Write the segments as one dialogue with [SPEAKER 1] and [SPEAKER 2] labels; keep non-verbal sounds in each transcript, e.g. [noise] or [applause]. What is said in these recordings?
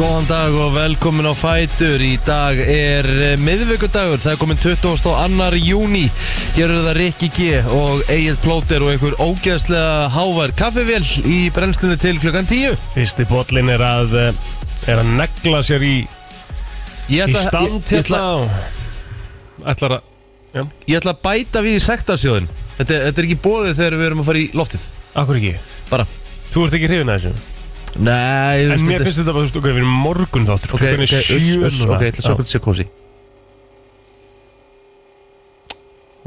[SPEAKER 1] Góðan dag og velkomin á Fætur Í dag er eh, miðvikudagur Það er komin 22. júni Hér eru það Rikki G og Egil Plóter og einhver ógeðslega hávar kaffivél í brennslunni til klukkan 10
[SPEAKER 2] Fyrsti bollin er að eh, er að negla sér í,
[SPEAKER 1] Ég
[SPEAKER 2] í
[SPEAKER 1] ætla,
[SPEAKER 2] stand
[SPEAKER 1] ég, ég, ætla,
[SPEAKER 2] hérna og ætlar að
[SPEAKER 1] ég ætla að bæta við í sektarsjóðin þetta, er- þetta er ekki bóðið þegar við erum að fara í loftið
[SPEAKER 2] Akkur ekki?
[SPEAKER 1] Bara
[SPEAKER 2] Þú ert ekki hrifin að þessu
[SPEAKER 1] Nei, þú
[SPEAKER 2] En
[SPEAKER 1] veist,
[SPEAKER 2] mér
[SPEAKER 1] þetta-
[SPEAKER 2] finnst þetta bara, þú veist, ok, við erum morgun þáttur
[SPEAKER 1] Ok, ok, uss, uss, ok, ég ætla að sjá
[SPEAKER 2] sjö
[SPEAKER 1] hvað þetta sé kósi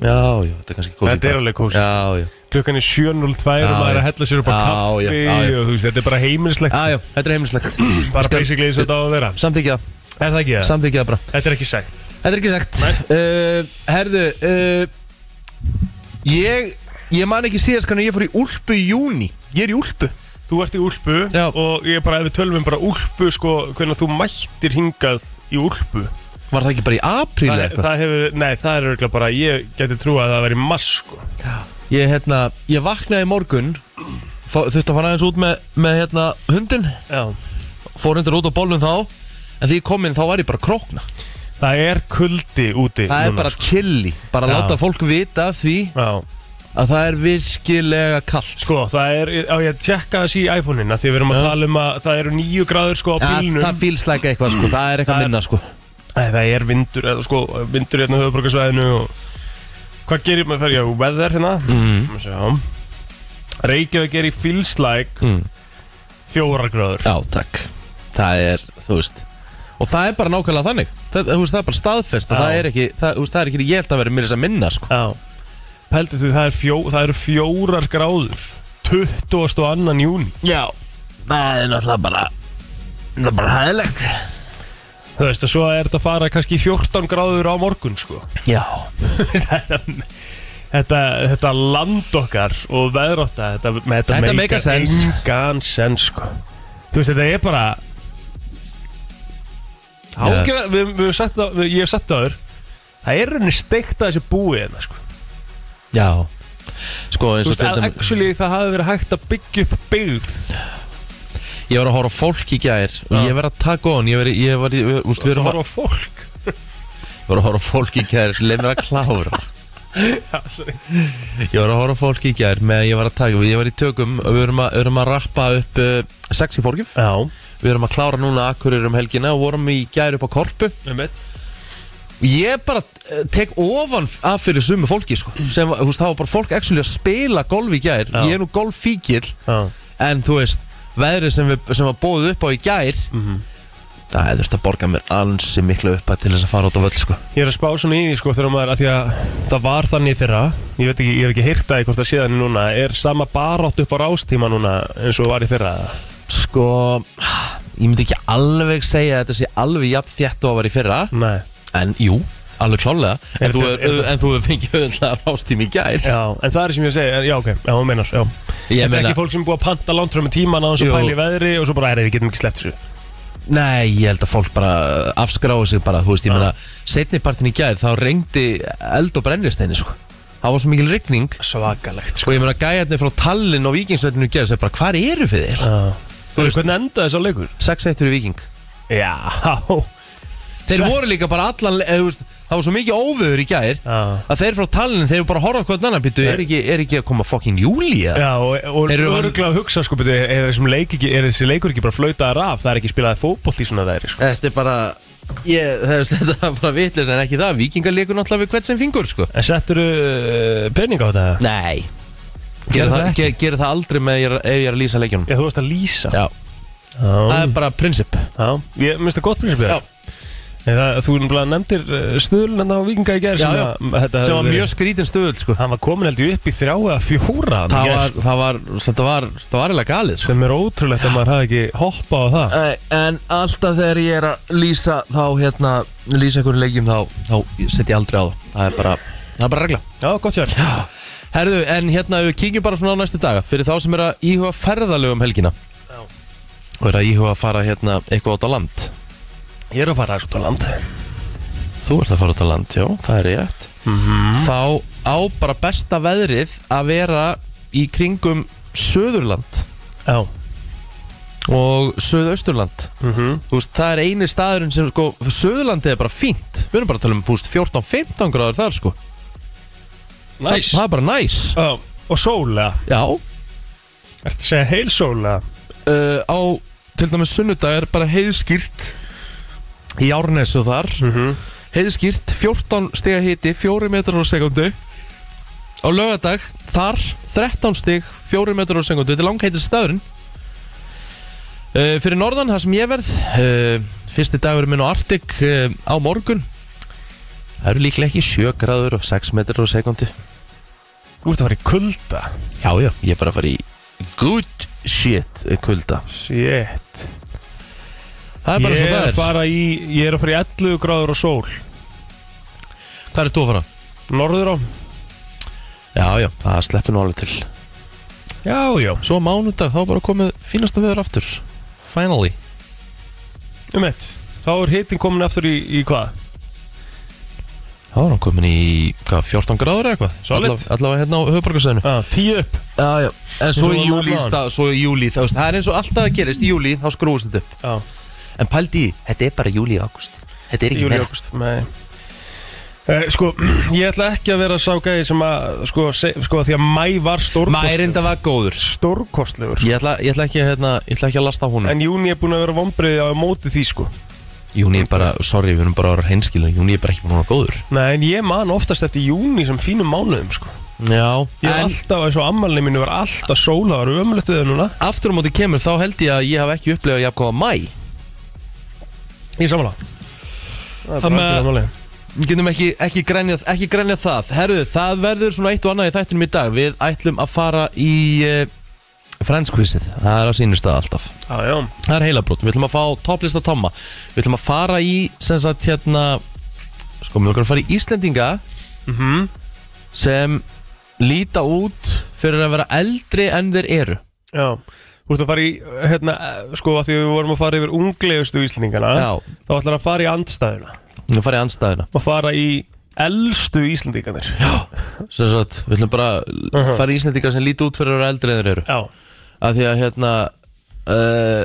[SPEAKER 1] Já, já, þetta er kannski kósi
[SPEAKER 2] Þetta er alveg kósí.
[SPEAKER 1] Já, já,
[SPEAKER 2] Klukkan er 7.02
[SPEAKER 1] Já,
[SPEAKER 2] og maður er
[SPEAKER 1] já.
[SPEAKER 2] að hella sér upp á
[SPEAKER 1] Já, já,
[SPEAKER 2] kaffi
[SPEAKER 1] já, já.
[SPEAKER 2] og þú veist, þetta er bara heimilslegt
[SPEAKER 1] já, já, þetta er heimilislegt
[SPEAKER 2] [clears throat] bara basically eins og þetta á að vera
[SPEAKER 1] Samþykja það,
[SPEAKER 2] Er það ekki það?
[SPEAKER 1] samþykja það bara
[SPEAKER 2] Þetta er ekki sagt
[SPEAKER 1] Þetta er ekki sagt uh, Herðu, uh, ég, ég man ekki síðast hvernig ég fór í úlpu í júni Ég er í úlpu
[SPEAKER 2] Þú ert í úlpu
[SPEAKER 1] Já.
[SPEAKER 2] og ég er bara, ef við tölum um bara úlpu sko, hvernig þú mættir hingað í úlpu
[SPEAKER 1] Var það ekki bara í apríl
[SPEAKER 2] það,
[SPEAKER 1] eða eitthvað?
[SPEAKER 2] það hefur, nei, það er örgulega bara ég geti trú að það væri mass sko.
[SPEAKER 1] Ég, hérna, ég vaknaði í morgun fó- Þurfti að fara aðeins út með, með hérna, hundin
[SPEAKER 2] Já.
[SPEAKER 1] Fór hendur út á bólnum þá En því ég kom inn þá var ég bara að krókna
[SPEAKER 2] það er kuldi úti
[SPEAKER 1] Það er
[SPEAKER 2] núna,
[SPEAKER 1] bara
[SPEAKER 2] sko.
[SPEAKER 1] chilli Bara
[SPEAKER 2] Já.
[SPEAKER 1] láta fólk vita af því
[SPEAKER 2] Já.
[SPEAKER 1] að það er virkilega kallt
[SPEAKER 2] sko, það er, á ég að tjekka þessi í iPhone-in af því við erum að
[SPEAKER 1] Já.
[SPEAKER 2] tala um að það eru nýju gráður sko á
[SPEAKER 1] Ja,
[SPEAKER 2] bílnum
[SPEAKER 1] það fýlslæka eitthvað sko, það er
[SPEAKER 2] Það
[SPEAKER 1] eitthvað
[SPEAKER 2] er-
[SPEAKER 1] minna sko
[SPEAKER 2] Æ, það er vindur, eða, sko, vindur hérna á höfuborgarsvæðinu og hvað gerir maður fyrir, já, weather hérna
[SPEAKER 1] mm.
[SPEAKER 2] mm. Reykjavík er í feels like
[SPEAKER 1] Mm.
[SPEAKER 2] fjórar gráður
[SPEAKER 1] Já, takk Það er, þú veist Og það er bara nákvæmlega þannig Það, þú veist, það er bara staðfest að
[SPEAKER 2] Já.
[SPEAKER 1] það er ekki, það, þú veist, það er ekki ég held að vera mér þess að minna sko.
[SPEAKER 2] Já, pældu því það, er fjó, það eru fjórar gráður 22. júni
[SPEAKER 1] Já, það er náttúrulega bara Það er bara hæðilegt
[SPEAKER 2] Þú veist að svo er þetta að fara kannski í 14 gráður á morgun sko
[SPEAKER 1] Já,
[SPEAKER 2] Þetta, þetta, þetta land okkar og veðrótta Þetta, þetta,
[SPEAKER 1] Þetta make a sense.
[SPEAKER 2] Engan sens sko Þú veist þetta er bara Ágjöra, við, við, höfum sagt það- við, ég hef sagt það aður Það er rauninni steikt að þessi búið hérna sko
[SPEAKER 1] já Sko
[SPEAKER 2] Þú
[SPEAKER 1] eins og
[SPEAKER 2] veist
[SPEAKER 1] til
[SPEAKER 2] að
[SPEAKER 1] dæmis-
[SPEAKER 2] actually það hafi verið hægt að byggja upp byggð
[SPEAKER 1] Ég var að horfa á fólk í gær Og
[SPEAKER 2] Já.
[SPEAKER 1] ég var að taka hon Ég var, í- ég var, í- þú veist, við
[SPEAKER 2] Það
[SPEAKER 1] erum að,
[SPEAKER 2] var á fólk [laughs]
[SPEAKER 1] ég var að horfa á fólk í gær Leif mér að klára
[SPEAKER 2] Já, sorry.
[SPEAKER 1] Ég var að horfa á fólk í gær Með að ég var að taka Ég var í tökum og Við erum að, við erum að rappa upp uh, Sexy fórgjöf
[SPEAKER 2] Já,
[SPEAKER 1] Við erum að klára núna Akkurir um helgina Og vorum í gær upp á korpu
[SPEAKER 2] með mitt
[SPEAKER 1] Ég bara eh, tek ofan af fyrir sumu fólki sko. sem, var- þú veist, það var bara fólk actually að spila golf í gær
[SPEAKER 2] Já.
[SPEAKER 1] ég er nú golffíkil
[SPEAKER 2] Já,
[SPEAKER 1] en þú veist, veðrið sem, við, sem var bóðið upp á í gær
[SPEAKER 2] Mhm.
[SPEAKER 1] það er þurft að borga mér ansi miklu upp til þess að fara út á völl sko.
[SPEAKER 2] Ég er að spá svona í því sko þegar maður að því að það var þannig í fyrra ég veit ekki, ég hef ekki heyrt að hvort það sé þannig núna er sama barátt upp á rástíma núna eins og var í fyrra
[SPEAKER 1] sko ég myndi ekki alveg segja að þetta sé alveg jafn þétt og að vera í fyrra
[SPEAKER 2] Nei
[SPEAKER 1] en jú, alveg klálega
[SPEAKER 2] Er
[SPEAKER 1] en þú
[SPEAKER 2] þetta-
[SPEAKER 1] er-
[SPEAKER 2] er þetta-
[SPEAKER 1] en þú hefur fengið auðvitað rástími í gær
[SPEAKER 2] Já, en það er sem ég að segja, já ok, já, hún meinar já.
[SPEAKER 1] Ég
[SPEAKER 2] Þetta er
[SPEAKER 1] meina-
[SPEAKER 2] ekki fólk sem er búið að panta lántrömmu tíman á hans
[SPEAKER 1] Jú.
[SPEAKER 2] og pæli í veðri og svo bara er við getum ekki sleppt þessu
[SPEAKER 1] Nei, ég held að fólk bara afskráði sig bara, þú veist, ég meina setnipartin í gær, þá reyndi eld og brennlisteini, sko Það var svo mikil rigning
[SPEAKER 2] Svakalegt sko.
[SPEAKER 1] og ég meina gæjarnir frá Tallinn og Víkingsveitinu gær segir bara, hvar eru við þér?
[SPEAKER 2] Þú veist hvernig endaði þess að leikur?
[SPEAKER 1] 6-1 fyrir Víking
[SPEAKER 2] Já,
[SPEAKER 1] Þeir voru líka bara allan, eða, þú veist, það var svo mikið óvöður í gær
[SPEAKER 2] Já.
[SPEAKER 1] að þeir frá Tallinn, þeir eru bara að horfa á hvern annan býttu, er ekki, er ekki að koma fokkin júli eða?
[SPEAKER 2] já og, og
[SPEAKER 1] Eru hann-
[SPEAKER 2] örgulega að hugsa sko, beti, er, þessum leik ekki, er þessi leikur ekki bara flautaðar af það er ekki spilaði fótbolt í svona veðri sko.
[SPEAKER 1] Þetta er bara, ég, það veist, [laughs] þetta er bara vitlis en ekki það, Víkingar leikur náttúrulega við hvert sem fingur, sko
[SPEAKER 2] En settur uh, pening á þetta?
[SPEAKER 1] Nei
[SPEAKER 2] Gerðu
[SPEAKER 1] Gerðu
[SPEAKER 2] það
[SPEAKER 1] það,
[SPEAKER 2] ekki?
[SPEAKER 1] ger, ger það aldrei með ég, er- ef ég er að lýsa leikjunum
[SPEAKER 2] Já, þú veist að lýsa
[SPEAKER 1] Já, það
[SPEAKER 2] Já,
[SPEAKER 1] er bara prinsip
[SPEAKER 2] já. Ég minnst það gott prinsipið
[SPEAKER 1] Ah. Já.
[SPEAKER 2] Nei, það, Þú náttúrulega nefndir stöðlun en á vikinga í gerð
[SPEAKER 1] Já, já. sem var mjög skrítin stöðul sko.
[SPEAKER 2] Hann var komin heldur upp í þrjá eða fjóra hann í
[SPEAKER 1] það,
[SPEAKER 2] gær,
[SPEAKER 1] var,
[SPEAKER 2] sko,
[SPEAKER 1] það var, þetta var þetta var eiginlega galið sko.
[SPEAKER 2] Sem er ótrúlegt að maður hafi ekki hoppað á það
[SPEAKER 1] En alltaf þegar ég er að lýsa þá hérna, lýsa einhverju leikjum þá, þá setjum ég aldrei á það það er bara, það er bara regla
[SPEAKER 2] Já, gott sér
[SPEAKER 1] Herðu, en hérna við kíkjum bara svona á næstu daga fyrir þá sem er að íhuga ferðalög um helgina
[SPEAKER 2] Já.
[SPEAKER 1] og er að íhuga að fara hérna eitthvað át á land
[SPEAKER 2] Ég er að fara út á land
[SPEAKER 1] Þú ert að fara út á land, já, það er rétt Þá á bara besta veðrið að vera í kringum Söðurland
[SPEAKER 2] Já,
[SPEAKER 1] og Suðausturland Þú veist, það er eini staðurinn sem sko, Suðurlandi er bara fínt Við erum bara að tala um þú veist, 14-15 gráður þar sko
[SPEAKER 2] Næs
[SPEAKER 1] Það er bara næs
[SPEAKER 2] nice. Og sóla
[SPEAKER 1] Já,
[SPEAKER 2] Ertu að segja heil sóla?
[SPEAKER 1] uh, á til dæmis sunnudag er bara heiðskýrt Í Árnesu þar Heiðskýrt, 14 stiga hiti 4 metrar á sekundu Á lögadag, þar 13 stig, 4 metrar á sekundu Þetta er langheitir staðurinn uh, Fyrir norðan, það sem ég verð uh, Fyrsti dagur minn á Arctic uh, á morgun Það eru líklega ekki 7 gráður og 6 metrar á sekundu
[SPEAKER 2] Þú ert að fara í kulda
[SPEAKER 1] Já, já, ég er bara að fara í good shit kulda
[SPEAKER 2] Shit
[SPEAKER 1] Það er bara
[SPEAKER 2] Ég
[SPEAKER 1] svo
[SPEAKER 2] er
[SPEAKER 1] það
[SPEAKER 2] að
[SPEAKER 1] er
[SPEAKER 2] fara í Ég er að fara í 11 gráður og sól
[SPEAKER 1] Hvað er þú að fara?
[SPEAKER 2] Norður á
[SPEAKER 1] Já, já, það sleppur nú alveg til
[SPEAKER 2] Já, já
[SPEAKER 1] Svo á mánudag þá er bara komið fínasta veður aftur Finally
[SPEAKER 2] Um eitt Þá er hitin komin aftur í, í hvað?
[SPEAKER 1] Þá er hann komin í, hvað, 14 gráður eða eitthvað
[SPEAKER 2] Solid.
[SPEAKER 1] Alla- Allavega hérna á höfuborgarsæðinu
[SPEAKER 2] Ah, tíu upp
[SPEAKER 1] Já, já En svo
[SPEAKER 2] Eins og
[SPEAKER 1] í
[SPEAKER 2] við
[SPEAKER 1] júli,
[SPEAKER 2] vorum áðan.
[SPEAKER 1] það, svo í júli það, það er eins og alltaf að gerist í júli Þá skrúfust þetta upp
[SPEAKER 2] Já
[SPEAKER 1] En pældi, í, þetta er bara júli og águst Þetta er ekki
[SPEAKER 2] Júli
[SPEAKER 1] meira
[SPEAKER 2] águst Nei Eh, sko, [clears throat] ég ætla ekki að vera sá gæði sem að, sko, se, sko því að mæ var stórkostlegur
[SPEAKER 1] Mærinda var góður
[SPEAKER 2] Stórkostlegur sko.
[SPEAKER 1] Ég ætla, ég ætla ekki, að, hérna, ég ætla ekki að lasta á honum
[SPEAKER 2] En júni er búin að vera vombriði á móti því, sko
[SPEAKER 1] Júni er bara, sorry, við erum bara ára hreinskilin Júni er bara ekki búin að vera góður
[SPEAKER 2] Nei, en ég man oftast eftir júni sem fínum mánuðum, sko
[SPEAKER 1] Já,
[SPEAKER 2] Ég var
[SPEAKER 1] en
[SPEAKER 2] alltaf, eins og ammalni mínu var alltaf sóla, var ömulegt við það núna
[SPEAKER 1] aftur á móti kemur þá held ég að ég hef ekki upplegað jafnkvæða mæ
[SPEAKER 2] Ég samanlega Það
[SPEAKER 1] Þannig
[SPEAKER 2] er bara
[SPEAKER 1] að-
[SPEAKER 2] algjörlega málið.
[SPEAKER 1] Við getum ekki, ekki, grænjað, ekki grænjað það Herðu, það verður svona eitt og annað í þættinum í dag Við ætlum að fara í uh, franskvissið Það er á sínum stað alltaf
[SPEAKER 2] Já, já,
[SPEAKER 1] Það er heilabrót, við ætlum að fá topplista tomma Við ætlum að fara í, sem sagt, hérna Sko, við ætlum að fara í Íslendinga
[SPEAKER 2] Mhm.
[SPEAKER 1] Sem líta út fyrir að vera eldri en þeir eru
[SPEAKER 2] já Þú ert að fara í, hérna, eh, sko, að því að við vorum að fara yfir unglegustu íslendingana
[SPEAKER 1] Já,
[SPEAKER 2] Þá ætlar að fara í andstæðuna
[SPEAKER 1] við ætlum að fara í andstæðina
[SPEAKER 2] Og fara í elstu íslendinganir
[SPEAKER 1] Sem sagt, við ætlum bara að
[SPEAKER 2] Mhm.
[SPEAKER 1] fara í Íslendinga sem líta út fyrir að vera eldri en þeir eru
[SPEAKER 2] Já,
[SPEAKER 1] að því að hérna uh,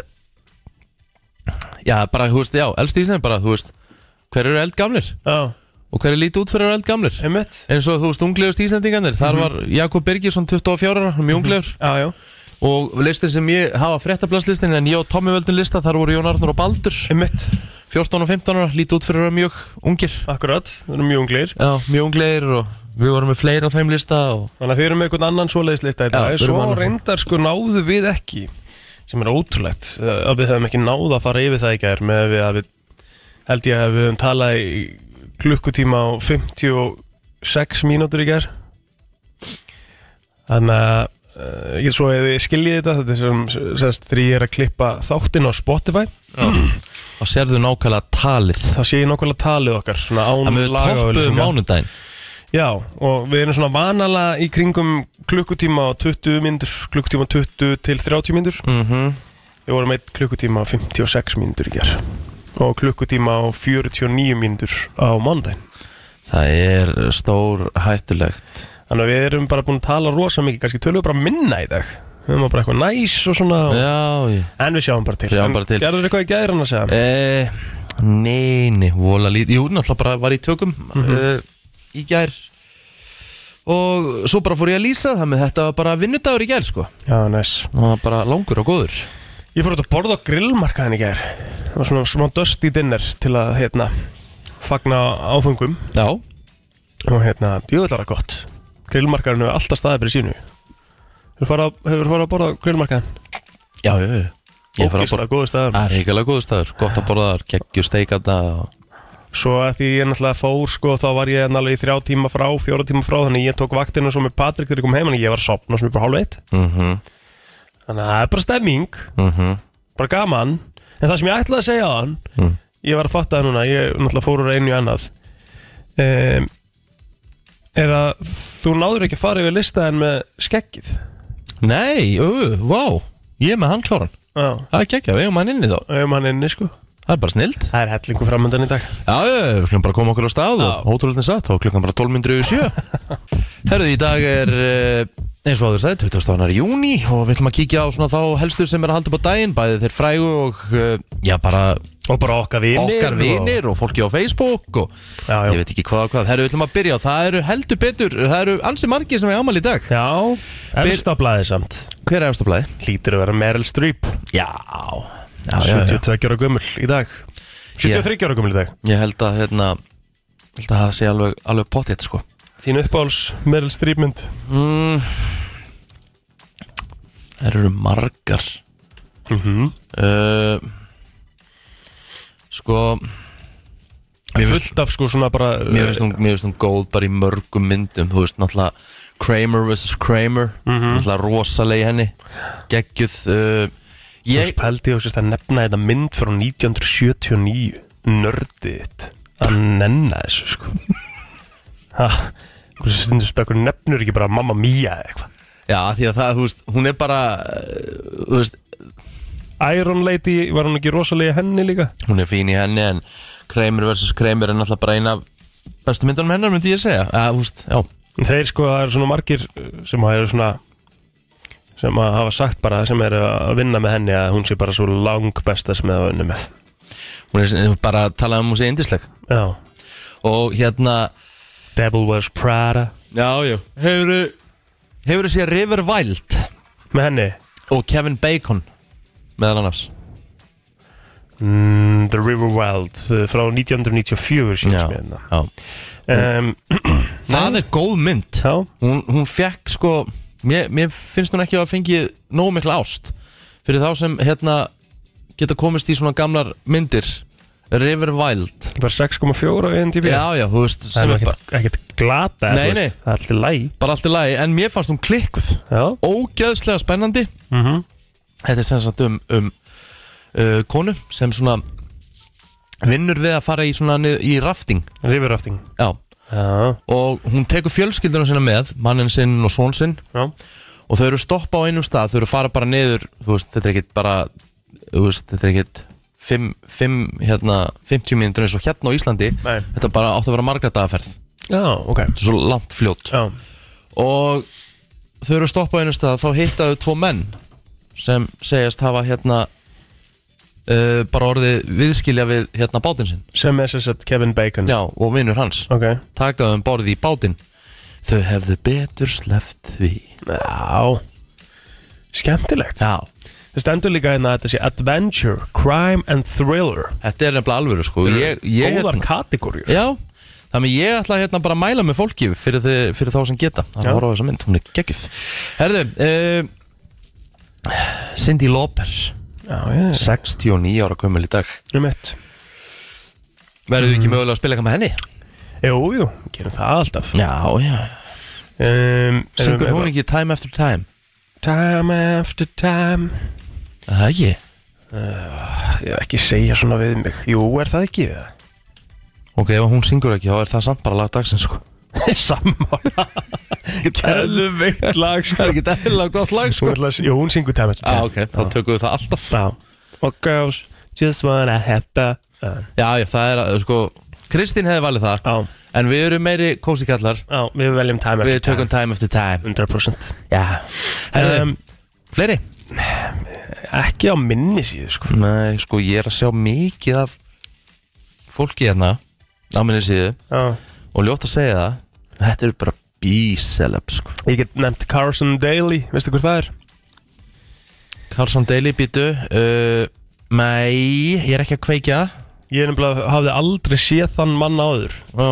[SPEAKER 1] já bara þú veist já elst ísnefn bara þú veist hver eru eldgamlir
[SPEAKER 2] já,
[SPEAKER 1] og hver er lítið út fyrir að vera eldgamlir
[SPEAKER 2] einmitt
[SPEAKER 1] eins og þú veist unglegust íslendingarnir þar var Jakob Birgisson 24 ára hann er mjög unglegur
[SPEAKER 2] Já, já,
[SPEAKER 1] og listin sem ég hafa fréttablaslistin en ég og Tommi völdin lista þar voru Jón Arnur og Baldur
[SPEAKER 2] einmitt
[SPEAKER 1] 14 og 15 ára lítið út fyrir að vera mjög ungir
[SPEAKER 2] Akkurat, það eru mjög unglir
[SPEAKER 1] já mjög unglegir og við vorum með fleiri á þeim lista og
[SPEAKER 2] Þannig að þið eru með einhvern annan svoleiðislista í dag
[SPEAKER 1] Já, við erum
[SPEAKER 2] Svo
[SPEAKER 1] annan.
[SPEAKER 2] reyndar sko náðu við ekki sem er ótrúlegt eh, að við höfum ekki náð að fara yfir það í gær með að við, að við held ég að við höfum talað í klukkutíma á 56 mínútur í gær Þannig að uh, ég svo hefði skiljið þetta þetta er sem sérst þegar ég er að klippa þáttinn á Spotify
[SPEAKER 1] og sérðu nákvæmlega talið
[SPEAKER 2] þá sé ég nokkvæmlega talið okkar svona
[SPEAKER 1] að
[SPEAKER 2] án
[SPEAKER 1] við
[SPEAKER 2] lagaauglýsinga.
[SPEAKER 1] toppuðum mánudaginn
[SPEAKER 2] Já, og við erum svona vanalega í kringum klukkutíma og 20 myndur, klukkutíma og 20 til 30 myndur.
[SPEAKER 1] mm -hmm.
[SPEAKER 2] Við vorum eitt klukkutíma og 56 myndur í gerð og klukkutíma og 49 myndur á mándaginn.
[SPEAKER 1] það er stór hættulegt
[SPEAKER 2] Þannig að við erum bara búin að tala rosa mikið, kannski tölum við bara minna í dag. Við erum bara eitthvað næs og svona,
[SPEAKER 1] Já, já
[SPEAKER 2] en við sjáum bara til.
[SPEAKER 1] Sjáum bara til.
[SPEAKER 2] Gerður eitthvað í gæðir hann að segja?
[SPEAKER 1] e, Nei, nei, vola lítið Jú, náttúrulega bara var í tökum mm Í gær Og svo bara fór ég að lýsa það með þetta var bara vinnudagur í gær, sko
[SPEAKER 2] Já, næs.
[SPEAKER 1] Það var bara langur og góður
[SPEAKER 2] Ég fór út að borða á grillmarkaðin í gerð. Það var svona smá dusty dinner til að, hérna, fagna áfengum.
[SPEAKER 1] Já,
[SPEAKER 2] og hérna, jú, þetta var það gott grillmarkarinn hefur alltaf staðið fyrir sínu hefur farið að- hefur farið að borða á grillmarkarinn
[SPEAKER 1] já, já, já Ég fór að Ah. borða
[SPEAKER 2] ógislega góðu staðar
[SPEAKER 1] Það er reykjalega góður staður, gott að borða þar, geggjur steikata og...
[SPEAKER 2] svo að því ég náttúrulega fór sko þá var ég náttúrulega í þrjá tíma frá, fjóra tíma frá þannig ég tók vaktina svo með Patrik þegar ég kom heim en ég var að sopna sem ég bara hálf eitt
[SPEAKER 1] mm -hmm,
[SPEAKER 2] þannig að það er bara stemming,
[SPEAKER 1] mhm.
[SPEAKER 2] bara gaman en það sem ég ætlaði að segja á hann
[SPEAKER 1] Mm.
[SPEAKER 2] ég var að fatta það núna, ég náttúrulega fór úr einu í annað um, er að þú náður ekki að fara yfir listaðin með skeggið
[SPEAKER 1] Nei, ö, vá Ég er með handkláran,
[SPEAKER 2] já,
[SPEAKER 1] það er geggja, við eigum hann inni þá
[SPEAKER 2] ef mann inni sko
[SPEAKER 1] Það er bara snild
[SPEAKER 2] Það er hellingu framöndan í dag
[SPEAKER 1] Já, já, við skulum bara koma okkur á stað og ótrúlega satt og klukkan bara 12.07 [laughs] Herðu, í dag er eh, eins og áður sagði, 20. júni og við ætlum að kíkja á svona þá helstu sem er að halda upp á daginn bæði þeir frægu og eh, já, bara
[SPEAKER 2] Og bara okkar vinir
[SPEAKER 1] okkar vinir og fólki á Facebook og
[SPEAKER 2] Já, já.
[SPEAKER 1] ég veit ekki hvað og hvað Herðu, við ætlum að byrja á, það eru heldur betur það eru ansi margir sem er ámali í dag
[SPEAKER 2] Já, efstablaði samt
[SPEAKER 1] Hver er efstablaði?
[SPEAKER 2] Lítur að vera Meryl Streep
[SPEAKER 1] Já, já, já, já
[SPEAKER 2] 72 ára gömul í dag 73 ára gömul í dag
[SPEAKER 1] Ég held að, hérna, held að það sé alveg, alveg potið, sko
[SPEAKER 2] Þín uppáhals Meryl Streep mynd
[SPEAKER 1] Mm. Það eru margar
[SPEAKER 2] mm -hmm.
[SPEAKER 1] uh, Sko Mér finnst-
[SPEAKER 2] Fullt af sko svona bara
[SPEAKER 1] Mér finnst hún, mér finnst hún góð bara í mörgum myndum Þú veist náttúrulega Kramer vs. Kramer Náttúrulega rosaleg í henni Geggjuð uh,
[SPEAKER 2] Ég
[SPEAKER 1] Ég
[SPEAKER 2] pældi og sérst að nefna þetta mynd frá 1979 Nördið þitt Að nenna þessu [laughs] sko Ha, hversu stundu spekkur nefnur ekki bara Mamma Mia eða eitthvað
[SPEAKER 1] Já því að það, þú veist, hún er bara uh, Þú veist,
[SPEAKER 2] Iron Lady, var hún ekki rosalega henni líka?
[SPEAKER 1] hún er fín í henni En Kramer vs. Kramer er náttúrulega bara eina Bestu myndunum hennar myndi ég segja uh, Þú veist, já
[SPEAKER 2] Þeir sko, það eru svona margir uh, sem hafa svona sem að hafa sagt bara sem eru að vinna með henni að hún sé bara svo lang besta sem það var unni með
[SPEAKER 1] Hún er bara að tala um hún sé indisleg
[SPEAKER 2] Já,
[SPEAKER 1] Og hérna
[SPEAKER 2] Devil Wears Prada
[SPEAKER 1] Já, já Hefurðu Hefurðu séð River Wild
[SPEAKER 2] með henni
[SPEAKER 1] og Kevin Bacon meðal annars
[SPEAKER 2] mm, The River Wild uh, frá 1994
[SPEAKER 1] Já,
[SPEAKER 2] sínst mér hérna
[SPEAKER 1] já.
[SPEAKER 2] um,
[SPEAKER 1] Það er góð mynd
[SPEAKER 2] Já,
[SPEAKER 1] Hún, hún fekk sko mér, mér finnst hún ekki að fengi nógu mikla ást fyrir þá sem hérna geta komist í svona gamlar myndir River Wild
[SPEAKER 2] bara 6,4 á E IMDb
[SPEAKER 1] Já, já, þú veist
[SPEAKER 2] Það
[SPEAKER 1] sem
[SPEAKER 2] er
[SPEAKER 1] er
[SPEAKER 2] nú
[SPEAKER 1] bara,
[SPEAKER 2] ekkert, ekkert glata
[SPEAKER 1] Nei,
[SPEAKER 2] þú veist,
[SPEAKER 1] nei.
[SPEAKER 2] Það er allir læg
[SPEAKER 1] bara allt í lagi en mér fannst hún klikkuð
[SPEAKER 2] Já,
[SPEAKER 1] ógeðslega spennandi
[SPEAKER 2] mm
[SPEAKER 1] Þetta er sem sagt um, um uh, konu sem svona vinnur við að fara í svona niður, í rafting
[SPEAKER 2] River Rafting
[SPEAKER 1] Já,
[SPEAKER 2] Já,
[SPEAKER 1] og hún tekur fjölskyldunum sína með mannin sinn og són sinn
[SPEAKER 2] já,
[SPEAKER 1] og þau eru stoppa á einum stað, þau eru að fara bara niður þú veist, þetta er ekkit bara þú veist, þetta er ekkit 5, 5, hérna, 50 mínútur eins og hérna á Íslandi
[SPEAKER 2] Nei.
[SPEAKER 1] þetta bara átti að vera margra dagaferð þetta
[SPEAKER 2] já, ok
[SPEAKER 1] er svo langt fljót
[SPEAKER 2] Já,
[SPEAKER 1] og þau eru að stoppa á einum stað þá hitta þau tvo menn sem segjast hafa hérna uh, bara orðið viðskilja við hérna bátinn sinn
[SPEAKER 2] sem er sérst Kevin Bacon
[SPEAKER 1] Já, og vinnur hans
[SPEAKER 2] Ok
[SPEAKER 1] taka um borðið í bátinn þau hefðu betur sleft því
[SPEAKER 2] Já Skemmtilegt
[SPEAKER 1] Já,
[SPEAKER 2] Það stendur líka hérna að þetta sé Adventure, Crime and Thriller
[SPEAKER 1] þetta er nefnilega alvöru sko ég, ég,
[SPEAKER 2] Góðar
[SPEAKER 1] hérna,
[SPEAKER 2] kategóriur
[SPEAKER 1] Já, þannig ég ætla hérna bara að mæla með fólki fyrir, þi, fyrir þá sem geta Það er
[SPEAKER 2] Já.
[SPEAKER 1] að horfa á þessa mynd, hún er geggjöð Herðu, uh, Cindy Lauper
[SPEAKER 2] Já, já
[SPEAKER 1] 69 ára gömul í dag
[SPEAKER 2] Um eitt
[SPEAKER 1] Verðu ekki mögulega að spila eitthvað með henni?
[SPEAKER 2] Jú, jú, gerum það alltaf
[SPEAKER 1] Já, já
[SPEAKER 2] um,
[SPEAKER 1] Syngur hún ekki Time After Time?
[SPEAKER 2] Time after time
[SPEAKER 1] Það er ekki
[SPEAKER 2] Ég hef ekki segja svona við mig Jú, er það ekki [laughs] það?
[SPEAKER 1] Ok, ef hún syngur ekki, þá er það samt bara lag dagsins sko
[SPEAKER 2] Sammála
[SPEAKER 1] Það
[SPEAKER 2] Kælu veikt lag sko
[SPEAKER 1] er ekki eðlilega gott lag
[SPEAKER 2] Hún
[SPEAKER 1] sko
[SPEAKER 2] ætla að s- Jú, hún syngur time after
[SPEAKER 1] Já,
[SPEAKER 2] time
[SPEAKER 1] Ah, ok, þá tökum við það alltaf
[SPEAKER 2] Já Og girls just wanna have the uh, fun.
[SPEAKER 1] Já, já, það er að, sko Kristín hefði valið það
[SPEAKER 2] Já,
[SPEAKER 1] En við erum meiri kósi kallar
[SPEAKER 2] já, við veljum time after
[SPEAKER 1] Við tökum time after time
[SPEAKER 2] time 100%
[SPEAKER 1] Já Herðu,
[SPEAKER 2] Um,
[SPEAKER 1] fleiri?
[SPEAKER 2] ekki á minni síðu sko
[SPEAKER 1] Nei, sko, ég er að sjá mikið af Fólki hérna Á minni síðu
[SPEAKER 2] Já.
[SPEAKER 1] Og ljótt að segja það Þetta eru bara bíseleb, sko
[SPEAKER 2] Ég get nefnt Carson Daly, veistu hver það er?
[SPEAKER 1] Carlson Daly býtu uh, Nei, ég er ekki að kveikja
[SPEAKER 2] Ég er nefnilega, hafði aldrei séð þann mann áður
[SPEAKER 1] Já,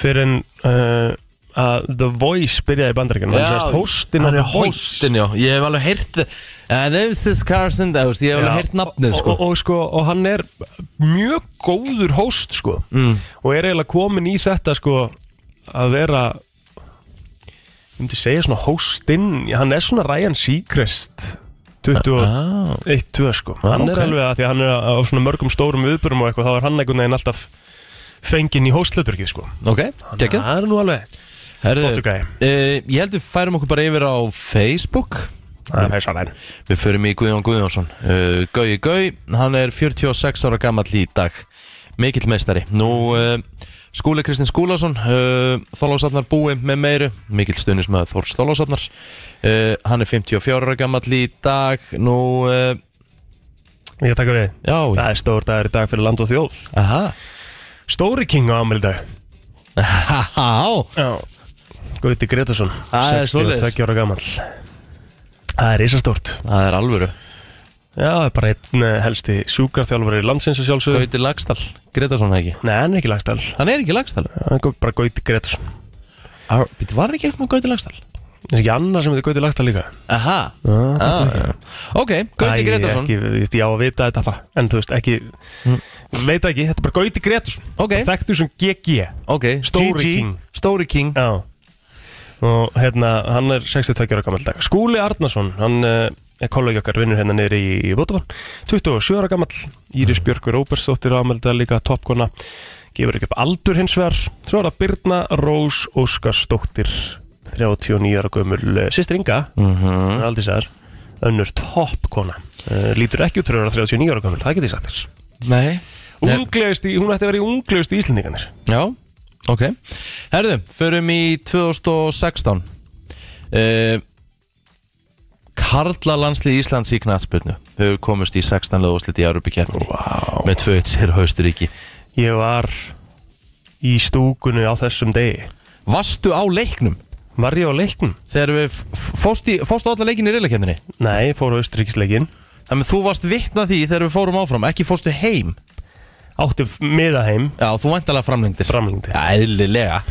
[SPEAKER 2] fyrir en uh, að The Voice byrjaði í bandaríkjunum hann sérst hóstinn
[SPEAKER 1] Hann er hóstin, já Ég hef alveg heyrt uh, This is Carlson Daly Ég hef alveg heyrt nafnið, sko
[SPEAKER 2] og, og, og sko, og hann er mjög góður hóst sko
[SPEAKER 1] Mm.
[SPEAKER 2] og er eiginlega komin í þetta sko að vera ég myndi segja svona hóstinn hann er svona Ryan Seacrest 20
[SPEAKER 1] ah.
[SPEAKER 2] eitt, tvö sko
[SPEAKER 1] Ah,
[SPEAKER 2] hann
[SPEAKER 1] ok.
[SPEAKER 2] er alveg að því að hann er á svona mörgum stórum viðbörum og eitthvað þá er hann einhvern veginn alltaf fenginn í hóstluturkið sko
[SPEAKER 1] Ok, gekkja
[SPEAKER 2] það er nú alveg
[SPEAKER 1] Herðu, uh,
[SPEAKER 2] Flottur gæi.
[SPEAKER 1] eh, ég held við færum okkur bara yfir á Facebook
[SPEAKER 2] Það er svona enn
[SPEAKER 1] Við förum í Guðjón Guðjónsson uh, Gaui Gaui, hann er 46 ára gammal í dag Mikill meistari Nú, uh, Skúli Kristinn Skúlason uh, Þólásafnar búi með meiru Mikill stuðnismöð Þórs Þólásafnar uh, Hann er 54 ára gammal í dag Nú, uh,
[SPEAKER 2] Ég taka við
[SPEAKER 1] já
[SPEAKER 2] Það er stór dagur í dag fyrir land og þjóð
[SPEAKER 1] Aha [laughs]
[SPEAKER 2] Stóri King á ammæli í dag
[SPEAKER 1] Há,
[SPEAKER 2] Já Gauti Gretarsson
[SPEAKER 1] Það er svoleiðis.
[SPEAKER 2] 62 ára gammal Það er risastórt
[SPEAKER 1] það er alvöru
[SPEAKER 2] Já, það er bara einn eh, helsti sjúkarþjálfari landsins að sjálfsögðu
[SPEAKER 1] Gauti Lagstall, Gretarsson eða ekki
[SPEAKER 2] Nei, hann er ekki lagstæl
[SPEAKER 1] Hann er ekki Lagstall
[SPEAKER 2] Hann er gau- bara Gauti Gretarsson
[SPEAKER 1] Býttu, var hann ekki eitthvað Gauti Lagstall?
[SPEAKER 2] Er ekki annar sem heitir Gauti lagstæl líka?
[SPEAKER 1] Aha
[SPEAKER 2] Já,
[SPEAKER 1] ah, já. Ok, Gauti
[SPEAKER 2] Æ,
[SPEAKER 1] Gretarsson
[SPEAKER 2] ekki, þú veist, Ég á að vita þetta bara En þú veist, ekki Veit ekki, þetta er bara Gauti Gretarsson
[SPEAKER 1] Hm. Ok.
[SPEAKER 2] Þekktu sem GG
[SPEAKER 1] Ok,
[SPEAKER 2] Stóri
[SPEAKER 1] GG,
[SPEAKER 2] King.
[SPEAKER 1] Stóri King
[SPEAKER 2] Já Og hérna, hann er 62 ára gammal dag Skúli Arnason, hann eh, er kollegi okkar Vinnur hérna niður í Votavan 27 ára gammal Íris Björk Róbersdóttir ámelda líka topkona Gefur ekki upp aldur hins vegar Svo er það Birna Rós Óskarsdóttir 39 ára gömul eh, Systir Inga,
[SPEAKER 1] mm
[SPEAKER 2] mm. aldrei sæðar Önnur toppkona uh, Lítur ekki út tröður að 39 ára gömul, það geti ég sagt þér
[SPEAKER 1] Nei
[SPEAKER 2] Unglegust í, hún ætti að vera í unglegust í Íslendinganir
[SPEAKER 1] Já, ok Herðu, förum í 2016 uh, Karla landslið Íslands í knatsbyrnu Hefur komist í 16 lögúslit í Európa-keppni
[SPEAKER 2] Vá
[SPEAKER 1] Með 2-1 sér hausturíki
[SPEAKER 2] Ég var í stúkunni á þessum degi
[SPEAKER 1] Vastu á leiknum?
[SPEAKER 2] Var ég á leiknum?
[SPEAKER 1] Þegar við f- f- fórst, í, fórst á alla leikin í reylakefninni
[SPEAKER 2] Nei, ég fór á Östuríkisleikin
[SPEAKER 1] Þannig að þú varst vitna því þegar við fórum áfram Ekki fórstu heim
[SPEAKER 2] Átti miðaheim
[SPEAKER 1] Já, þú væntalega framlengdir
[SPEAKER 2] framlengdi
[SPEAKER 1] Já, eðlilega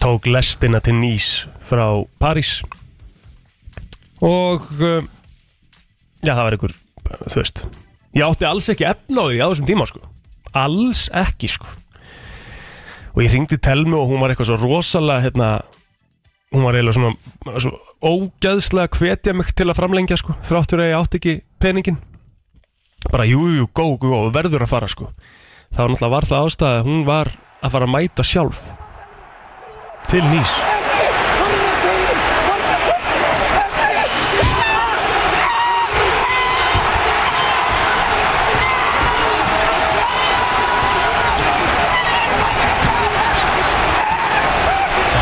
[SPEAKER 2] Tók lestina til Nýs frá París Og uh, Já, það var einhver Þú veist Ég átti alls ekki efna á því á þessum tíma sko Alls ekki sko Og ég hringdi Telmu og hún var eitthvað svo rosalega hérna, Hún var eiginlega svona svo Ógæðslega hvetja mig til að framlengja sko Þráttur að ég átti ekki peningin Bara jú, jú, gó, gó, gó Verður að fara sko Það var náttúrulega var það ástæða að Hún var að fara að mæta sjálf Til nýs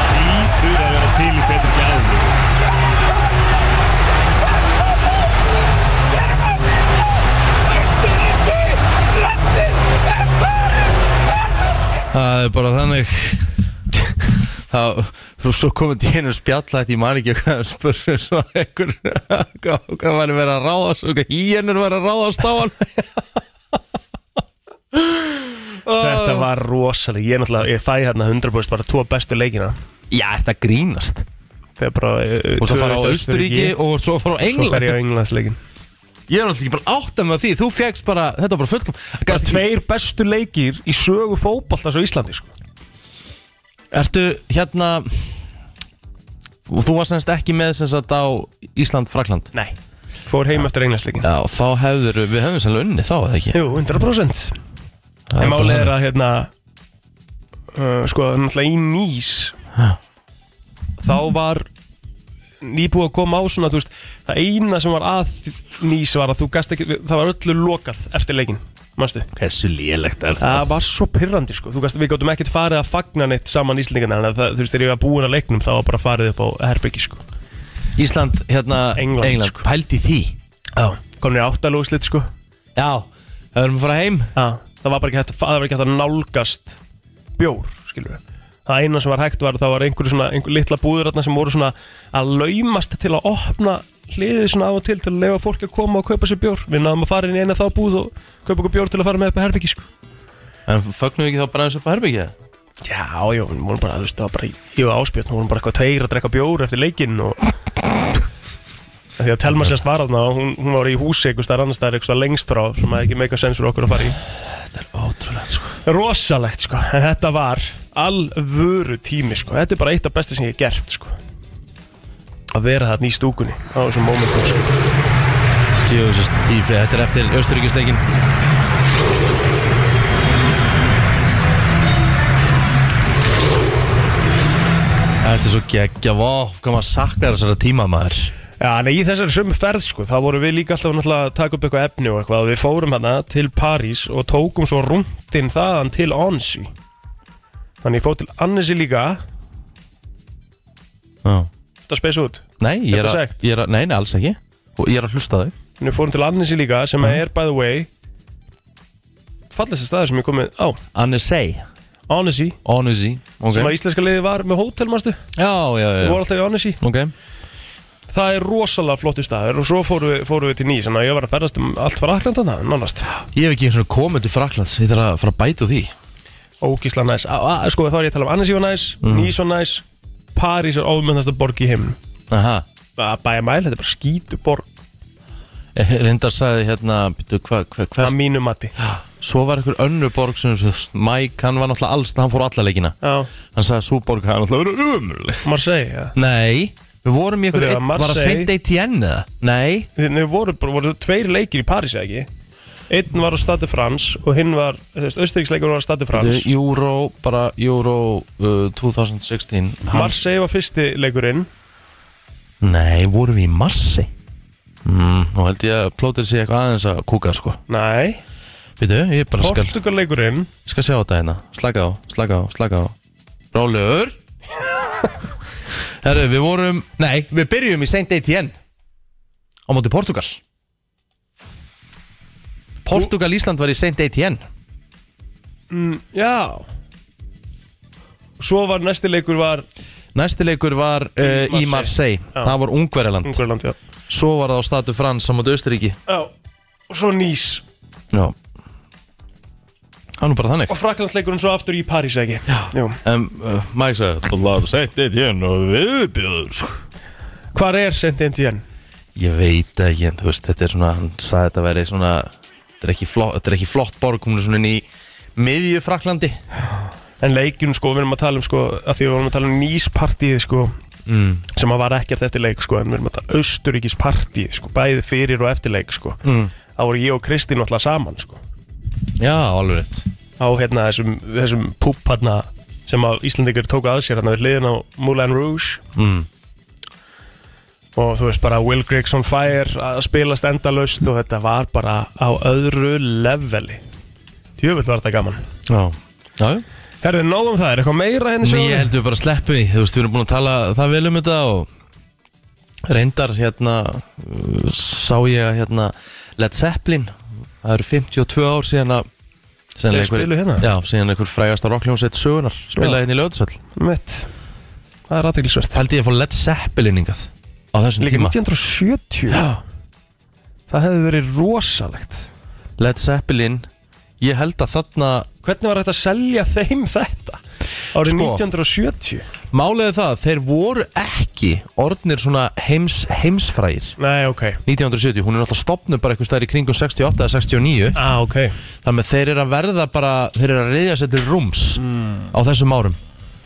[SPEAKER 3] Hlýtur að vera til í betri gæðum
[SPEAKER 1] Það er bara þannig Það, þú svo komið til einu spjallætt, ég man ekki hvað spurður svo ekkur hvað, hvað var að vera að ráðast hvað hýjarnir var að ráðast á hann
[SPEAKER 2] Þetta var rosalega, ég náttúrulega, ég fæ hérna 100% bara tvo bestu leikina
[SPEAKER 1] Já, þetta grínast
[SPEAKER 2] Þegar bara eh,
[SPEAKER 1] Þú ert að
[SPEAKER 2] 2-1
[SPEAKER 1] fara á Austuríki og ert svo að fara á
[SPEAKER 2] Svo fer
[SPEAKER 1] England
[SPEAKER 2] ég á Englandsleikin
[SPEAKER 1] Ég er náttúrulega ekki bara áttan með því Þú fegst bara, þetta var bara fullkom
[SPEAKER 2] Bara
[SPEAKER 1] Gast,
[SPEAKER 2] tveir bestu leikir í sögu fótballtans á Íslandi sko.
[SPEAKER 1] Ertu hérna og Þú var semst ekki með semst að á Ísland-Frakland
[SPEAKER 2] Nei Fór heim eftir Englandsleikin
[SPEAKER 1] Já, þá hefður við hefðum sérlega unni þá, eða ekki
[SPEAKER 2] Jú, 100%
[SPEAKER 1] Það
[SPEAKER 2] En
[SPEAKER 1] bara
[SPEAKER 2] málið
[SPEAKER 1] þannig.
[SPEAKER 2] er að hérna uh, Sko, náttúrulega í nýs
[SPEAKER 1] Ha.
[SPEAKER 2] Þá var Nýbúið að koma á svona, þú veist Það eina sem var að nýs var að þú gast ekki Það var öllu lokað eftir leikin Manstu?
[SPEAKER 1] Hversu lélegt er
[SPEAKER 2] Það var svo pyrrandi sko, þú veist við gáttum ekkert farið að fagna neitt saman Íslingarna þannig að það- þú veist þegar ég var búin að leiknum þá var bara farið upp á herbyggi sko
[SPEAKER 1] Ísland, hérna,
[SPEAKER 2] England, sko.
[SPEAKER 1] pældi því
[SPEAKER 2] Já Komnir áttalóðslit sko
[SPEAKER 1] Já, það verðum að fara heim
[SPEAKER 2] Já Það var bara ekki hægt, að- það var ekki hægt að nálgast bjór skilur við Það eina sem var hægt var að það var einhverju svona einhver litla búðurarna sem voru svona að laumast til að opna hliðið svona á og til til að lefa fólki að koma og kaupa sér bjór Við náðum að fara inn í eina þá búð og kaupa okkur bjór til að fara með upp að herbyggi sko
[SPEAKER 1] En fögnuðu ekki þá bara eins upp á herbyggja?
[SPEAKER 2] Já, já, við vorum bara, þú veist, það var bara Ég var áspjötn, við vorum bara eitthvað tveir að drekka bjór eftir leikinn og Af Því að Telma sérst var aðna og hún, hún var í húsi einhvers staðar annars staðar einhvers staðar lengst frá sem að ekki meika sens fyrir okkur að fara í
[SPEAKER 1] Þetta er ótrúlega, sko
[SPEAKER 2] Rosalegt, sko, en þetta var alvöru tími, sko Þetta er bara eitt af besta sem ég hef gert, sko Að vera þarna í stúkunni á þessum momentum, sko
[SPEAKER 1] Jesus, tífi, þetta er eftir Östuríkisleikin Þetta er svo geggja, vá, hvað maður saknar þessara tíma maður
[SPEAKER 2] Já, nei, í þessari sömu ferð sko, þá vorum við líka alltaf náttúrulega að taka upp eitthvað efni og eitthvað og við fórum hana til París og tókum svo rúndin þaðan til Annecy Þannig ég fór til Annecy líka,
[SPEAKER 1] Já.
[SPEAKER 2] þetta spes út
[SPEAKER 1] Nei, ég er,
[SPEAKER 2] Þetta er
[SPEAKER 1] að,
[SPEAKER 2] sagt.
[SPEAKER 1] ég er að, nei, nei, alls ekki Og ég er að hlusta þau
[SPEAKER 2] Þannig við fórum til Annecy líka sem
[SPEAKER 1] Mhm.
[SPEAKER 2] er, by the way, fallast staður sem ég komið á,
[SPEAKER 1] Annesei
[SPEAKER 2] Annecy
[SPEAKER 1] Onuzi
[SPEAKER 2] sem
[SPEAKER 1] okay.
[SPEAKER 2] að íslenska liðið var með hótel, manstu,
[SPEAKER 1] Já, já, já,
[SPEAKER 2] við
[SPEAKER 1] já.
[SPEAKER 2] vorum alltaf í Annecy
[SPEAKER 1] Ok
[SPEAKER 2] Það er rosalega flottu staður og svo fórum við, fórum við til Nýs, þannig að ég var að ferðast um allt var Aklandan það, nánast
[SPEAKER 1] Ég hef ekki eins og komið til Fraklands Ég þarf að fara að bæta úr því
[SPEAKER 2] ógísla næs a, a, sko þá er ég að tala um Annecy var næs, Nýs var næs París er ofmyndast að borg í heimn
[SPEAKER 1] Aha
[SPEAKER 2] bæja mæl, þetta er bara skítu borg
[SPEAKER 1] Eh, Reyndar sagði hérna byrju, hva, hva, hver,
[SPEAKER 2] að mínu mati
[SPEAKER 1] Svo var einhver önnur borg sem Mike, hann var náttúrulega alls Hann fór alla leikina
[SPEAKER 2] já,
[SPEAKER 1] Hann sagði að svo borg hann náttúrulega verið umurleg
[SPEAKER 2] Marseille já.
[SPEAKER 1] Nei Við vorum í einhver
[SPEAKER 2] Byrju,
[SPEAKER 1] einn-
[SPEAKER 2] Marseille.
[SPEAKER 1] Var að senda eitt í enn eða? Nei
[SPEAKER 2] Við- við voru, bara- voru tveir leikir í París eða ekki einn var á Stade France og hinn var, þú veist, Östuríksleikur var á Stade France
[SPEAKER 1] Byrju, Euro Bara Euro uh, 2016 Hann-
[SPEAKER 2] Marseille var fyrsti leikurinn
[SPEAKER 1] Nei, vorum við í Marsi mm, Nú held ég að plótir sig eitthvað aðeins að kúka sko
[SPEAKER 2] nei,
[SPEAKER 1] Býtu, ég bara skal,
[SPEAKER 2] Portugal leikurinn
[SPEAKER 1] skal sjá þetta hérna Slaka á, slaka á, slaka á [laughs] Rólur Herru, við vorum Nei, við byrjum í Saint Etienne Á móti Portugal Portugal Ísland var í Saint Etienne
[SPEAKER 2] já svo var næsti leikur var
[SPEAKER 1] Næsti leikur var uh, í
[SPEAKER 2] Marseille.
[SPEAKER 1] Marseille
[SPEAKER 2] Já.
[SPEAKER 1] Það var Ungverjaland
[SPEAKER 2] Ungverland, já.
[SPEAKER 1] Svo var það á Statu Frans á móti Austuríki
[SPEAKER 2] já og svo Nýs
[SPEAKER 1] Já Það er nú bara þannig
[SPEAKER 2] og Fraklandsleikurinn svo aftur í París eða ekki já. Jú.
[SPEAKER 1] En uh, Mike sagði Það var sent eitt hérna og viðbjöður
[SPEAKER 2] Hvar er Saint Etienne?
[SPEAKER 1] Ég veit ekki en þú veist Þetta er svona Hann sagði þetta verið svona Þetta er ekki flott, þetta er ekki flott borg Hún er svona inn í Miðju Fraklandi
[SPEAKER 2] En leikjun sko, við erum að tala um sko að því við vorum að tala um nýspartíð sko
[SPEAKER 1] mm.
[SPEAKER 2] sem að var ekkert eftir leik sko en við erum að tala austuríkispartíð sko bæði fyrir og eftir leik sko
[SPEAKER 1] Mm.
[SPEAKER 2] þá voru ég og Kristín alltaf saman sko
[SPEAKER 1] Já, alveg rétt
[SPEAKER 2] á hérna þessum, þessum púpparna sem að Íslandingur tók að sér hérna við hliðin á Moulin Rouge
[SPEAKER 1] mm.
[SPEAKER 2] og þú veist bara Will Griggs on fire að spilast endalaust og þetta var bara á öðru leveli Tjöfull var þetta gaman
[SPEAKER 1] Já Já, já.
[SPEAKER 2] Herðu, nóg um það, er eitthvað meira henni
[SPEAKER 1] Nei, ég held við bara sleppu því Þú veist, við erum búin að tala það vel um þetta og reyndar hérna uh, sá ég að hérna Led Zeppelin það eru 52 ár síðan að síðan
[SPEAKER 2] Þeir spiluðu hérna?
[SPEAKER 1] Já, síðan einhver frægasta rockljónsett sögunar spilaði hérna í löðsöll
[SPEAKER 2] Mitt, það er aðteglisvert
[SPEAKER 1] Hældi ég að fá Led Zeppelin ingað á þessum
[SPEAKER 2] Líka
[SPEAKER 1] tíma
[SPEAKER 2] 1970
[SPEAKER 1] Já.
[SPEAKER 2] Það hefði verið rosalegt
[SPEAKER 1] Led Zeppelin Ég held að þarna
[SPEAKER 2] Hvernig var þetta að selja þeim þetta? Árið
[SPEAKER 1] Sko.
[SPEAKER 2] 1970
[SPEAKER 1] Málega það, þeir voru ekki orðnir svona heims, heimsfrægir
[SPEAKER 2] Nei, ok
[SPEAKER 1] 1970, hún er alltaf stopnum bara eitthvað stær í kringum 68 eða 69
[SPEAKER 2] ah, ok
[SPEAKER 1] Þar með þeir eru að verða bara Þeir eru að reyðja sér til rúms Á þessum árum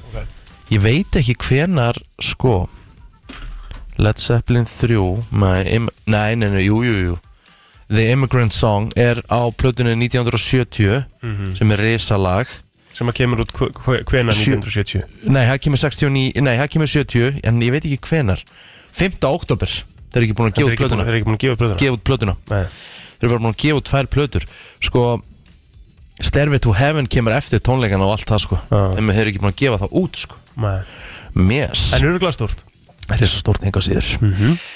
[SPEAKER 2] Ok.
[SPEAKER 1] Ég veit ekki hvenar sko Led Zeppelin 3 Nei, im, nei, nei, nei, jú, jú, jú The Immigrant Song er á plötunni 1970 sem er risalag
[SPEAKER 2] Sem að kemur út hve- hve- hvenær
[SPEAKER 1] Sjö.
[SPEAKER 2] 1970
[SPEAKER 1] Nei, það kemur 69, nei, það kemur 70 en ég veit ekki hvenar 5. oktober, þeir eru ekki búin að
[SPEAKER 2] Þetta
[SPEAKER 1] gefa
[SPEAKER 2] er
[SPEAKER 1] út
[SPEAKER 2] ekki búin-
[SPEAKER 1] plötuna
[SPEAKER 2] er ekki búin að gefa út blöðuna
[SPEAKER 1] gefa út plötuna
[SPEAKER 2] Nei
[SPEAKER 1] þeir eru bara búin að gefa út tvær plötur sko Stairway to Heaven kemur eftir tónleikana og allt það sko
[SPEAKER 2] Já.
[SPEAKER 1] en þeir eru ekki búin að gefa það út sko
[SPEAKER 2] Nei
[SPEAKER 1] mes,
[SPEAKER 2] En Mhm. öruglega stórt
[SPEAKER 1] það er svo stórt enga síður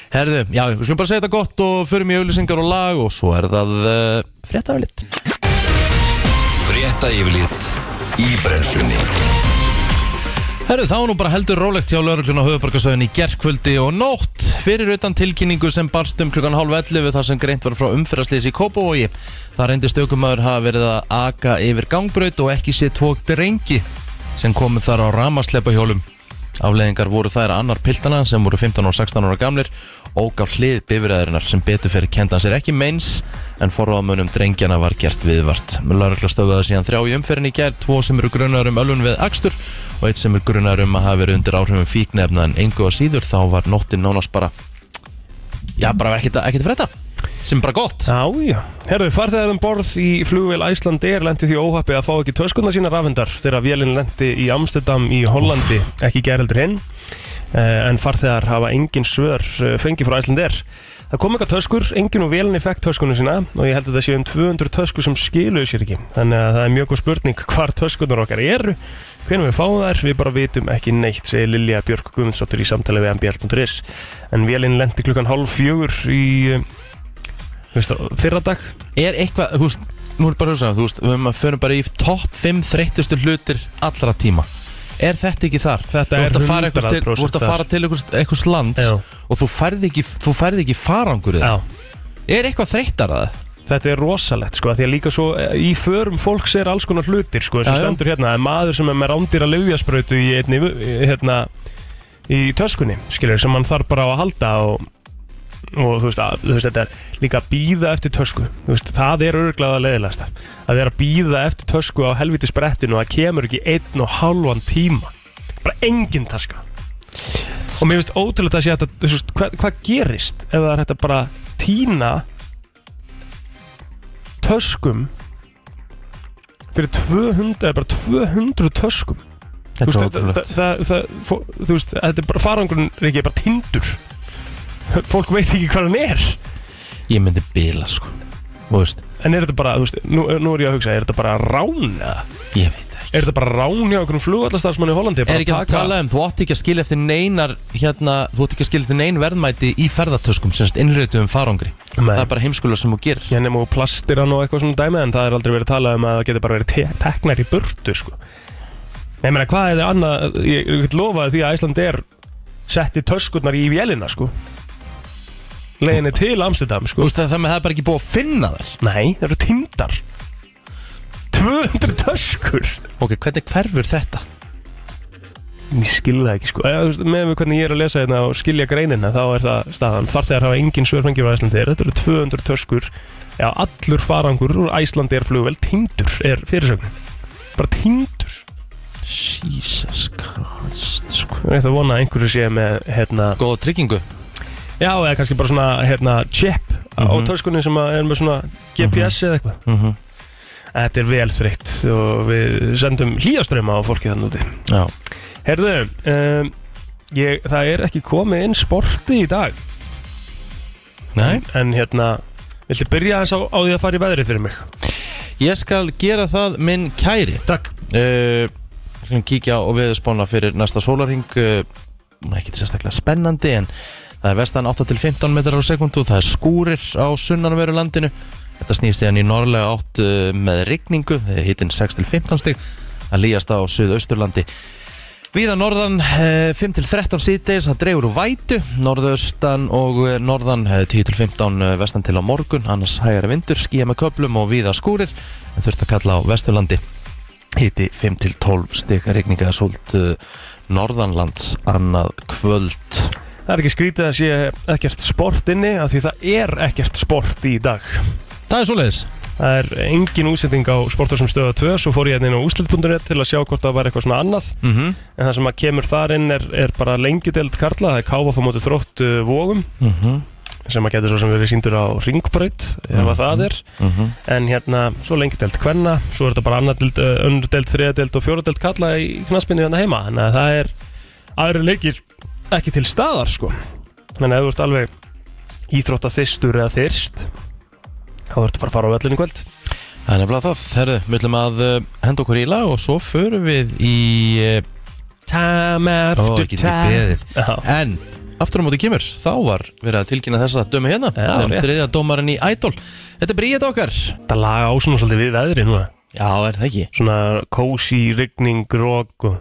[SPEAKER 1] herðu, já, við skulum bara segja þetta gott og förum í auðlýsingar og lag og svo er það uh, fréttaöflitt
[SPEAKER 4] Frétta yfirlit í brennslunni
[SPEAKER 1] Herru, þá er nú bara heldur rólegt hjá lauruglun á höfubarkastöðun í gerkvöldi og nótt fyrir utan tilkynningu sem barst um klukkan hálf 11 þar sem greint var frá umferðarslýs í Kópavogi. Það reyndist aukumæður hafa verið að aka yfir gangbraut og ekki sé tvo drengi sem komu þar á ramasleipa hjólum. Afleðingar voru þær að annar piltana sem voru 15 og 16 ára gamlir og á hlið bifræðarinnar sem betur fyrir kendan sér ekki meins en forráðamönnum drengjana var gert viðvart. Lörgla stöðuða síðan þrjá í umferðinni í gær, tvo sem eru grunar um ölun við akstur og eitt sem er grunar um að hafa verið undir áhrifum fíknefna en engu að síður þá var nóttin nánast bara já, bara ekkert að ekkert frétta sem er bara gott.
[SPEAKER 2] Já, já. Herðu, farþegar um borð í flugvél Æslandir lendi því óhappi að fá ekki töskundar sína rafendar þegar vélinn lendi í Amsterdam í Hollandi, ekki gereldur hinn. eh, en farþegar hafa engin svör eh, fengið frá Æslandir. Það kom eitthvað töskur, enginn og vélni fekk töskunum sína og ég held að það séu um 200 töskur sem skiluðu sér ekki. Þannig að það er mjög góð spurning [laughs] hvar töskunar okkar eru, hvernig við fáum þær, við bara vitum ekki neitt, segir Lilja Björk Guðmundsdóttir í samtali við mbl.is. En vélinn lendi klukkan hálf fjögur í, eh, veist, fyrra dag.
[SPEAKER 1] Er eitthvað, þú veist, nú er bara að hugsa Þú veist, við höfum að förum bara í topp 5 þreyttustu hlutir allra tíma Er þetta ekki þar?
[SPEAKER 2] Þetta
[SPEAKER 1] Þú
[SPEAKER 2] er
[SPEAKER 1] ert að fara einhvers til,
[SPEAKER 2] 100%
[SPEAKER 1] þú ert að
[SPEAKER 2] þar.
[SPEAKER 1] fara til einhvers, einhvers lands
[SPEAKER 2] Já.
[SPEAKER 1] og þú færð ekki, þú færð ekki farangur í það.
[SPEAKER 2] Já.
[SPEAKER 1] Er eitthvað þreyttar að það?
[SPEAKER 2] Þetta er rosalegt sko, af því að líka svo eh, í förum fólks er alls konar hlutir sko, eins og
[SPEAKER 1] Já, já.
[SPEAKER 2] stendur hérna, það er maður sem er með rándýra löfjasprautu í einni, í- hérna, í töskunni, skilur, sem hann þarf bara á að halda og, og þú, veist, að, þú veist, þetta er líka að býða eftir tösku, þú veist, það er örglega að leiðilegast að vera að býða eftir tösku á helviti sprettinu og það kemur ekki einn og halvan tíma, bara engin taska og mér finnst ótrúlega að sé þetta, þú veist, hvað, hvað gerist ef það er hægt að bara týna töskum fyrir 200, eða bara 200 töskum
[SPEAKER 1] Þetta
[SPEAKER 2] Þú veist,
[SPEAKER 1] er
[SPEAKER 2] það, það,
[SPEAKER 1] ótrúlegt.
[SPEAKER 2] það, það, fó- þú veist, þetta er bara farangurinn er ekki bara tindur fólk veit ekki hvað hann er
[SPEAKER 1] Ég myndi bila, sko. Þú veist,
[SPEAKER 2] en er þetta bara, þú veist, nú, nú er ég að hugsa er þetta bara rán eða?
[SPEAKER 1] ég veit það
[SPEAKER 2] er
[SPEAKER 1] ekki.
[SPEAKER 2] þetta bara rán hjá okkur flugallastarsmanni í Hollandi
[SPEAKER 1] Er ekki að tala um, þú átt ekki að skilja eftir neinar, hérna, þú átt ekki að skilja eftir nein verðmæti í ferðartöskum, semst innröytum farangri. Það er
[SPEAKER 2] um
[SPEAKER 1] bara heimskulega sem þú gerir.
[SPEAKER 2] ég nefnum og plastir hann og eitthvað svona dæmi en það er aldrei verið að tala um að það getur bara verið te- teknar í burtu sko. Nei, ég meina, hvað er það annað ég, ég get lofaði því að Æsland er setti töskurnar í vélina sko. leiðinni til Amsterdam
[SPEAKER 1] Þú
[SPEAKER 2] sko.
[SPEAKER 1] veist, það, það, það er bara ekki búið að finna þær.
[SPEAKER 2] nei, það eru tindar 200 töskur
[SPEAKER 1] Ok, hvernig hverfur þetta?
[SPEAKER 2] ég skil það ekki sko Eða, þú veist, með við hvernig ég er að lesa hérna og skilja greinina þá er það staðan farþegar hafa engin svörfengi á Æslandir þetta eru 200 töskur já, allur farangur úr Æslandir flugvel tindur er fyrirsögnin bara tindur
[SPEAKER 1] Jesus Christ, sko.
[SPEAKER 2] ég ætla að vona að einhverju sé með hérna
[SPEAKER 1] Góða tryggingu.
[SPEAKER 2] já, eða kannski bara svona hérna chip á
[SPEAKER 1] Mhm.
[SPEAKER 2] töskunni sem að er með svona GPS eða eitthvað
[SPEAKER 1] Mm
[SPEAKER 2] þetta er vel þreytt og við sendum hlýjaströma á fólki þannig úti
[SPEAKER 1] Já.
[SPEAKER 2] Herðu, um, ég, það er ekki komið inn sporti í dag
[SPEAKER 1] Nei.
[SPEAKER 2] En hérna, viltu byrja aðeins á, á því að fara í veðrið fyrir mig?
[SPEAKER 1] Ég skal gera það minn kæri.
[SPEAKER 2] Takk
[SPEAKER 1] uh, sem kíkja á veðurspána fyrir næsta sólarhing uh, ekki sérstaklega spennandi en það er vestan 8 til 15 metrar á sekundu það er skúrir á sunnanveru landinu þetta snýst síðan í norðlega átt uh, með rigningu, hittin 6 til 15 stig að líjast á suðausturlandi Víða norðan eh, 5 til 13 síðdeis, það dreifur úr vætu, norðaustan og eh, norðan eh, 10 til 15 eh, vestan til á morgun, annars hægara vindur, skýja með köplum og víða skúrir, en þurft að kalla á vesturlandi hiti 5 til 12 stig regninga sólt uh, norðanlands annað kvöld
[SPEAKER 2] Það er ekki skrítið að sé ekkert sport inni af Því það er ekkert sport í dag
[SPEAKER 1] Það er svoleiðis
[SPEAKER 2] Það er engin útsending á sportar sem stöða 2 Svo fór ég hérna inn á úslit.net til að sjá hvort það var eitthvað svona annað
[SPEAKER 1] mm -hmm.
[SPEAKER 2] En það sem að kemur þar inn er, er bara lengjudeld karla Það er káfa fór móti þrótt uh, vógum
[SPEAKER 1] Mm -hmm.
[SPEAKER 2] Sem að getur svo sem verið síndur á ringbraut Ef að það er
[SPEAKER 1] Mhm.
[SPEAKER 2] En hérna, svo lengjudeld kvenna Svo er þetta bara annar deild, uh, önnur deild, þriða deild og fjóra deild kalla í knaspinni hérna heima Þannig að það er aðri leikir ekki til staðar sko Þannig að ef þú ert alveg íþrótt að þyrstur eða þyrst Þá ertu bara að fara á völlinu kvöld
[SPEAKER 1] Það er nefnilega það Herðu, myllum að uh, henda okkur í lag og svo förum við í uh,
[SPEAKER 2] Time
[SPEAKER 1] Ó,
[SPEAKER 2] after
[SPEAKER 1] ekki til
[SPEAKER 2] time
[SPEAKER 1] beðið
[SPEAKER 2] Já,
[SPEAKER 1] En aftur á móti kemur, þá var verið að tilkynna þessa dömu hérna
[SPEAKER 2] Já,
[SPEAKER 1] um
[SPEAKER 2] rétt.
[SPEAKER 1] Þriðja dómarinn í Idol Þetta er bríðið okkar
[SPEAKER 2] Þetta laga ásum svolítið við veðri núna
[SPEAKER 1] Já, er það ekki?
[SPEAKER 2] Svona kósi, rigning, rók og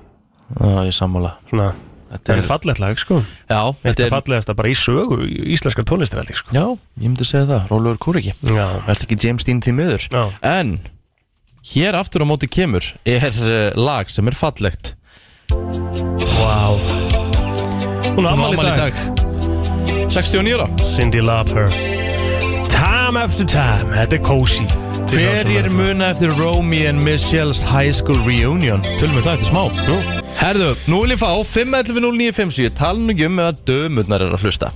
[SPEAKER 1] Já, ég sammála
[SPEAKER 2] svona
[SPEAKER 1] Þetta
[SPEAKER 2] Það
[SPEAKER 1] er,
[SPEAKER 2] er fallegt lag sko
[SPEAKER 1] já,
[SPEAKER 2] Þetta
[SPEAKER 1] þetta
[SPEAKER 2] er
[SPEAKER 1] er
[SPEAKER 2] fallegasta bara í sögu íslenskar tónlistar held ég sko
[SPEAKER 1] Já, ég myndi segja það, Rólaugur Kúriki
[SPEAKER 2] Já,
[SPEAKER 1] Verður ekki James Dean því miður
[SPEAKER 2] já,
[SPEAKER 1] En hér aftur á móti kemur er eh, lag sem er fallegt
[SPEAKER 2] wow Hún á
[SPEAKER 1] Hún á
[SPEAKER 2] afmæli í dag
[SPEAKER 1] 69 ára
[SPEAKER 2] Cindy Lauper Time after time, þetta er cozy
[SPEAKER 1] Hverjir muna eftir Romy and Michelle's High School Reunion? Tölum við það eftir smá
[SPEAKER 2] Nú,
[SPEAKER 1] Herðu, nú vil ég fá 511-0957 Talinu ekki um með að dömurnar er að hlusta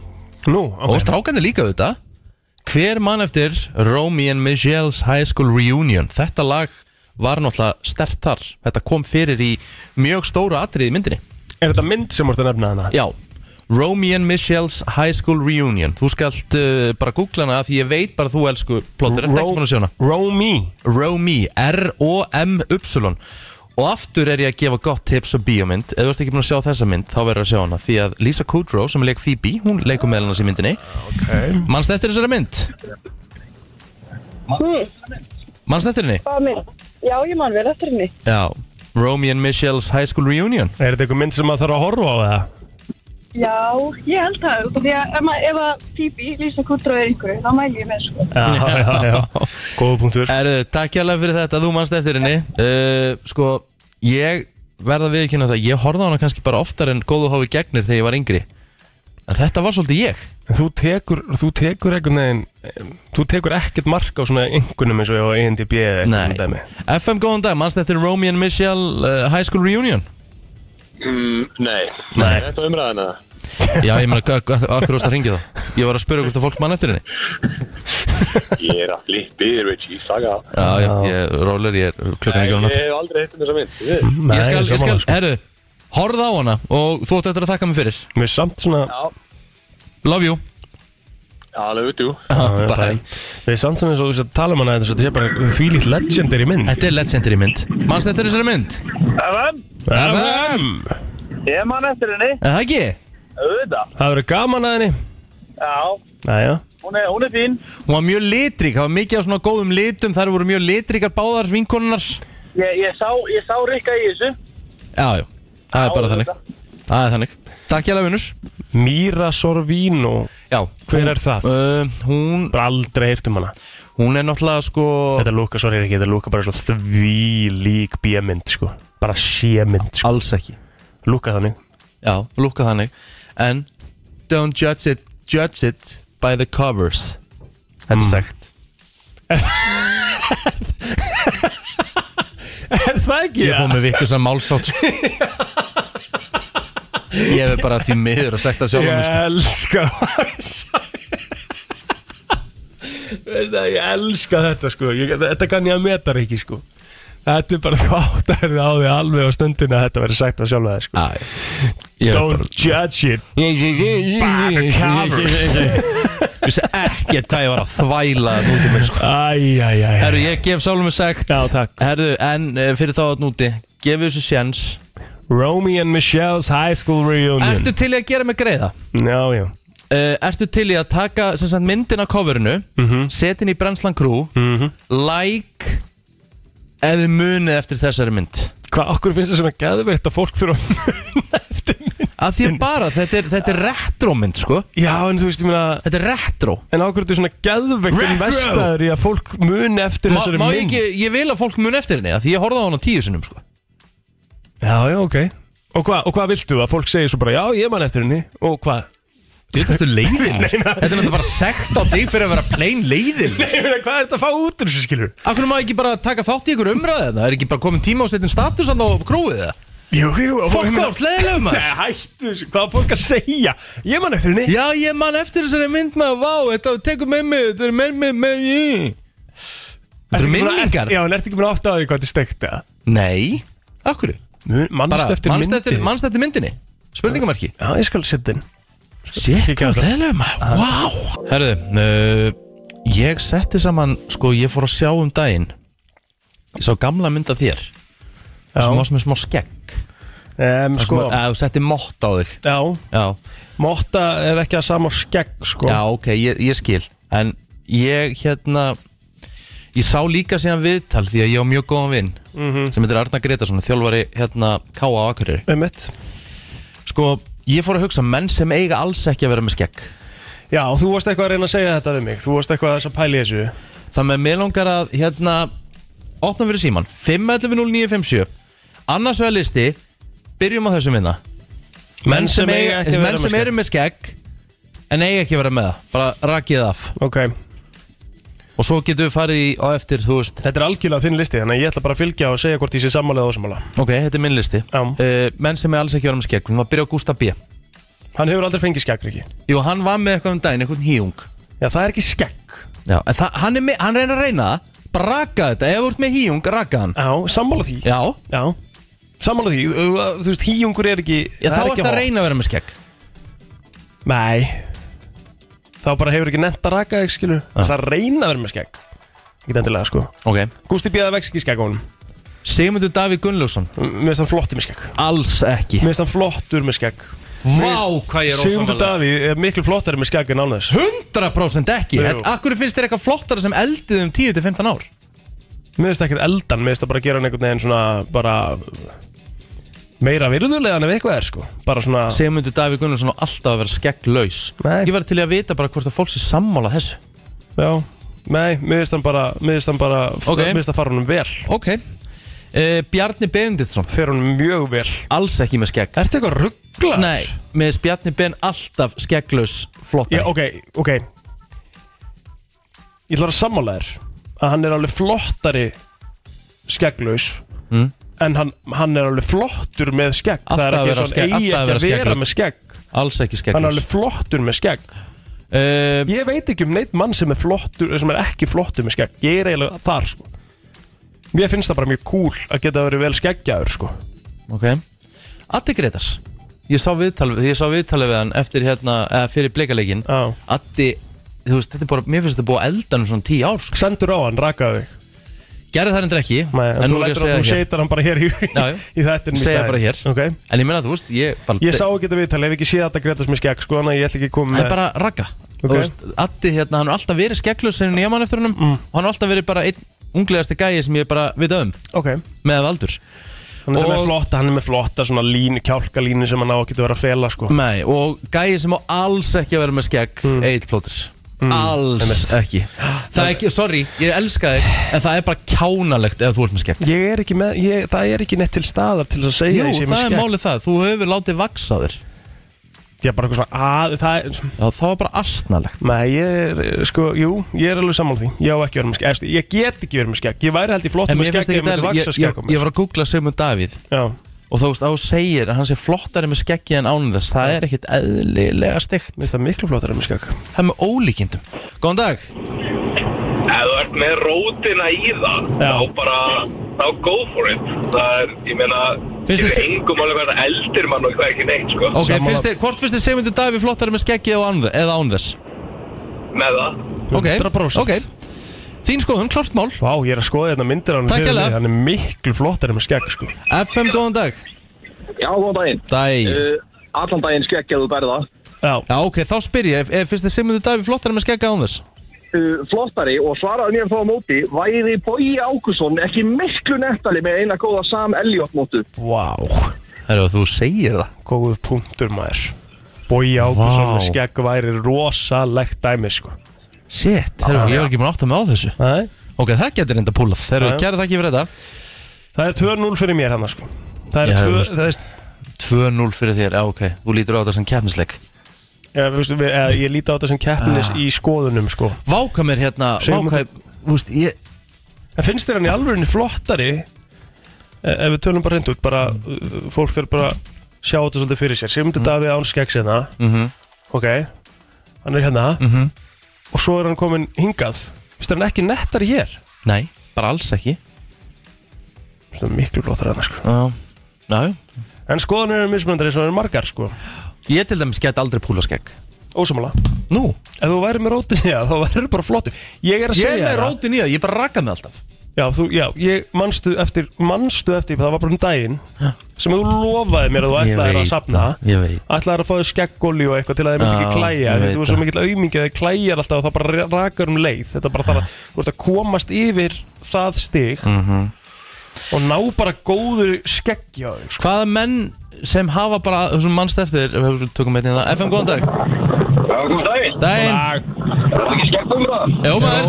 [SPEAKER 2] nú
[SPEAKER 1] Og
[SPEAKER 2] ok
[SPEAKER 1] strákandi líka auðvitað Hver mann eftir Romy and Michelle's High School Reunion? Þetta lag var náttúrulega stert þar Þetta kom fyrir í mjög stóru atriði í myndinni
[SPEAKER 2] Er þetta mynd sem vorst að nefna hana?
[SPEAKER 1] Já Romy and Michelle's High School Reunion Þú skalt uh, bara googla hana af Því ég veit bara að þú elsku plottir Ertu ekki búin að sjá hana?
[SPEAKER 2] Romy
[SPEAKER 1] Romy, R-O-M-Y Og aftur er ég að gefa gott tips og bíómynd Ef þú ert ekki búin að sjá þessa mynd Þá verður að sjá hana Því að Lisa Kudrow sem leik Phoebe Hún leikur meðal hans í myndinni
[SPEAKER 2] okay.
[SPEAKER 1] Manst eftir þessari mynd? Manst eftir henni?
[SPEAKER 5] Hvað minn? Já, ég man vel eftir henni.
[SPEAKER 1] Já Romy and Michelle's High School Reunion
[SPEAKER 2] Er þetta einhver mynd sem maður þarf að horfa á eða?
[SPEAKER 5] Já, ég held það, út af því að ef, maður- ef að Phoebe, Lisa Kudrow er einhverju, þá mæl ég með sko.
[SPEAKER 2] Já, já, já Góða punktur
[SPEAKER 1] Erðu, takk hjá fyrir þetta, þú manst eftir henni uh, Sko, ég verða við ekki það Ég horfði á hana kannski bara oftar en góðu hófi gegnir þegar ég var yngri En þetta var svolítið ég
[SPEAKER 2] En Þú tekur, þú tekur einhvern veginn em, Þú tekur ekkert mark á svona einhvernum eins og ég á INDB eða eitthvað svona dæmi.
[SPEAKER 1] FM góðan dag, manst eftir Romy and Michelle uh, High School Reunion
[SPEAKER 6] Mm, nei.
[SPEAKER 1] Nei.
[SPEAKER 6] Er Þetta umræðina.
[SPEAKER 1] Já, ég meina, hvað- hvað- af hverju varst að ringja það? Ég var að spura hvort að fólk mann eftir henni
[SPEAKER 6] Ég er allir byrðir, Richie, saga.
[SPEAKER 1] Já, já, ég, róler, ég er klukkan
[SPEAKER 6] Ég
[SPEAKER 1] ekki á nátt
[SPEAKER 6] hef aldrei hitt um þessa mynd. Við-
[SPEAKER 7] Mhm.
[SPEAKER 2] Nei,
[SPEAKER 1] Ég skal, ég
[SPEAKER 2] sammála,
[SPEAKER 1] skal,
[SPEAKER 2] sko.
[SPEAKER 1] herru Horfða á hana og þú ætti eftir að þakka mig fyrir
[SPEAKER 2] Mér er samt svona
[SPEAKER 6] Já,
[SPEAKER 1] Love you
[SPEAKER 6] alveg út, jú.
[SPEAKER 1] Ah, Bye.
[SPEAKER 2] Við erum samt svona eins og þú veist að tala um hana þetta er bara þvílíkt legendary mynd
[SPEAKER 1] Þetta er legendary mynd Manst eftir þessari mynd?
[SPEAKER 8] FM,
[SPEAKER 2] FM
[SPEAKER 8] ég man eftir henni,
[SPEAKER 1] Er það ekki?
[SPEAKER 8] auðvitað.
[SPEAKER 2] Það verður gaman að henni
[SPEAKER 8] Já,
[SPEAKER 2] Næja
[SPEAKER 8] hún er, hún er fín.
[SPEAKER 1] Hún var mjög litrík, það var mikið á svona góðum litum Þar voru mjög litríkar báðar vinkonunars Já,
[SPEAKER 8] Ég, ég, sá, ég sá Rikka í þessu.
[SPEAKER 1] já, það er bara
[SPEAKER 8] Já,
[SPEAKER 1] þannig Það er þannig Takk hjá vinnur
[SPEAKER 2] Mira Sorvino
[SPEAKER 1] Já,
[SPEAKER 2] Hver
[SPEAKER 1] hún-
[SPEAKER 2] er það?
[SPEAKER 1] Uh, hún,
[SPEAKER 2] Bara aldrei heyrt um hana
[SPEAKER 1] hún er náttúrulega sko
[SPEAKER 2] Þetta lúka, sorry ekki, þetta lúka bara svo því lík bíamynd sko Bara sémynd sko
[SPEAKER 1] Alls ekki
[SPEAKER 2] Lúka þannig
[SPEAKER 1] Já, lúka þannig En don't judge it, judge it by the covers Þetta
[SPEAKER 2] Mm.
[SPEAKER 1] er sagt
[SPEAKER 2] [laughs] Er það ekki?
[SPEAKER 1] Ég fór með vittu sem málsátt sko.
[SPEAKER 2] [laughs]
[SPEAKER 1] Ég hef bara því miður að sekta sko. sjálf
[SPEAKER 2] Ég
[SPEAKER 1] yeah.
[SPEAKER 2] elska Veist það, ég elska þetta sko ég, Þetta kann ég að meta ekki sko Þetta er bara þú áttærið á því alveg á stundinu að þetta verður sagt á sjálfa það sko
[SPEAKER 1] Ég hef bara
[SPEAKER 2] Don't judge it
[SPEAKER 1] Bara
[SPEAKER 2] covers.
[SPEAKER 1] Vissi ekkert hvað ég var að þvæla þarna út um mig sko
[SPEAKER 2] Æjæjæj
[SPEAKER 1] Herru, ég gef sálum með sagt
[SPEAKER 2] Já, takk.
[SPEAKER 1] Herru, en eh, fyrir þá að núti Gefið þessu sjens
[SPEAKER 2] Romy and Michelle's High School Reunion
[SPEAKER 1] Ertu til í að gera mig greiða?
[SPEAKER 2] Já, já
[SPEAKER 1] Uh, ertu til í að taka sem sagt, myndin af coverinu mm
[SPEAKER 2] Mhm.
[SPEAKER 1] Setin í Brenslan Crew Like Eða munið eftir þessari mynd
[SPEAKER 2] Hvað okkur finnst það svona geðveikt að fólk þurfa að muna eftir minn
[SPEAKER 1] Að því að bara, þetta er, þetta er retro mynd sko
[SPEAKER 2] Já, en þú veist, ég meina
[SPEAKER 1] Þetta er retro
[SPEAKER 2] En okkur er þetta svona geðveikt
[SPEAKER 1] Retro!
[SPEAKER 2] en vestaður í að fólk muni eftir
[SPEAKER 1] Má,
[SPEAKER 2] þessari
[SPEAKER 1] má ég,
[SPEAKER 2] mynd
[SPEAKER 1] ekki, ég vil að fólk muni eftir henni að Því ég horfði á hana tíu sinnum sko
[SPEAKER 2] Já, já, ok Og hvað, og hvað viltu að fólk segir svo bara Já, ég man eftir henni Og hvað? [laughs]
[SPEAKER 1] Þetta er leiðin Þetta er náttúrulega bara sekt á þig fyrir að vera plain leiðin
[SPEAKER 2] Nei, ég meina, hvað er þetta að fá út úr þessu skilur?
[SPEAKER 1] Akkur má ekki bara taka þátt í ykkur umræðið Það er ekki bara komin tíma og setjum status hann á krúið það
[SPEAKER 2] Jú, jú og ég
[SPEAKER 1] Fokk
[SPEAKER 2] meina-
[SPEAKER 1] átt, leiðilegum
[SPEAKER 2] Nei,
[SPEAKER 1] maður
[SPEAKER 2] hættu, þessu, hvað er fólk að segja? Ég man eftir henni
[SPEAKER 1] Já, ég man eftir þessari mynd maður Vá, þetta tekur með mig Þetta er með mig, með ég Þetta eru
[SPEAKER 2] Ertu ekki búin að-
[SPEAKER 1] minningar
[SPEAKER 2] Já, en ertu ekki búin að átta á því hvað þetta stekta?
[SPEAKER 1] Nei, akkur
[SPEAKER 2] Manst eftir
[SPEAKER 1] Manst
[SPEAKER 2] myndi
[SPEAKER 1] eftir, manst eftir myndinni Spurningumarki
[SPEAKER 2] Já, ég skal setja inn
[SPEAKER 1] Sétt,
[SPEAKER 2] Kíkja á
[SPEAKER 1] hvað
[SPEAKER 2] þetta.
[SPEAKER 1] leðilega maður, vá Ah. Herðu, uh, ég setti saman Sko, ég fór að sjá um daginn Ég sá gamla mynd af þér Sem varst með smá skegg
[SPEAKER 2] um,
[SPEAKER 1] Sko,
[SPEAKER 2] sko,
[SPEAKER 1] að þú setti mott á þig
[SPEAKER 2] Já,
[SPEAKER 1] Já,
[SPEAKER 2] motta er ekki að sama og skegg sko.
[SPEAKER 1] Já, ok, ég, ég skil En ég hérna Ég sá líka síðan viðtal Því að ég á mjög góðan vinn Sem heitir Arna Gretarsson Þjálfari hérna K.A. á Akureyri
[SPEAKER 2] Einmitt.
[SPEAKER 1] Sko, ég fór að hugsa Menn sem eiga alls ekki að vera með skegg
[SPEAKER 2] Já, þú varst eitthvað að reyna að segja þetta við mig Þú varst eitthvað að þess að pæli þessu
[SPEAKER 1] Þannig að mér langar að hérna Opna fyrir síman 5.11.09.57 Annars vegar listi Byrjum á þessum vinna Menn sem, eiga,
[SPEAKER 2] ekki að
[SPEAKER 1] menn
[SPEAKER 2] vera
[SPEAKER 1] sem
[SPEAKER 2] með
[SPEAKER 1] eru með skegg En eiga ekki að vera með það Bara rakið það af
[SPEAKER 2] skegg. Ok,
[SPEAKER 1] Og svo getum við farið í, á eftir, þú veist
[SPEAKER 2] þetta er algjörlega þinn listi Þannig að ég ætla bara að fylgja og segja hvort ég sé sammála eða ósammála
[SPEAKER 1] Ok, þetta er minn listi
[SPEAKER 2] Já.
[SPEAKER 1] uh, Menn sem er alls ekki að vera með skegg Við erum að byrja á Gústa B
[SPEAKER 2] Hann hefur aldrei fengið skegg, Riki
[SPEAKER 1] Jú, hann var með eitthvað um daginn, eitthvað híung
[SPEAKER 2] Já, það er ekki skegg
[SPEAKER 1] Já, en það, hann, er með, hann reynir að reyna það Bara raka þetta, ef þú ert með híung, raka hann
[SPEAKER 2] Já, sammála því
[SPEAKER 1] Já,
[SPEAKER 2] Já, Samanlega því, þú þú veist, híungur er ekki
[SPEAKER 1] Já, þá
[SPEAKER 2] það er
[SPEAKER 1] ert
[SPEAKER 2] ekki
[SPEAKER 1] að
[SPEAKER 2] há.
[SPEAKER 1] reyna að vera með skegg
[SPEAKER 2] Nei Þá bara hefur ekki nefnt að raka þig, skilur Það er að reyna að vera með skegg Ekki endilega, sko
[SPEAKER 1] Ok
[SPEAKER 2] Gústi bíða vex ekki skegg á honum
[SPEAKER 1] Sigmundur Davíð Gunnlaugsson
[SPEAKER 2] Mér finnst hann flottur með skegg Mér
[SPEAKER 1] Alls ekki
[SPEAKER 2] finnst hann flottur með skegg
[SPEAKER 1] Vá, hvað ég er
[SPEAKER 2] Sigmundur
[SPEAKER 1] ósamlega
[SPEAKER 2] Davíð er miklu flottari með skegg en án þess
[SPEAKER 1] 100% ekki
[SPEAKER 2] Jú.
[SPEAKER 1] En akkur finnst þér eitthvað flottara sem eldið um 10-15 ár?
[SPEAKER 2] Mér finnst ekkert eldan, mér finnst það bara að gera hann einhvern veginn svona bara meira virðulegan ef eitthvað er sko bara svona,
[SPEAKER 1] Sigmundur Davíð Gunnlaugsson á alltaf að vera skegglaus
[SPEAKER 2] Nei.
[SPEAKER 1] Ég var til í að vita bara hvort að fólk sé sammála þessu
[SPEAKER 2] já nei, mér finnst hann bara, mér finnst hann bara
[SPEAKER 1] Ok.
[SPEAKER 2] mér finnst það fara honum vel,
[SPEAKER 1] Ok uh, Bjarni Benediktsson
[SPEAKER 2] fer honum mjög vel
[SPEAKER 1] Alls ekki með skegg
[SPEAKER 2] Ertu eitthvað ruggla?
[SPEAKER 1] Nei, með Bjarni Ben alltaf skegglaus flottari
[SPEAKER 2] Já, ok, ok Ég ætla að sammála þér að hann er alveg flottari skegglaus
[SPEAKER 1] Mm.
[SPEAKER 2] en hann, hann er alveg flottur með skegg
[SPEAKER 1] Alltaf
[SPEAKER 2] það
[SPEAKER 1] að
[SPEAKER 2] er ekki
[SPEAKER 1] vera
[SPEAKER 2] eins og
[SPEAKER 1] skegg-
[SPEAKER 2] hann eigi
[SPEAKER 1] alltaf að
[SPEAKER 2] ekki að
[SPEAKER 1] vera
[SPEAKER 2] vera
[SPEAKER 1] skegglaus.
[SPEAKER 2] með skegg
[SPEAKER 1] Alls ekki
[SPEAKER 2] hann er
[SPEAKER 1] skegglaus
[SPEAKER 2] alveg flottur með skegg
[SPEAKER 1] uh,
[SPEAKER 2] Ég veit ekki um neitt mann sem er flottur sem er ekki flottur með skegg Ég er eiginlega þar sko Mér finnst það bara mjög cool að geta verið vel skeggjaður sko
[SPEAKER 1] Ok Addi Gretars Ég sá viðtalið ég sá viðtal við hann eftir hérna eða fyrir bleikaleikin
[SPEAKER 2] Já.
[SPEAKER 1] Addi Þú veist, þetta er bara, mér finnst þetta búið að elda um svona tíu ár sko.
[SPEAKER 2] Sendur á hann, rakaðu þig
[SPEAKER 1] Gerði það endur ekki
[SPEAKER 2] Nei,
[SPEAKER 1] En
[SPEAKER 2] Þú
[SPEAKER 1] nú er ég
[SPEAKER 2] lætur
[SPEAKER 1] að
[SPEAKER 2] að
[SPEAKER 1] segja
[SPEAKER 2] þú
[SPEAKER 1] hér
[SPEAKER 2] seitar hann bara hér í,
[SPEAKER 1] Já, já.
[SPEAKER 2] [laughs] í þættinum í
[SPEAKER 1] Segja
[SPEAKER 2] staðinn.
[SPEAKER 1] bara hér.
[SPEAKER 2] Ok.
[SPEAKER 1] En ég meina, þú veist, ég bara
[SPEAKER 2] Ég sá ekki þetta viðtal, ef ekki séð þetta Gretas með skegg sko Þannig að ég ætla ekki að koma
[SPEAKER 1] Það
[SPEAKER 2] með
[SPEAKER 1] er bara ragga
[SPEAKER 2] Ok. Mm.
[SPEAKER 1] Þú veist, Addi, hérna, hann er alltaf verið skegglaus sem ég mann eftir honum og hann er alltaf verið bara einn unglegasti gæi sem ég bara vita um
[SPEAKER 2] Ok,
[SPEAKER 1] með aldur
[SPEAKER 2] hann er
[SPEAKER 1] Og-
[SPEAKER 2] með flotta, hann er með flotta svona línu, kjálkalínu sem hann á að geta verið að fela sko
[SPEAKER 1] Nei, og gæi sem á alls ekki að vera með skegg mm. Egil Plóter Alls ekki Það er ekki, sorry, ég elska þig En það er bara kjánalegt ef þú ert með skegg
[SPEAKER 2] Ég er ekki með, ég, það er ekki neitt til staðar til þess að segja
[SPEAKER 1] Jú,
[SPEAKER 2] að ég sé með
[SPEAKER 1] það er
[SPEAKER 2] skegg.
[SPEAKER 1] málið það, þú hefur látið vaksa þér
[SPEAKER 2] Ég er bara eitthvað svona, að, það er,
[SPEAKER 1] Já, það var bara astnalegt
[SPEAKER 2] Nei, ég er, sko, jú, ég er alveg sammála því Ég á ekki verið með skegg, Eftir, ég get ekki verið með skegg Ég væri held í flott
[SPEAKER 1] En
[SPEAKER 2] með
[SPEAKER 1] mér finnst
[SPEAKER 2] skegg
[SPEAKER 1] ekki
[SPEAKER 2] Ég myndi
[SPEAKER 1] það, ég,
[SPEAKER 2] vaksa
[SPEAKER 1] ég,
[SPEAKER 2] skegg á
[SPEAKER 1] ég
[SPEAKER 2] mér
[SPEAKER 1] var að googla Sigmund Davíð
[SPEAKER 2] Já,
[SPEAKER 1] Og þú veist, á segir að hann sé flottari með skeggið en ánum þess Það er ekkit eðlilega steikt
[SPEAKER 2] mér finnst það miklu flottar með skegg
[SPEAKER 1] Það er með ólíkindum Góðan dag
[SPEAKER 9] Ef þú ert með rótina í það,
[SPEAKER 2] Já.
[SPEAKER 9] þá bara, þá go for it. Það er, ég meina,
[SPEAKER 1] Finnst
[SPEAKER 9] Finnst
[SPEAKER 1] þér-
[SPEAKER 9] ég engum alveg hvað það eldir mann og hvað ekki neitt, sko,
[SPEAKER 1] Ok,
[SPEAKER 2] Sammála.
[SPEAKER 1] finnst þið, hvort finnst þið Sigmundur Davíð flottari með skeggið og ánum þess- eða ánum þess?
[SPEAKER 9] með það.
[SPEAKER 1] Ok,
[SPEAKER 2] 100%.
[SPEAKER 1] ok Þín skoðun, klart mál
[SPEAKER 2] Vá, ég er að skoða þetta myndir á hann
[SPEAKER 1] Takk hérlega.
[SPEAKER 2] Hann er miklu flottar með skegg, sko
[SPEAKER 1] FM, góðan dag
[SPEAKER 8] Já, góðan daginn.
[SPEAKER 1] Dæ
[SPEAKER 8] Uh, allan daginn skekkjaðu berða.
[SPEAKER 2] Já,
[SPEAKER 1] Já, ok, þá spyr ég, er, er fyrst þið Sigmundur Davíð flottari með skegga án þess?
[SPEAKER 8] Uh, flottari og svaraði mér þá á móti væri Bói Ákusson ekki miklu nettali með eina góða Sam Elliot mótu.
[SPEAKER 2] vá,
[SPEAKER 1] Herru, þú segir það
[SPEAKER 2] góð punktur maður Bói Ákusson
[SPEAKER 1] Vá.
[SPEAKER 2] með skegg væri rosalegt dæmi, sko
[SPEAKER 1] Shit, herru, ég var ekki búin að átta mig á þessu
[SPEAKER 2] Nei?
[SPEAKER 1] Ok, það getur enda púlað Herru,
[SPEAKER 2] Já, já.
[SPEAKER 1] kæra þakki fyrir þetta
[SPEAKER 2] Það er 2-0 fyrir mér hann, sko Það
[SPEAKER 1] Já,
[SPEAKER 2] er
[SPEAKER 1] þú
[SPEAKER 2] 2,
[SPEAKER 1] veist.
[SPEAKER 2] það er,
[SPEAKER 1] 2-0 fyrir þér, já, ok Þú lítur á þetta sem kjærnisleik
[SPEAKER 2] ja, veist, við, eða, ég líti á þetta sem
[SPEAKER 1] Ah.
[SPEAKER 2] keppnis í skoðunum, sko
[SPEAKER 1] Váka mér hérna,
[SPEAKER 2] Sigmundur-
[SPEAKER 1] váka Þú veist, ég,
[SPEAKER 2] En finnst þér hann í alvörinni flottari eh, ef við tölum bara hreint út bara,
[SPEAKER 1] Mm.
[SPEAKER 2] uh, fólk þarf bara að sjá þetta svolítið fyrir sér Sigmundur Davíð án skeggs hérna
[SPEAKER 1] Mhm.
[SPEAKER 2] ok, hann er hérna
[SPEAKER 1] Mhm.
[SPEAKER 2] og svo er hann komin hingað finnst þér hann ekki nettari hér
[SPEAKER 1] nei, bara alls ekki
[SPEAKER 2] finnst þér miklu flottari hann sko.
[SPEAKER 1] Já, já, já.
[SPEAKER 2] en skoðanir eru mismunandari svo eru margar sko
[SPEAKER 1] Ég til dæmis get aldrei púlað skegg
[SPEAKER 2] ósamála,
[SPEAKER 1] Nú,
[SPEAKER 2] ef þú væri með rótin já, þá væri bara flottur ég er að
[SPEAKER 1] ég
[SPEAKER 2] segja
[SPEAKER 1] er með
[SPEAKER 2] þér það.
[SPEAKER 1] rótin í það, ég bara raka mig alltaf
[SPEAKER 2] Já, þú, já, ég manstu eftir, manstu eftir, það var bara um daginn sem þú lofaði mér að þú
[SPEAKER 1] Ég
[SPEAKER 2] ætlaðir að
[SPEAKER 1] veit
[SPEAKER 2] safna
[SPEAKER 1] það, ég veit.
[SPEAKER 2] ætlaðir að fá þér skeggolí og eitthvað til að þið myndi
[SPEAKER 1] Já,
[SPEAKER 2] ekki klæja
[SPEAKER 1] ég
[SPEAKER 2] því
[SPEAKER 1] veit
[SPEAKER 2] þú er svo
[SPEAKER 1] það.
[SPEAKER 2] mikill aumingi að þið klæjar alltaf og það bara rakar um leið þetta er bara þarf að, þú ert að komast yfir það stig
[SPEAKER 1] Mhm.
[SPEAKER 2] og ná bara góður skeggi á þig sko.
[SPEAKER 1] Hvaða menn sem hafa bara þessum mannst eftir, við tökum einnig það FM, góðan dag
[SPEAKER 9] Já, góðan daginn.
[SPEAKER 1] Dæin,
[SPEAKER 9] Er það ekki skemmt um það?
[SPEAKER 1] jó maður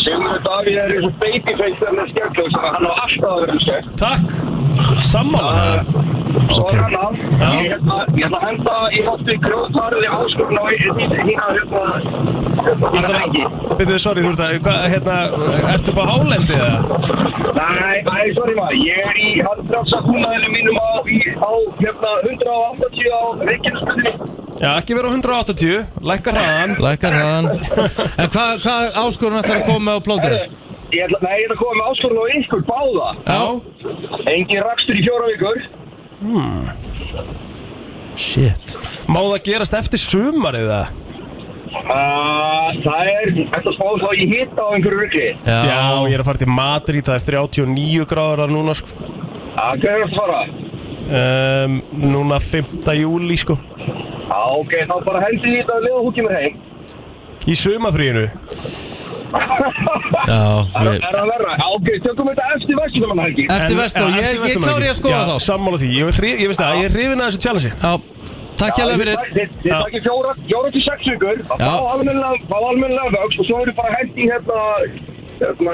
[SPEAKER 9] Sigurður Davíð er eins og babyface með skemmtlög sem hann á alltaf að vera með skemmt.
[SPEAKER 2] Takk, sammála
[SPEAKER 9] Svo er hann af. Ég ætla ég ætla að henda í hótti grjóðfarið í háskólan og hérna, hérna,
[SPEAKER 2] Ætlar
[SPEAKER 9] hérna,
[SPEAKER 2] að-
[SPEAKER 9] hérna,
[SPEAKER 2] Byrjuðu, sorry, þú ert að, hvað, hérna, ertu bara hálendi eða?
[SPEAKER 9] Nei, nei, sorry maður, ég er í handbremsa húnaðinu mínum á, í, á hérna, 180 á Reykjanesbyrni.
[SPEAKER 2] Já, ekki vera á 180, lækkar hraðan
[SPEAKER 1] Lækar hraðan En hvað hva áskorun ætlar að koma með á plótir?
[SPEAKER 9] Ég ætla, nei, ég ætla að koma með áskorun og ykkur báða.
[SPEAKER 2] Já.
[SPEAKER 9] Engin rakstur í fjóra vikur.
[SPEAKER 1] Shit
[SPEAKER 2] Má það gerast eftir sumarið það?
[SPEAKER 9] Uh, það er, þetta spáð þá í hitta á einhverju rugli.
[SPEAKER 1] Já,
[SPEAKER 2] Já, ég er að fara til Madrid, það er 39 gráður þar núna sko
[SPEAKER 9] Það hverju að fara?
[SPEAKER 2] um, Núna 5. júli sko
[SPEAKER 9] Já, ok, þá bara hendi í þetta að liða húkið mér heim.
[SPEAKER 2] Í sumafríinu
[SPEAKER 1] já
[SPEAKER 9] Er
[SPEAKER 1] við-
[SPEAKER 9] er það verra? Já, ok, tökum þetta eftir vestunum helgi.
[SPEAKER 1] Eftir
[SPEAKER 2] En-
[SPEAKER 1] vestum,
[SPEAKER 2] en
[SPEAKER 1] ég,
[SPEAKER 2] eftir
[SPEAKER 1] ég
[SPEAKER 2] Versló,
[SPEAKER 1] klári
[SPEAKER 2] ekki.
[SPEAKER 1] að skoða
[SPEAKER 2] Já,
[SPEAKER 1] þá
[SPEAKER 2] Sammála því, ég, vil hri- ég veist það, ég er hrifin að þessu challenge
[SPEAKER 1] Já, takk
[SPEAKER 9] Já,
[SPEAKER 1] hjá
[SPEAKER 9] þið
[SPEAKER 1] fyrir
[SPEAKER 9] takk- Þið þið
[SPEAKER 2] Já.
[SPEAKER 9] takið fjóra, fjóra til sex vikur að
[SPEAKER 1] Já.
[SPEAKER 9] fá almennilega- fá almennilega vöxt og svo eru bara hendi hérna hérna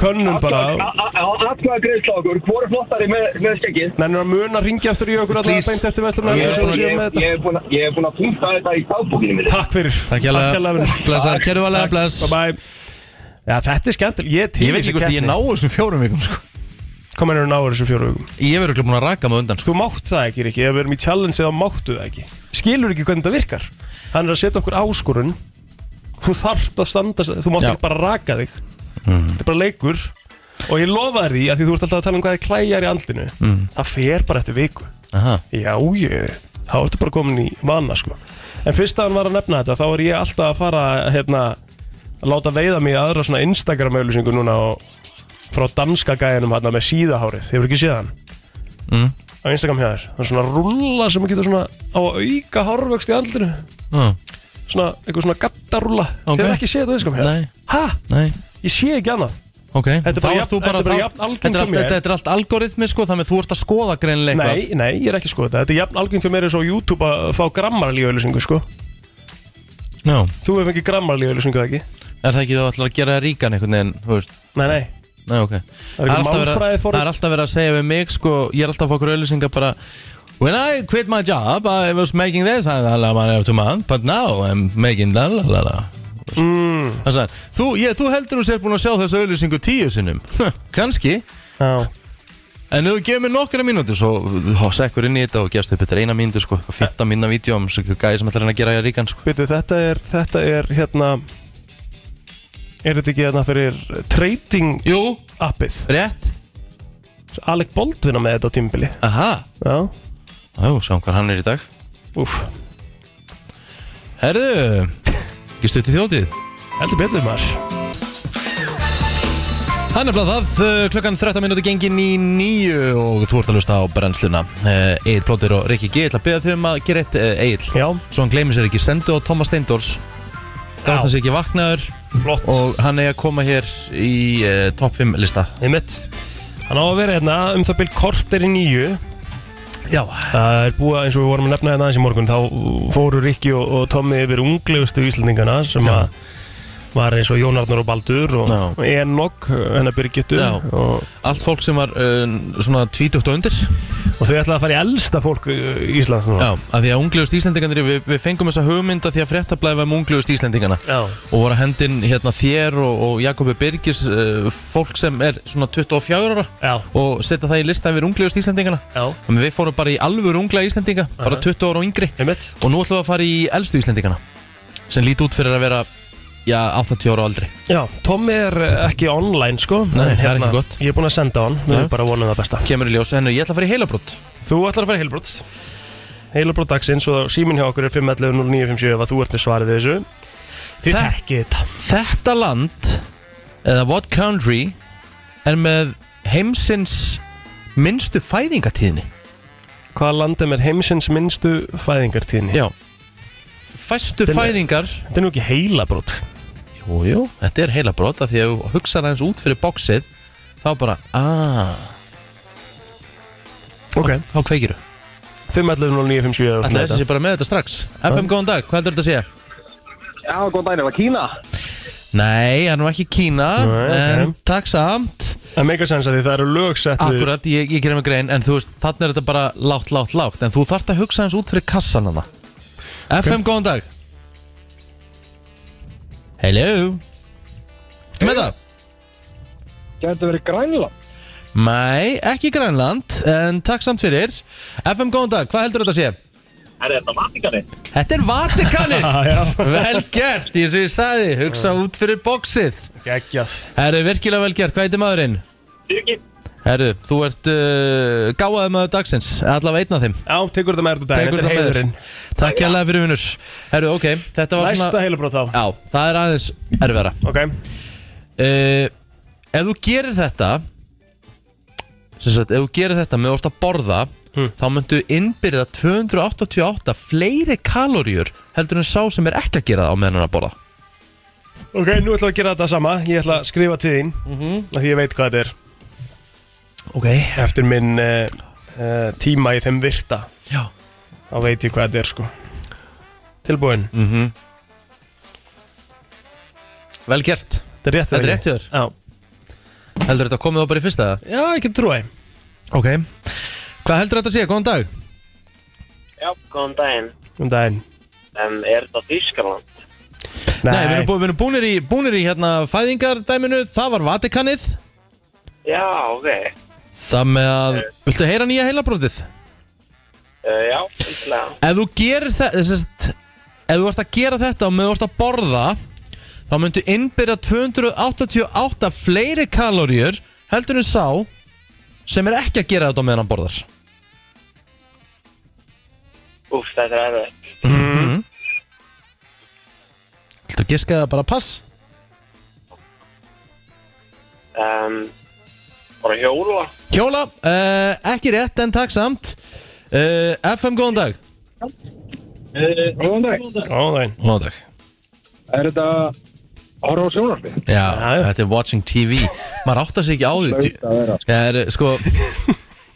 [SPEAKER 2] Könnum bara
[SPEAKER 9] atkvæða greiðsla okkur hvora flottari með, með skeggið
[SPEAKER 2] Nennir að muna að ringja eftir í okkur allavega
[SPEAKER 1] Please.
[SPEAKER 2] beint eftir vestlum
[SPEAKER 9] ég, ég, ég er búinn að- ég er búinn að punkta þetta í dagbúkinu minni
[SPEAKER 2] Takk fyrir
[SPEAKER 1] Takk hjá
[SPEAKER 2] vinur.
[SPEAKER 1] Blessar, kæru valega,
[SPEAKER 2] Takk.
[SPEAKER 1] bless
[SPEAKER 2] Bye bye Já, þetta er skemmtileg, ég er til
[SPEAKER 1] Ég veit ekki hvort ég ná þessum fjórum vikum sko.
[SPEAKER 2] Kom henni að ná þessu fjóru hugum
[SPEAKER 1] Ég verður ekki búin að raka mig undan sko.
[SPEAKER 2] Þú mátt það ekki, Rikki, ef við erum í challenge þá máttu það ekki Skilur ekki hvernig það virkar Hann er að setja okkur áskorun Þú þarft að standa, þú mátt
[SPEAKER 1] Já.
[SPEAKER 2] ekki bara raka þig Þetta er bara leikur Og ég lofa þér því að því þú ert alltaf að tala um hvað þið klæjar í andlinu Það fer bara eftir viku
[SPEAKER 1] Aha.
[SPEAKER 2] Já, ég, þá ertu bara komin í vana sko En fyrst að hann var að nefna þetta Þá er ég alltaf að fara hérna, að láta veiða mig í aðra svona Instagram auðlýsingu núna og frá danska gæðinum hérna með síðahárið Hefur ekki séð hann?
[SPEAKER 1] Mm.
[SPEAKER 2] Á Instagram hjá þér Það er svona rúlla sem getur svona á að auka hárvöxt í andlinu
[SPEAKER 1] Ah,
[SPEAKER 2] Svona, einhver svona gattarúlla
[SPEAKER 1] Ok.
[SPEAKER 2] Hefur ekki séð þetta á Instagram hjá þér?
[SPEAKER 1] Nei.
[SPEAKER 2] Hæ?
[SPEAKER 1] Nei,
[SPEAKER 2] Ég sé ekki annað
[SPEAKER 1] ok
[SPEAKER 2] Þetta
[SPEAKER 1] Þá
[SPEAKER 2] er bara
[SPEAKER 1] ert þú
[SPEAKER 2] jafn-
[SPEAKER 1] bara
[SPEAKER 2] þetta er bara
[SPEAKER 1] þá-
[SPEAKER 2] jafn algengt
[SPEAKER 1] Þetta er
[SPEAKER 2] hjá
[SPEAKER 1] allt-
[SPEAKER 2] mér.
[SPEAKER 1] þetta- þetta er allt algoritmi sko Þannig að þú ert að skoða greinlega
[SPEAKER 2] Nei,
[SPEAKER 1] eitthvað
[SPEAKER 2] nei, ég er ekki að skoða þetta Þetta er jafn algjönd hjá mér eins og á YouTube að fá grammarlíu auðlýsingu sko
[SPEAKER 1] Já.
[SPEAKER 2] Þú hefur fengið grammarlíu auðlýsingu ekki?
[SPEAKER 1] Er það ekki þú ætlar að gera það ríkan einhvern veginn Þú veist
[SPEAKER 2] Nei, nei,
[SPEAKER 1] Nei, ok Það er, alltaf verið að-
[SPEAKER 2] málfræðiforrit.
[SPEAKER 1] það er alltaf verið að segja við mig sko, Ég er alltaf að fá okkur auðlýsingar bara When I quit my job I was making this I I- I- I- to month, But now I'm making la la la la mm. Það sagði hann, þú, ég, þú heldur þú sér búin að sjá þessu auðlýsingu tíu sinnum [laughs] Kanski
[SPEAKER 2] Já,
[SPEAKER 1] En ef þú gefur mér nokkra mínútur Svo þá sekkur inn í þetta og gerst upp Þetta er eina mínútur sko eitthvað 15 mínúna vídeo um svo gæði sem ætlar hann að gera í ríkan sko
[SPEAKER 2] byrju, þetta er, þetta er hérna Er þetta ekki hérna fyrir trading
[SPEAKER 1] Jú,
[SPEAKER 2] appið?
[SPEAKER 1] rétt
[SPEAKER 2] Alec Baldwin á með þetta á tímbili
[SPEAKER 1] Aha,
[SPEAKER 2] Já,
[SPEAKER 1] þá sjáum hvað hann er í dag
[SPEAKER 2] úf,
[SPEAKER 1] Herðu, ekki stutt í þjótið
[SPEAKER 2] heldur betur maður
[SPEAKER 1] Það er nefnilega það, uh, klukkan 13 minúti gengin í nýju og þú ert að lusta á brennsluna uh, Egil Plóter og Rikki G, ég ætla að beða þau um að gera eitt uh, Egil
[SPEAKER 2] Já,
[SPEAKER 1] Svo hann gleymir sér ekki, sendu á Thomas Steindors Gaf
[SPEAKER 2] Já.
[SPEAKER 1] þessi ekki vaknaður
[SPEAKER 2] flott
[SPEAKER 1] og hann er að koma hér í uh, top 5 lista
[SPEAKER 2] Einmitt Hann á að vera hérna um það byrj kort er í nýju
[SPEAKER 1] Já
[SPEAKER 2] Það er búið að, eins og við vorum að nefna hérna aðeins í morgun Þá fóru Rikki og, og Tommi yfir unglegustu Íslandingana Sem
[SPEAKER 1] Já.
[SPEAKER 2] að var eins og Jón Arnur og Baldur Og
[SPEAKER 1] Já.
[SPEAKER 2] Enok, hennar Birgittu
[SPEAKER 1] Já.
[SPEAKER 2] og,
[SPEAKER 1] Allt fólk sem var uh, svona 20 og undir
[SPEAKER 2] og þau ætlaði að fara í elsta fólk uh, Íslands núna
[SPEAKER 1] Já, af því að unglegust Íslendingarnir, við, við fengum þessa hugmynda því að fréttablaði um unglegust Íslendingana
[SPEAKER 2] Já.
[SPEAKER 1] og voru að hendin hérna þér og, og Jakobi Birgis uh, fólk sem er svona 24 ára
[SPEAKER 2] Já,
[SPEAKER 1] og setja það í lista yfir unglegust Íslendingana
[SPEAKER 2] já,
[SPEAKER 1] Þannig við fórum bara í alvöru unglega Íslendinga bara 20 ára og yngri
[SPEAKER 2] einmitt
[SPEAKER 1] og nú ætlum við að fara í elstu Íslendingana sem líti út fyrir að vera já, 80 ára og aldri
[SPEAKER 2] Já, Tommi er eh, ekki online sko
[SPEAKER 1] Nei,
[SPEAKER 2] en
[SPEAKER 1] það er ekki gott.
[SPEAKER 2] Ég er búinn að senda á hann, við
[SPEAKER 1] Já.
[SPEAKER 2] erum bara að vona um það besta
[SPEAKER 1] kemur í ljós, henni ég ætla að fara í heilabrótt
[SPEAKER 2] Þú ætlar að fara heilbrot Heilbrot dagsins og síminn hjá okkur er 511-0957 ef að þú ert með svarið við þessu Þið
[SPEAKER 1] Það-
[SPEAKER 2] þekki þetta
[SPEAKER 1] þetta land eða what country er með heimsins minnstu fæðingatíðni
[SPEAKER 2] Hvaða land er með heimsins minnstu fæðingartíðni?
[SPEAKER 1] já fæstu
[SPEAKER 2] Til-
[SPEAKER 1] fæðingar
[SPEAKER 2] Þetta er nú ekki heilabrót
[SPEAKER 1] jú, jú, þetta er heilabrótt af því að þú hugsa aðeins út fyrir bóksið þá bara, aaa,
[SPEAKER 2] Ok
[SPEAKER 1] þá kveikiru
[SPEAKER 2] 511-0957 og
[SPEAKER 1] Ætla
[SPEAKER 2] svona
[SPEAKER 1] þessi
[SPEAKER 2] þetta.
[SPEAKER 1] sé bara með þetta strax FM, góðan dag, hvað heldur þetta að segja?
[SPEAKER 8] Já, góðan daginn, er það Kína?
[SPEAKER 1] Nei, hann var ekki Kína
[SPEAKER 2] Nei,
[SPEAKER 1] En
[SPEAKER 2] ok.
[SPEAKER 1] takk samt
[SPEAKER 2] Það meika sens að því það eru lög sett við-
[SPEAKER 1] Akkurat, ég, ég gerir mig grein En þú veist, þannig er þetta bara lágt, lágt, lágt En þú þarft að hugsa hans út fyrir kassan hana FM, góðan dag Hello Ertu með það?
[SPEAKER 8] Gæti verið Grænland
[SPEAKER 1] Nei, ekki Grænland En takk samt fyrir FM, góðan dag, hvað heldur þetta að sé?
[SPEAKER 9] Er þetta Vatikanin?
[SPEAKER 1] Þetta er Vatikanin
[SPEAKER 2] já.
[SPEAKER 1] Vel gert, eins og ég sagði Hugsa út fyrir bóksið
[SPEAKER 2] Gægjað
[SPEAKER 1] Herru, virkilega vel gert, hvað heitir maðurinn?
[SPEAKER 9] Birgir
[SPEAKER 1] Herru, þú ert uh, gáðaði maður dagsins Allavega einn af þeim
[SPEAKER 2] Já, tekur þetta með þér út dag
[SPEAKER 1] Tekur það
[SPEAKER 2] Þetta er
[SPEAKER 1] með þér
[SPEAKER 2] heiðurinn
[SPEAKER 1] Takk hérlega fyrir vinnur Herru, ok, þetta var
[SPEAKER 2] Næsta
[SPEAKER 1] svona
[SPEAKER 2] heilabrót á
[SPEAKER 1] Já, það er aðeins erfara
[SPEAKER 2] Ok
[SPEAKER 1] uh, Ef þú gerir þetta sem sagt, Ef þú gerir þetta með orðst að borða
[SPEAKER 2] Hmm.
[SPEAKER 1] Þá myndu innbyrða 288 fleiri kalóriur Heldur en sá sem er ekki að gera það á meðan hann er að borða
[SPEAKER 2] Ok, nú ætlum við að gera þetta sama Ég ætla að skrifa til þín mm Því ég veit hvað þetta er
[SPEAKER 1] Ok,
[SPEAKER 2] Eftir minn uh, uh, tíma í þeim virta
[SPEAKER 1] já
[SPEAKER 2] Þá veit ég hvað þetta er sko Tilbúin mm.
[SPEAKER 1] Mhm. Vel gert
[SPEAKER 2] Þetta er rétt
[SPEAKER 1] Þetta er
[SPEAKER 2] eða
[SPEAKER 1] rétt hjá
[SPEAKER 2] ekki? Já
[SPEAKER 1] Heldur þetta komið þá bara í fyrsta það?
[SPEAKER 2] Já, ég get trúið
[SPEAKER 1] Ok Hvað heldur þetta að segja? Góðan dag
[SPEAKER 10] Já, góðan daginn.
[SPEAKER 2] Um daginn
[SPEAKER 10] Um, er þetta Þýskaland?
[SPEAKER 1] Nei, við erum, bú, við erum búnir í, búnir í hérna fæðingardæminu Það var Vatikanið
[SPEAKER 10] Já, ok.
[SPEAKER 1] Það með að Viltu heyra nýja heilabrótið?
[SPEAKER 10] Uh, já, fyrstilega.
[SPEAKER 1] Ef þú gerir þetta sest, Ef þú vart að gera þetta og með þú vart að borða Þá myndu innbyrja 288 fleiri kaloríur Heldur en sá Sem er ekki að gera þetta á meðan hann borðar
[SPEAKER 10] Úf, þetta er erfitt.
[SPEAKER 1] Viltu að giska það bara pass?
[SPEAKER 10] Um, bara hjóla.
[SPEAKER 1] Hjóla, uh, ekki rétt en takk samt uh, FM, góðan dag
[SPEAKER 8] Góðan dag,
[SPEAKER 2] Um daginn
[SPEAKER 1] Góðan dag
[SPEAKER 8] er þetta horf á sjónarfi?
[SPEAKER 1] Já,
[SPEAKER 2] já.
[SPEAKER 1] þetta er Watching TV Maður áttar sig ekki á því
[SPEAKER 8] að vera
[SPEAKER 1] Það er, sko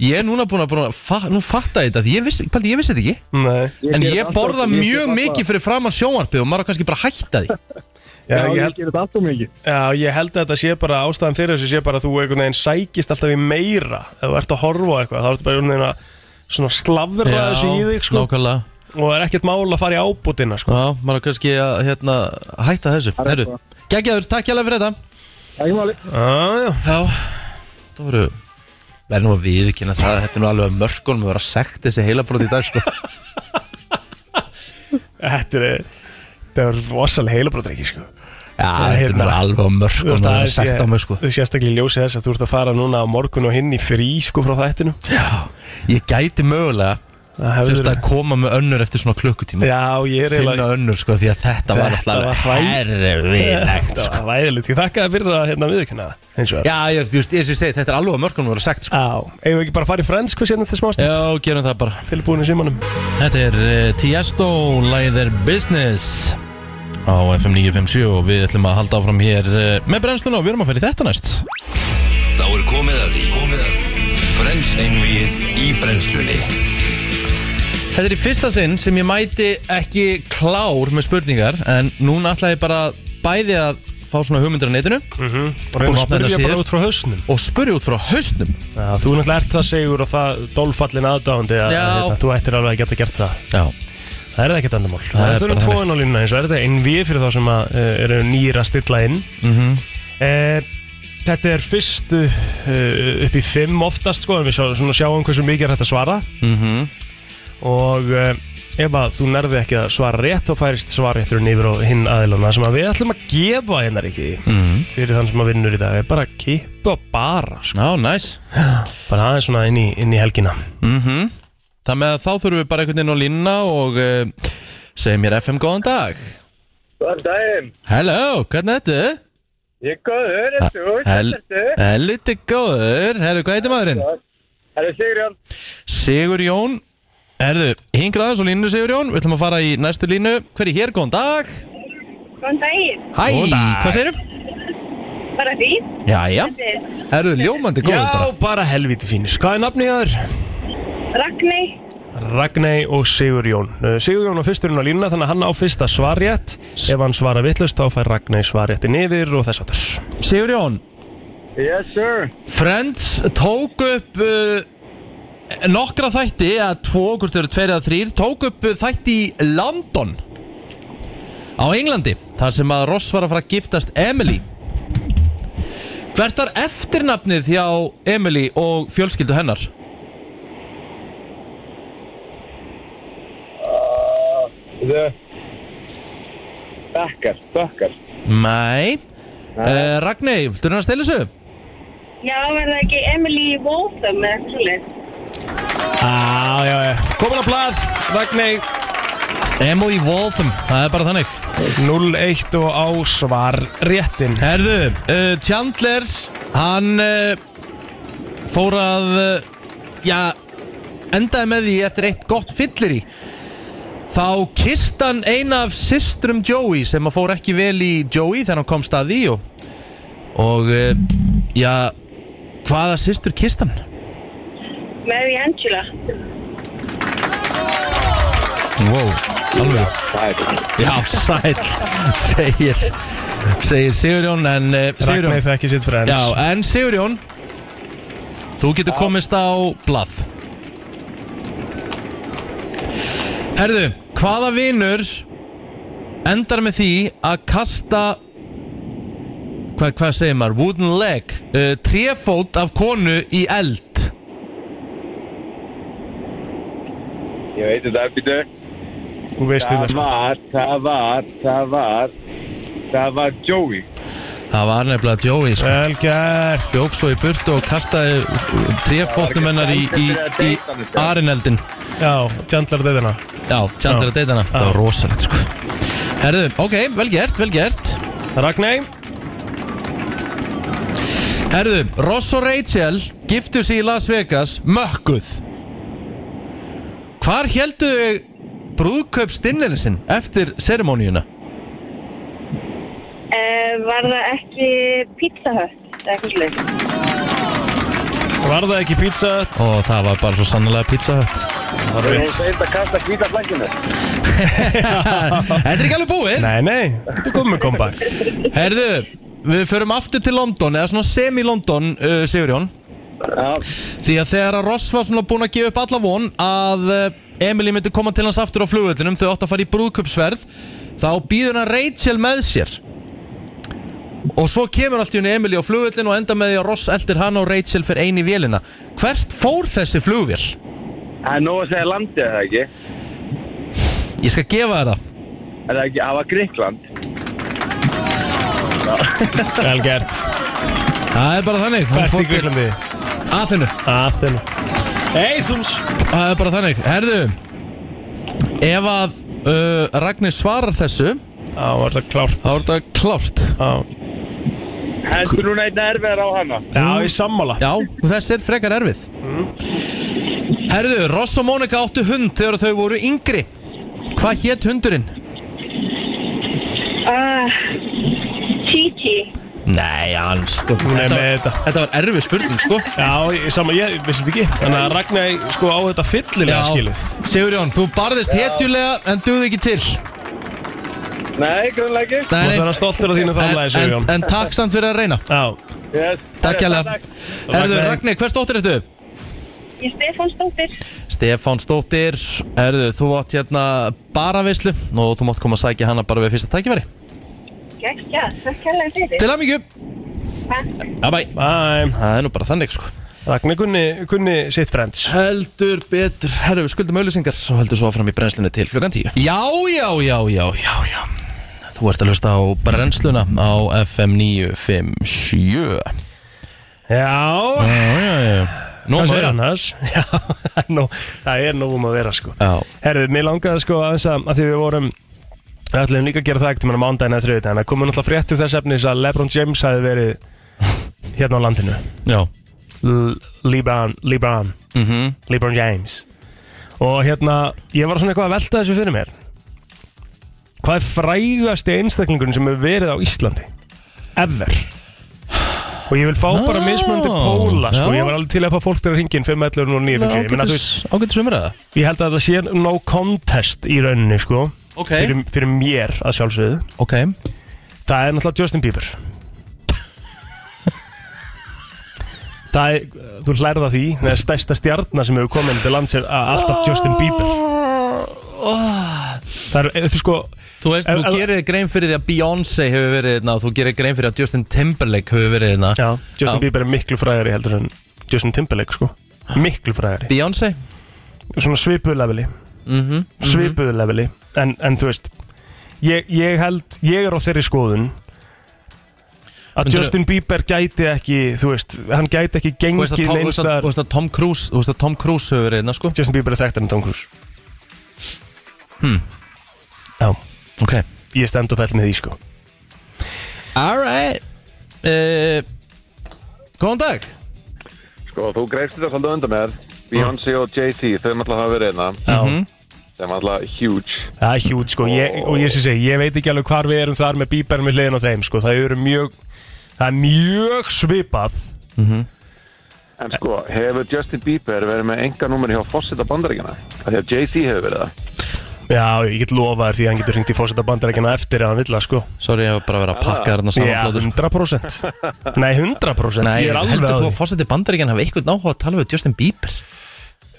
[SPEAKER 1] Ég er núna búin að, búin að fa nú fatta þetta Því ég vissi, paldi, ég vissi þetta ekki
[SPEAKER 2] Nei
[SPEAKER 1] En
[SPEAKER 8] geri
[SPEAKER 1] ég
[SPEAKER 8] þetta
[SPEAKER 1] borða
[SPEAKER 8] alltaf, ég
[SPEAKER 1] mjög
[SPEAKER 8] geri þetta
[SPEAKER 1] mikið fyrir framann sjónvarpi og maður á kannski bara að hætta því
[SPEAKER 2] Já, ég held
[SPEAKER 8] gerir þetta alltaf mikið
[SPEAKER 2] Já, ég held að þetta sé bara ástæðan fyrir þessu sé bara að þú einhvern veginn sækist alltaf í meira ef þú ert að horfa á eitthvað, þá ertu bara einhvern veginn að svona slavra þessu í þig sko,
[SPEAKER 1] nákvæmlega
[SPEAKER 2] og það er ekkert mál að fara í ábútina sko.
[SPEAKER 1] Já, maður á kannski að hérna, hætta þessu Herru, geggjaður, takk hjá fyrir þetta
[SPEAKER 8] Ekki máli
[SPEAKER 2] ah, já.
[SPEAKER 1] Já, það voru verður nú að viðkynna það að þetta er nú alveg mörgunum að vera sagt þessi heilabrót í dag [laughs] sko.
[SPEAKER 2] Þetta er þetta er rosalega heilabrótreiki sko.
[SPEAKER 1] Já, þetta er
[SPEAKER 2] hérna.
[SPEAKER 1] nú alveg mörgunum að vera sagt á mig sko.
[SPEAKER 2] Þú sérstaklega í ljósi þess að þú ert að fara núna á morgun og hinn í frí sko frá þættinu
[SPEAKER 1] Já, ég gæti mögulega
[SPEAKER 2] Það hefur
[SPEAKER 1] þurft að koma með önnur eftir svona klukkutíma
[SPEAKER 2] Já, ég er
[SPEAKER 1] finna önnur sko því að þetta var
[SPEAKER 2] Þetta var
[SPEAKER 1] alltaf
[SPEAKER 2] hræ-
[SPEAKER 1] [laughs] herfilegt
[SPEAKER 2] Þetta var ræðilegt, ég þakka að fyrir að hérna viðkynna það eins og það
[SPEAKER 1] Já, ég, þú veist, eins og ég segi, þetta er alveg mörgunum að vera sagt sko.
[SPEAKER 2] Já, eigum við ekki bara að fara í frends hvað sérna þetta smástund?
[SPEAKER 1] Já, gerum það bara
[SPEAKER 2] Tilbúin í símanum
[SPEAKER 1] Þetta er uh, Tiesto, lagið er Business á FM 957 og við ætlum að halda áfram hér uh, með brennsluna og við erum að fara í þetta næst
[SPEAKER 4] Þá er komið að því Komið að því Frens einvið í brennslunni
[SPEAKER 1] Þetta er í fyrsta sinn sem ég mæti ekki klár með spurningar en núna ætla ég bara bæði að fá svona hugmyndir á netinu
[SPEAKER 2] Mhm. og
[SPEAKER 1] Búin að
[SPEAKER 2] reyna að
[SPEAKER 1] opna
[SPEAKER 2] spyrja
[SPEAKER 1] þetta
[SPEAKER 2] bara
[SPEAKER 1] síður.
[SPEAKER 2] út frá hausnum
[SPEAKER 1] og spurja út frá hausnum
[SPEAKER 2] Já, þú náttúrulega ert það segur og það dólfallin aðdáðandi að
[SPEAKER 1] Já.
[SPEAKER 2] hérna, þú ættir alveg að geta gert það
[SPEAKER 1] Já,
[SPEAKER 2] Það er það ekkert andamál
[SPEAKER 1] er
[SPEAKER 2] Það er
[SPEAKER 1] bara
[SPEAKER 2] þurfum
[SPEAKER 1] þannig.
[SPEAKER 2] tvoðin á línuna eins og er þetta einn við fyrir þá sem að, uh, eru nýra að stilla inn mm
[SPEAKER 1] Mhm.
[SPEAKER 2] Þetta er fyrst uh, upp í fimm oftast sko en við sjá, svona sjáum hversu mikið er hægt að svara
[SPEAKER 1] Mhm.
[SPEAKER 2] -hmm. og uh, ef að þú nærði ekki að svara rétt þá færist svarrétturinn yfir á hinn aðilana sem að við ætlum að gefa hennar ekki
[SPEAKER 1] Mhm.
[SPEAKER 2] fyrir þann sem að vinnur í dag er bara kippa og bara sko.
[SPEAKER 1] Ná, næs
[SPEAKER 2] bara aðeins svona inn í, inn í helgina
[SPEAKER 1] Það með að þá þurfum við bara einhvern veginn á línuna og uh, segja mér FM góðan dag
[SPEAKER 9] Góðan daginn.
[SPEAKER 1] Hello, hvernig ertu?
[SPEAKER 9] Ég er góður, en þú,
[SPEAKER 1] Hel- Helviti góður, herru, hvað heitir maðurinn?
[SPEAKER 9] Það er Sigurjón.
[SPEAKER 1] Sigur Jón Herðu, hingrað aðeins og línu Sigur Jón Við ætlum að fara í næstu línu Hver er hér, góðan dag
[SPEAKER 5] Góðan daginn,
[SPEAKER 1] Hæ, hvað segirum?
[SPEAKER 5] bara fín.
[SPEAKER 1] Jæja,
[SPEAKER 5] Þetta er
[SPEAKER 1] herðu, ljómandi góður
[SPEAKER 2] Já,
[SPEAKER 1] bara
[SPEAKER 2] bara helviti fínus Hvað er nafnið þér?
[SPEAKER 5] Ragney,
[SPEAKER 2] Ragnæ og Sigurjón Uh, Sigurjón á fyrsturinn á línuna þannig að hann á fyrsta svarjætt Ef hann svara vittlust þá fær Ragnæ svarjættin yfir og þess að þess
[SPEAKER 1] Sigur Jón,
[SPEAKER 8] Yes sir
[SPEAKER 1] Friends tók upp uh, nokkra þætti eða tvo, hvort þau eru tveir eða þrýr tók upp uh, þætti í London á Englandi þar sem að Ross var að fara að giftast Emily Hvert var eftirnafnið hjá Emily og fjölskyldu hennar?
[SPEAKER 8] Uh,
[SPEAKER 9] Bekkar, bekkar.
[SPEAKER 1] Nei uh, Ragney, viltu hérna að stela þessu?
[SPEAKER 5] Já, er það ekki Emily Waltham með svolít?
[SPEAKER 2] Já, já, já Eh, Komin að blað, Ragney
[SPEAKER 1] Emily Waltham, það er bara þannig
[SPEAKER 2] 0-1 og ásvar réttin
[SPEAKER 1] Herðu, uh, Chandler Hann uh, fór að uh, Já, endaði með því eftir eitt gott fyllir í Þá kist hann eina af systrum Joey sem að fór ekki vel í Joey þegar hann komst að því og, og uh, já, hvaða systur kist hann?
[SPEAKER 5] Mary Angela.
[SPEAKER 1] Wow, alveg Já, sæl segir, segir Sigurjón en uh, Sigurjón
[SPEAKER 2] Ragney þekki sitt frends
[SPEAKER 1] Já, en Sigurjón Þú getur komist á blað Herðu, hvaða vinur endar með því að kasta hvað, hvað segir maður, wooden leg uh, trefót af konu í eld
[SPEAKER 9] Ég veit þetta, býtu.
[SPEAKER 2] Þú veist þetta
[SPEAKER 9] Það
[SPEAKER 2] sko
[SPEAKER 9] var, það var, það var, það var Joey.
[SPEAKER 1] Það var nefnilega Joey sko.
[SPEAKER 2] Vel gert
[SPEAKER 1] Bjók svo í burtu og kastaði uh, trefótnum hennar í, í, í, í arineldin
[SPEAKER 2] Já, Chandler dæðina
[SPEAKER 1] Já, Chandler að deyta hana Það var rosalegt sko Herðu, ok, vel gert, vel gert
[SPEAKER 2] Ragney
[SPEAKER 1] Herðu, Ross og Rachel giftu sig í Las Vegas mökkuð Hvar heldu þau brúðkaup stinninu sinn eftir serimóníuna?
[SPEAKER 5] Uh, var það ekki Pizza Hut? eða eitthvað svoleiðis?
[SPEAKER 2] Var það ekki pizza? Hut?
[SPEAKER 1] Og það var bara svo sannlega pizza hött
[SPEAKER 2] Það var rétt
[SPEAKER 9] Þetta kasta hvíta flækjunu.
[SPEAKER 1] [laughs] Þetta er ekki alveg búið
[SPEAKER 2] Nei, nei, þetta er komið kompakt
[SPEAKER 1] Herðu, við förum aftur til London eða svona semi-London, uh, Sigurjón Því að þegar að Ross var svona búinn að gefa upp alla von að eh, Emily myndi koma til hans aftur á flugvöldunum þau átt að fara í brúðkupsverð þá býður hann Rachel með sér og svo kemur allt í henni Emily á flugvöldin og enda með því að Ross eldir hann og Rachel fyrir eini vélina Hvert fór þessi flugvél?
[SPEAKER 9] Það er nóg að segja landið, er það ekki?
[SPEAKER 1] Ég skal gefa þér það
[SPEAKER 9] Er það ekki, það var Gríkland.
[SPEAKER 2] Vel gert
[SPEAKER 1] Það er bara þannig Hún
[SPEAKER 2] Hvert
[SPEAKER 1] fór
[SPEAKER 2] í Guðlandi?
[SPEAKER 1] til Aþenu
[SPEAKER 2] Athena Eithums
[SPEAKER 1] Það er bara þannig Herðu Ef að uh, Ragnar svarar þessu
[SPEAKER 2] Já, var það klárt
[SPEAKER 1] þá er þetta klárt
[SPEAKER 2] Já,
[SPEAKER 9] Hendur núna einn erfiðar á hana.
[SPEAKER 2] já ég sammála
[SPEAKER 1] Já, og þessi er frekar erfið Herðu, Ross og Mónika áttu hund þegar þau voru yngri Hvað hétt hundurinn?
[SPEAKER 5] Ah, Titi.
[SPEAKER 1] Nei, hann sko
[SPEAKER 2] Hún er
[SPEAKER 1] þetta,
[SPEAKER 2] með þetta
[SPEAKER 1] þetta var erfið spurning sko
[SPEAKER 2] Já, ég, sama, ég vissi þetta ekki Þannig að Ragnar sko á þetta fyllilega skilið
[SPEAKER 1] Sigurjón, þú barðist hetjulega en duði ekki til
[SPEAKER 9] Nei, grunnlega ekki.
[SPEAKER 2] Þú
[SPEAKER 1] Nei,
[SPEAKER 2] þarf að
[SPEAKER 1] nei,
[SPEAKER 2] stoltur á þínu
[SPEAKER 1] en,
[SPEAKER 2] framlæði,
[SPEAKER 1] en,
[SPEAKER 2] Sigurjón
[SPEAKER 1] en takk samt fyrir að reyna
[SPEAKER 2] Já,
[SPEAKER 9] Yes.
[SPEAKER 1] Takk hérlega Herðu,
[SPEAKER 2] Ragnar-
[SPEAKER 1] Ragnar, hvers dóttir ertu?
[SPEAKER 5] Ég er Stefánsdóttir.
[SPEAKER 1] Stefán Stóttir, herðu, þú átt hérna bara veislu og þú mátt koma að sækja hana bara við fyrsta tækifæri
[SPEAKER 5] Gekkja, takk hérlega fyrir.
[SPEAKER 1] Til að mikið Það
[SPEAKER 2] bæ
[SPEAKER 1] er nú bara þannig sko
[SPEAKER 2] Ragnar kunni, kunni sitt frends
[SPEAKER 1] Heldur betur, herru við skuldum auðlýsingar og heldur svo áfram í brennslunni til klukkan 10 Já, já, já, já, já, já Þú ert að hlusta á brennsluna á FM 957
[SPEAKER 2] Já,
[SPEAKER 1] Já, já, já Nú
[SPEAKER 2] hvað
[SPEAKER 1] maður
[SPEAKER 2] segir
[SPEAKER 1] hann
[SPEAKER 2] annars? [laughs] Já, nú, það er nóg um að vera sko
[SPEAKER 1] Já,
[SPEAKER 2] Herðu, mér langaði sko aðeins að, að því við vorum Við ætlum líka að gera það ekkert um hann á mándaginn eða þriðið En það komum náttúrulega fréttu þess efnis að Lebron James hafi verið hérna á landinu
[SPEAKER 1] já
[SPEAKER 2] L- Lebron, Lebron,
[SPEAKER 1] mm -hmm.
[SPEAKER 2] Lebron James Og hérna, ég var svona eitthvað að velta þessu fyrir mér Hvað er frægasti einstaklingun sem hefur verið á Íslandi? Ever Og ég vil fá bara
[SPEAKER 1] Ah,
[SPEAKER 2] mismunandi póla sko.
[SPEAKER 1] já.
[SPEAKER 2] Ég var alveg til að fá fólk til að hringja inn 5, 11 og 9 Ég meina, þú veist,
[SPEAKER 1] Ágættis umræða
[SPEAKER 2] Ég held að það sé no contest í rauninni sko
[SPEAKER 1] Ok,
[SPEAKER 2] fyrir, fyrir mér að sjálfsögðu
[SPEAKER 1] ok
[SPEAKER 2] Það er náttúrulega Justin Bieber Það er, þú hlærða því Það er stærsta stjarnar sem hefur komið til lands er að alltaf Justin Bieber Það er, þú sko
[SPEAKER 1] Þú veist,
[SPEAKER 2] En-
[SPEAKER 1] þú
[SPEAKER 2] en-
[SPEAKER 1] gerir grein fyrir því að Beyoncé hefur verið þarna og þú gerir grein fyrir að Justin Timberlake hefur verið hérna. þarna
[SPEAKER 2] já, Justin
[SPEAKER 1] Já.
[SPEAKER 2] Bieber er miklu fræðari heldur en Justin Timberlake sko Miklu fræðari
[SPEAKER 1] Beyoncé
[SPEAKER 2] Svona svipuðlefili
[SPEAKER 1] Mhm,
[SPEAKER 2] svipuðu leveli en, en þú veist ég, ég held, ég er á þeirri skoðun að
[SPEAKER 1] Myndirðu-
[SPEAKER 2] Justin Bieber gæti ekki, þú veist hann gæti ekki
[SPEAKER 1] Þú veist að Tom-
[SPEAKER 2] gengið
[SPEAKER 1] þú
[SPEAKER 2] neins
[SPEAKER 1] veist að-
[SPEAKER 2] staðar-
[SPEAKER 1] þú veist að Tom Cruise Þú veist að Tom Cruise hefur verið einna sko
[SPEAKER 2] Justin Bieber er þekkt en Tom Cruise
[SPEAKER 1] Hmm.
[SPEAKER 2] Já,
[SPEAKER 1] Ok
[SPEAKER 2] ég stend og fell með því sko
[SPEAKER 1] Alright uh, Góðan dag
[SPEAKER 7] Sko, þú greifst þetta svolítið undan mér Beyoncé og Jay-Z, þau náttúrulega hafa verið einna
[SPEAKER 2] Já.
[SPEAKER 7] sem náttúrulega huge
[SPEAKER 2] Það er hjút sko, ég, og ég sé segi, ég veit ekki alveg hvar við erum þar með Bieber með hliðin á þeim sko, það eru mjög það er mjög svipað
[SPEAKER 7] En sko, hefur Justin Bieber verið með enga númer hjá Fossita bandaríkjana? Því að Jay-Z hefur verið það
[SPEAKER 2] Já, ég get lofa þér því að hann getur hringt í fósetta bandarækina eftir ef hann vill það sko
[SPEAKER 1] Sorry, ég hef bara verið að pakka þarna saman
[SPEAKER 2] Já,
[SPEAKER 1] plötur, sko.
[SPEAKER 2] 100% Nei, 100%
[SPEAKER 1] Nei,
[SPEAKER 2] Ég er alveg
[SPEAKER 1] heldur
[SPEAKER 2] að
[SPEAKER 1] þú
[SPEAKER 2] því
[SPEAKER 1] að fórseti bandaríkjan hafa eitthvað náhuga að tala við Justin Bieber?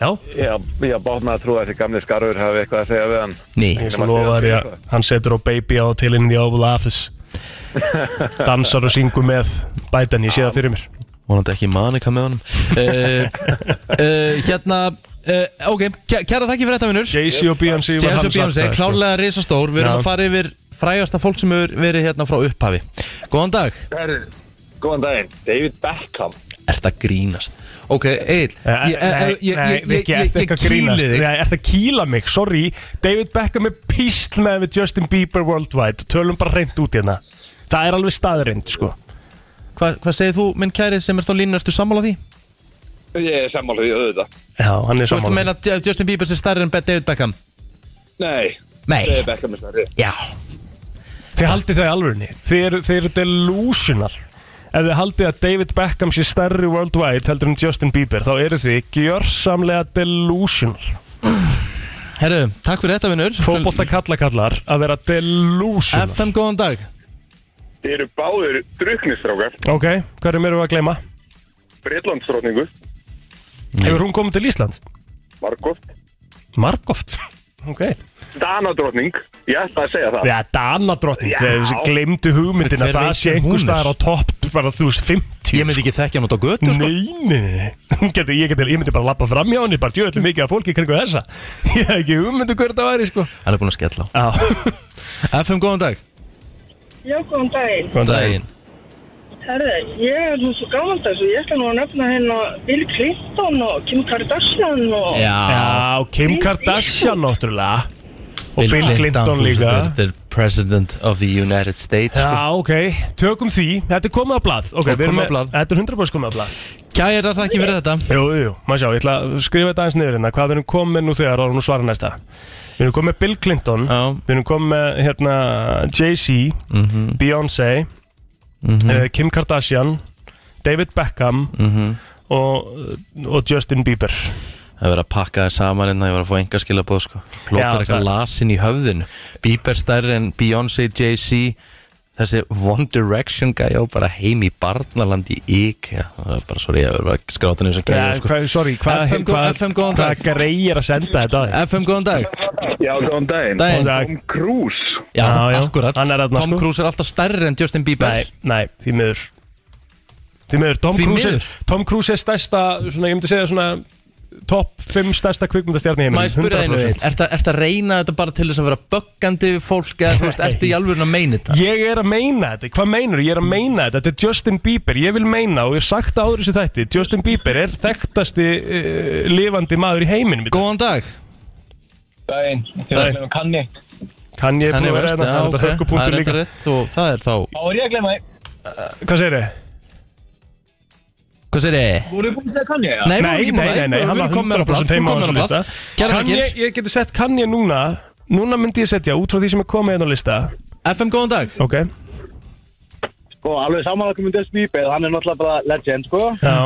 [SPEAKER 2] Já,
[SPEAKER 7] Já, ég bátna að trúa að þessi gamli skarfur hafi eitthvað að segja við hann
[SPEAKER 1] Nei
[SPEAKER 2] ég skal lofa þér að hann setur á baby á til inn í Oval Office Dansar og syngur með Biden, ég sé það fyrir mér
[SPEAKER 1] Vonandi ekki manika með honum uh, uh, Hérna uh, Ok, kæ- kæra þakki fyrir þetta vinnur
[SPEAKER 2] Jay-Z og Beyoncé var
[SPEAKER 1] Jens
[SPEAKER 2] hann
[SPEAKER 1] og Bjónsi,
[SPEAKER 2] sagt það, sko.
[SPEAKER 1] klárlega risastór Við erum
[SPEAKER 2] Já.
[SPEAKER 1] að fara yfir frægasta fólk sem hefur verið hérna frá upphafi Góðan dag
[SPEAKER 6] Góðan daginn, David Beckham
[SPEAKER 1] Ert að grínast Ok, Egil
[SPEAKER 2] Nei,
[SPEAKER 1] eh,
[SPEAKER 2] nei, nei, Viki, eh, ertu eitthvað að grínast? Nei, Eh, ertu að kýla mig, sorry David Beckham er písl með við Justin Bieber Worldwide Tölum bara reynd út hérna Það er alveg staðreind, sko
[SPEAKER 1] Hvað hvað segir þú, minn kæri, sem ert á línu, ertu sammála því?
[SPEAKER 6] Ég er sammála því auðvitað
[SPEAKER 2] Já, hann er
[SPEAKER 1] Þú veist að
[SPEAKER 2] sammála
[SPEAKER 1] meina að Justin Bieber sé stærri en David Beckham?
[SPEAKER 6] Nei,
[SPEAKER 1] Nei,
[SPEAKER 6] David Beckham er stærri
[SPEAKER 1] já
[SPEAKER 2] Þið haldið það í alvörunni Þið eru, þið eru delusional Ef þið haldið að David Beckham sé stærri worldwide heldur en Justin Bieber þá eru þið gjörsamlega delusional
[SPEAKER 1] Herru, takk fyrir þetta vinnur
[SPEAKER 2] Fótbolta kallakallar að vera delusional
[SPEAKER 1] FM, góðan dag
[SPEAKER 6] Þið eru báðir druknistrákar
[SPEAKER 2] Ok, hverjum erum við að gleyma?
[SPEAKER 6] Breitlandsdrótningu,
[SPEAKER 1] Mm.
[SPEAKER 2] Hefur hún komið til Ísland?
[SPEAKER 6] Markov
[SPEAKER 1] [laughs]
[SPEAKER 2] Margoft Ok
[SPEAKER 6] Danadrótning, ég ætla að segja það
[SPEAKER 2] Já, Danadrottning Þeir glemdu hugmyndin
[SPEAKER 1] Hver
[SPEAKER 2] að það
[SPEAKER 1] veit
[SPEAKER 2] sé
[SPEAKER 1] hver hún
[SPEAKER 2] einhver
[SPEAKER 1] er?
[SPEAKER 2] staðar á topp bara þú veist 50
[SPEAKER 1] Ég myndi ekki þekkja hann út á götu sko.
[SPEAKER 2] Nei, nei, nei, nei. Hún Geti, ég, geti, ég myndi bara lappa fram hjá henni bara djöðlega mikið af fólki kringu þessa [laughs] ég hef ekki ummyndu hver það væri sko
[SPEAKER 1] Hann er búin að skella
[SPEAKER 2] Já,
[SPEAKER 1] á FM, góðan dag
[SPEAKER 5] Já, góðan daginn.
[SPEAKER 2] [laughs] góðan
[SPEAKER 1] Daginn
[SPEAKER 5] Herði, ég er nú svo gamaldags og ég ætla nú að nefna hérna Bill Clinton og Kim Kardashian og...
[SPEAKER 1] Já
[SPEAKER 2] Já, Kim Kardashian náttúrulega og Bill Clinton, líka
[SPEAKER 1] Þetta er President of the United States sko.
[SPEAKER 2] Já, ok, tökum því Þetta er komið á blað, ok,
[SPEAKER 1] Og
[SPEAKER 2] við erum
[SPEAKER 1] komið á
[SPEAKER 2] með-
[SPEAKER 1] blað.
[SPEAKER 2] Þetta er 100% komið á blað
[SPEAKER 1] Kæra, þakki fyrir þetta
[SPEAKER 2] Jú, jú, jú, maður sjá, ég ætla að skrifa þetta aðeins niður hérna Hvað við erum komið með nú þegar og nú svara næsta Við erum komið með Bill Clinton
[SPEAKER 1] Já.
[SPEAKER 2] Við erum komið með, hérna, Jay-Z
[SPEAKER 1] Mhm.
[SPEAKER 2] Beyoncé eh, Kim Kardashian David Beckham
[SPEAKER 1] Mhm.
[SPEAKER 2] og, og Justin Bieber
[SPEAKER 1] Það er verið að pakka það saman en það er verið að fá enga skilabóð sko. Plótar
[SPEAKER 2] Já,
[SPEAKER 1] eitthvað
[SPEAKER 2] það-
[SPEAKER 1] lasin í höfðinu Bieber stærri en Beyoncé, Jay-Z Þessi One Direction gæja og bara heim í barnaland í IKEA Það er bara, sorry, ég verið bara skrátan eins og
[SPEAKER 2] Ja,
[SPEAKER 1] gæja sko.
[SPEAKER 2] hva, sorry, hvað
[SPEAKER 1] FM,
[SPEAKER 2] hva,
[SPEAKER 1] FM, góðan dag.
[SPEAKER 2] hvað greið er að senda þetta á þig?
[SPEAKER 1] FM, góðan dag
[SPEAKER 8] Já, góðan daginn.
[SPEAKER 1] Daginn.
[SPEAKER 2] Dag.
[SPEAKER 8] Cruise.
[SPEAKER 1] Já,
[SPEAKER 2] Já, já,
[SPEAKER 1] akkurat
[SPEAKER 2] hann er þarna,
[SPEAKER 1] Tom
[SPEAKER 2] sko.
[SPEAKER 1] Cruise er alltaf stærri en Justin Bieber
[SPEAKER 2] Nei, nei, því miður Því miður, Tom,
[SPEAKER 1] Því
[SPEAKER 2] Cruise,
[SPEAKER 1] miður?
[SPEAKER 2] Er, Tom Cruise er stærsta svona, ég myndi segja svona topp 5 stærsta kvikmyndastjarni heiminn
[SPEAKER 1] Má ég spyrja einu veit, ertu ert að reyna þetta bara til þess að vera böggandi við fólk eða þú veist, ertu í alveg að meina þetta?
[SPEAKER 2] Ég er að meina þetta, hvað meinur ég er að meina þetta, þetta er Justin Bieber, ég vil meina og ég hef sagt það áður í þessu þætti, Justin Bieber er þekktasti uh, lifandi maður í heiminum í dag.
[SPEAKER 1] Góðan dag
[SPEAKER 9] Daginn, þið
[SPEAKER 1] Daginn.
[SPEAKER 9] erum að kanni.
[SPEAKER 2] Kann ég búið
[SPEAKER 1] Þannig
[SPEAKER 2] að vera
[SPEAKER 1] veist,
[SPEAKER 2] hérna,
[SPEAKER 1] já,
[SPEAKER 2] það er
[SPEAKER 1] ok,
[SPEAKER 2] þetta
[SPEAKER 1] það er
[SPEAKER 2] hörkupunktur
[SPEAKER 1] þetta
[SPEAKER 2] líka
[SPEAKER 1] rétt og það er þá
[SPEAKER 9] Þá er ég að glemma þig.
[SPEAKER 2] Hvað segir þið?
[SPEAKER 1] Hvað sér ég?
[SPEAKER 9] Þú eru búin að segja kanni, eða?
[SPEAKER 1] Nei,
[SPEAKER 2] Nei, nei, nei, nei, hann
[SPEAKER 1] hann
[SPEAKER 2] var 100% heima á þessum lista
[SPEAKER 1] Kæra
[SPEAKER 2] Kann ég,
[SPEAKER 1] takkir,
[SPEAKER 2] ég geti sett kann ég núna, núna myndi ég setja út frá því sem er komið hérna á lista
[SPEAKER 1] FM góðan dag
[SPEAKER 2] Ok,
[SPEAKER 9] Sko, alveg samanlakum um Justin Bieber, hann er náttúrulega bara legend, sko.
[SPEAKER 2] já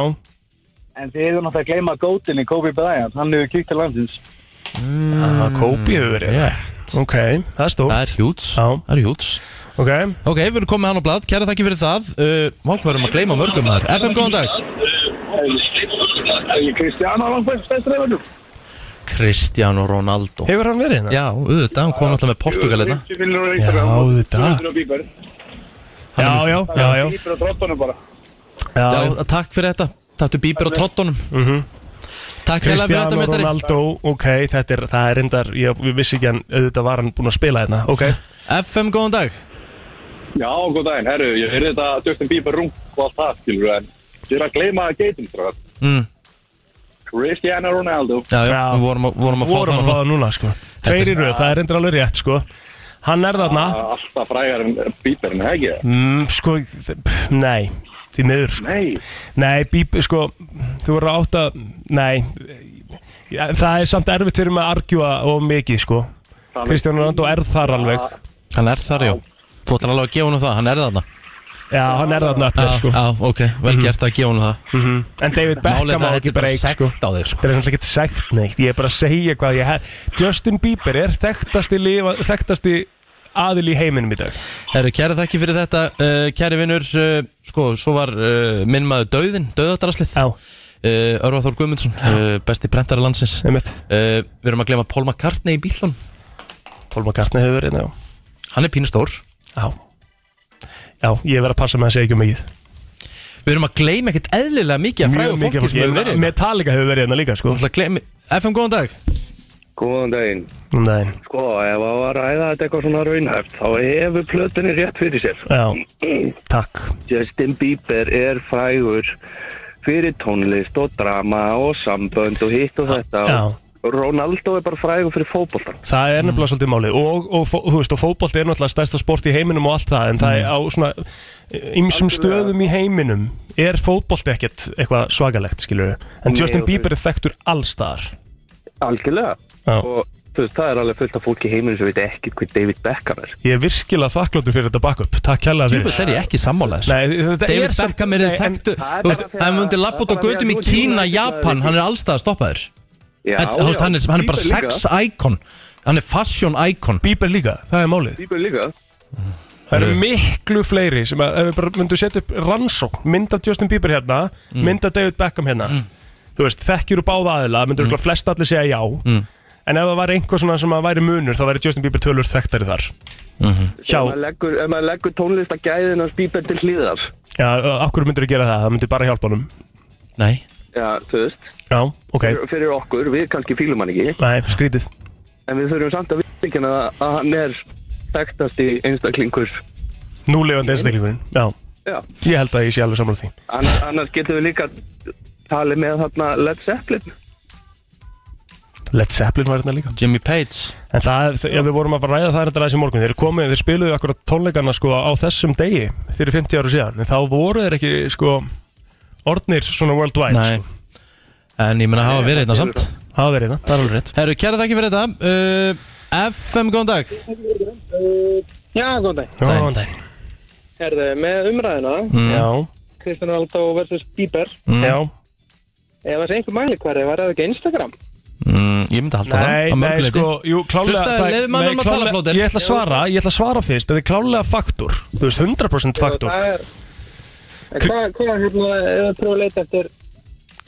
[SPEAKER 9] En þið eru náttúrulega að gleyma gótinni Kobe Bryant, hann hefur kíkt til landsins.
[SPEAKER 2] Það Kobe hefur verið
[SPEAKER 1] Yeah.
[SPEAKER 2] Ok, það er
[SPEAKER 1] Mm,
[SPEAKER 2] stórt
[SPEAKER 1] Það er hjúts,
[SPEAKER 2] Já.
[SPEAKER 1] það er hjúts
[SPEAKER 2] Ok,
[SPEAKER 1] Ok, við erum komið hann á blad, kæra þakki fyrir það Uh, Vá, hvað erum að gleyma mörgum þar FM, góðan dag
[SPEAKER 9] Kristján á langt bestur eða
[SPEAKER 1] Cristiano Ronaldo
[SPEAKER 2] hefur hann verið hérna?
[SPEAKER 1] Já, auðvitað, hann kom alltaf með hérna. Portugalina
[SPEAKER 2] Já, þetta
[SPEAKER 9] Bieber,
[SPEAKER 2] Já, já, já, já
[SPEAKER 9] Bieber og drottunum bara
[SPEAKER 2] Já,
[SPEAKER 1] Já, takk fyrir þetta Tattu Bíber á trottunum
[SPEAKER 2] mhm
[SPEAKER 1] Takk hérlega fyrir þetta, meistari.
[SPEAKER 2] Ronaldo, ok, þetta er, það er endar, ég ég vissi ekki hann, auðvitað var hann búinn að spila hérna, ok
[SPEAKER 1] FM, góðan dag
[SPEAKER 11] Já, góð daginn, herru, ég heyrði þetta Justin Bieber rung og allt það, skilur en ég er að gleyma geitum, strákar.
[SPEAKER 1] Mm.
[SPEAKER 11] Cristiano Ronaldo
[SPEAKER 1] Já, já, við vorum að, vorum að
[SPEAKER 2] Vorum
[SPEAKER 1] fá
[SPEAKER 2] að
[SPEAKER 1] það
[SPEAKER 2] fá það núna, sko Tveir í röð, það er endar alveg rétt, sko Hann er þarna
[SPEAKER 11] Ah, Alltaf frægar en Bieber, en hegi
[SPEAKER 2] mm, Sko, þ- pff, nei, því miður sko.
[SPEAKER 11] Nei
[SPEAKER 2] Nei, bíp, sko, þú voru átt að, nei ja, Það er samt erfitt fyrir mig að argjúa og mikið, sko
[SPEAKER 1] Þannig-
[SPEAKER 2] Kristján Ronaldo er þar alveg
[SPEAKER 11] Ah.
[SPEAKER 1] Hann er þar, já Þú ætlar alveg að gefa hann það, hann er þarna
[SPEAKER 2] Já, hann er þarna eftir,
[SPEAKER 1] Já,
[SPEAKER 2] sko Mhm.
[SPEAKER 1] Já, ok, vel gert að gefa hann það
[SPEAKER 2] En David Beckham
[SPEAKER 1] ah. Málið
[SPEAKER 2] á
[SPEAKER 1] það,
[SPEAKER 2] ekki
[SPEAKER 1] þetta er bara
[SPEAKER 2] breyk
[SPEAKER 1] sekt
[SPEAKER 2] sko.
[SPEAKER 1] á þig sko.
[SPEAKER 2] Það er náttúrulega ekki sagt neitt Ég er bara að segja hvað ég hef Justin Bieber er þekktasti, lifa, þekktasti aðil í heiminum í dag
[SPEAKER 1] Herru, kæra þakki fyrir þetta uh, Kæri vinnur, uh, sko, svo var uh, minn maður Dauðin, Dauðadraslið
[SPEAKER 2] Já
[SPEAKER 1] Uh, Örvaþór Guðmundsson, uh, besti prentari landsins Eh,
[SPEAKER 2] uh,
[SPEAKER 1] Við erum að glema Paul McCartney í bílun
[SPEAKER 2] Paul McCartney hefur verið, hérna,
[SPEAKER 1] já Hann er pínu stór
[SPEAKER 2] Já Já, ég verð að passa með að segja ekki um mikið
[SPEAKER 1] Við erum að gleyma ekkert eðlilega mikið af frægu fólki sem hefur verið hérna.
[SPEAKER 2] Metallica hefur verið hérna líka sko.
[SPEAKER 1] gleymi, FM, góðan dag
[SPEAKER 12] Góðan daginn.
[SPEAKER 2] Nei.
[SPEAKER 12] Sko, ef að var að ræða þetta eitthvað svona raunhæft, þá hefur plötunni rétt fyrir sér.
[SPEAKER 2] Já, takk.
[SPEAKER 12] Justin Bieber er frægur fyrir tónlist og drama og sambönd og hitt og þetta.
[SPEAKER 2] Já.
[SPEAKER 12] Og Ronaldo er bara frægur fyrir fótboltan.
[SPEAKER 2] Það er nefnilega svolítið máli og, og, fó- þú veist, og fótbolti er náttúrulega stærsta sport í heiminum og allt það en það er á
[SPEAKER 1] Mm.
[SPEAKER 2] svona ymsum stöðum í heiminum er fótbolti ekkert eitthvað svakalegt skilur en
[SPEAKER 12] Nei,
[SPEAKER 2] Justin
[SPEAKER 12] og
[SPEAKER 2] Bieber er þekktur allstar
[SPEAKER 12] Algjörlega.
[SPEAKER 2] Já.
[SPEAKER 12] Og þú veist, það er alveg fullt af fólki í heiminu sem veit ekki hvað David Beckham er.
[SPEAKER 2] Ég er virkilega þakkláttur fyrir þetta backup Takk kærlega fyrir
[SPEAKER 1] Djúpið þegar ég ekki sammála þessu
[SPEAKER 2] Nei, þetta er
[SPEAKER 1] David
[SPEAKER 2] samt-
[SPEAKER 1] Beckham er
[SPEAKER 2] Nei, en-
[SPEAKER 1] þekktu
[SPEAKER 2] Það er
[SPEAKER 1] Þú veist,
[SPEAKER 2] bara því að-
[SPEAKER 1] hann myndi lappa út á
[SPEAKER 2] það er bara
[SPEAKER 1] götum
[SPEAKER 2] því
[SPEAKER 1] í
[SPEAKER 2] að þú-
[SPEAKER 1] Kína,
[SPEAKER 2] þú-
[SPEAKER 1] Japan Hann er allstað að stoppa þér
[SPEAKER 2] Já,
[SPEAKER 1] Þetta- þú veist,
[SPEAKER 2] já.
[SPEAKER 1] hann, er, hann er bara
[SPEAKER 2] Bieber líka.
[SPEAKER 1] sex icon Hann er fashion icon
[SPEAKER 2] Bieber líka, það er málið
[SPEAKER 12] Bieber líka
[SPEAKER 2] Það eru miklu fleiri sem að ef við bara myndum setja upp rannsókn mynda Justin Bieber hérna, mynda David Beckham hérna þú veist, þekkjur úr báða aðila myndur mm. flest allir segja já en ef það var einhver svona sem að væri munur þá væri Justin Bieber tölur þekktari þar
[SPEAKER 12] Ef maður leggur, ef maður leggur tónlist að gæðin hans Bieber til hlýðar.
[SPEAKER 2] Já, okkur myndur þú gera það, það myndur bara hjálpa honum
[SPEAKER 1] Nei
[SPEAKER 12] Já, þú veist.
[SPEAKER 2] Já, ok,
[SPEAKER 12] Fyrir, fyrir okkur, við kannski fílum hann ekki.
[SPEAKER 2] nei, skrítið
[SPEAKER 12] En við þurfum samt að viðkynna að hann er þekktasti einstaklingur.
[SPEAKER 2] Núlefandi einstaklingurinn, já
[SPEAKER 12] Já.
[SPEAKER 2] Ég held að ég sé alveg sammála því
[SPEAKER 12] Annars, annars getum við líka talið með þarna Led Zeppelin.
[SPEAKER 2] Led Zeppelin var hérna líka
[SPEAKER 1] Jimmy Page
[SPEAKER 2] En það, já, við vorum að bara ræða það þetta aðeins í morgun Þeir komið, þeir spiluðu akkur tónleikana sko á þessum degi Fyrir 50 ára síðan En þá voru þeir ekki sko Orðnir svona worldwide
[SPEAKER 1] Nei.
[SPEAKER 2] sko.
[SPEAKER 1] En ég meina hafa verið hérna samt
[SPEAKER 2] Hafa verið hérna, það er alveg rétt
[SPEAKER 1] Herru, kæra þakki fyrir þetta uh, FM, góðan dag
[SPEAKER 5] Já, góðan dag
[SPEAKER 2] Góðan daginn
[SPEAKER 5] Herðu, með umræðina
[SPEAKER 2] Mm. Já.
[SPEAKER 5] Kristján Aldó versus Bieber
[SPEAKER 1] Mm. Já.
[SPEAKER 5] Ef það sé einhver mælikværi, var það ekki Instagram?
[SPEAKER 1] mm, Ég myndi halda
[SPEAKER 2] Nei,
[SPEAKER 1] það að mörgu
[SPEAKER 2] nei,
[SPEAKER 1] leyti.
[SPEAKER 2] sko, jú, klálega
[SPEAKER 1] Hlustaðu,
[SPEAKER 2] það-
[SPEAKER 1] leyfðu mannum
[SPEAKER 2] nei,
[SPEAKER 1] að tala,
[SPEAKER 2] klálega-
[SPEAKER 1] Plóter.
[SPEAKER 2] Ég ætla að svara, ég ætla að svara fyrst Þetta er klálega faktur, þú veist, 100% faktur
[SPEAKER 5] Það er En Hvað, hvað, hérna, ef það prófa að leita eftir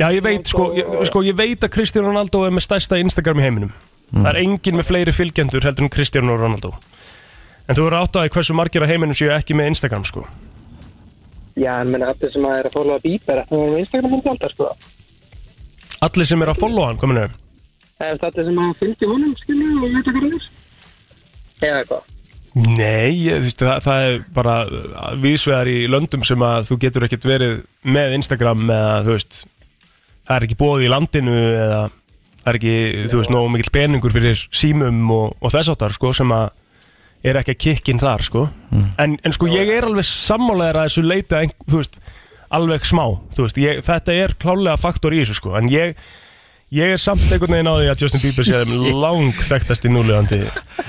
[SPEAKER 2] Já, ég veit, sko, ég, sko, ég veit að Kristján Ronaldo er með stærsta Instagram í heiminum Það er enginn með fleiri fylgjendur heldur en Kristján og Ronaldo En þú verður átt að hversu margir að heiminum séu ekki með Instagram, sko
[SPEAKER 5] Já, en menna, allir sem að er að fólaða Bieber Það er á Instagram hann alltaf, sko
[SPEAKER 2] Allir sem er að followa hann, kominu
[SPEAKER 5] Ef það er allir sem að fylgja honum, skilju, og veit hvað það er Eða hvað
[SPEAKER 2] Nei, ég, þú veist, það, það er bara vísvegar í löndum sem að þú getur ekkert verið með Instagram eða, þú veist, það er ekki bóð í landinu eða það er ekki, þú veist, nógu mikill peningur fyrir símum og, og þess áttar, sko, sem að er ekki að kikkin þar, sko en, en sko, ég er alveg sammálaðir að þessu leita, ein, þú veist, alveg smá þú veist, ég, þetta er klálega faktor í þessu, sko, en ég ég er samt einhvern veginn á því að Justin Bieber séðum lang þekktast í núlegandi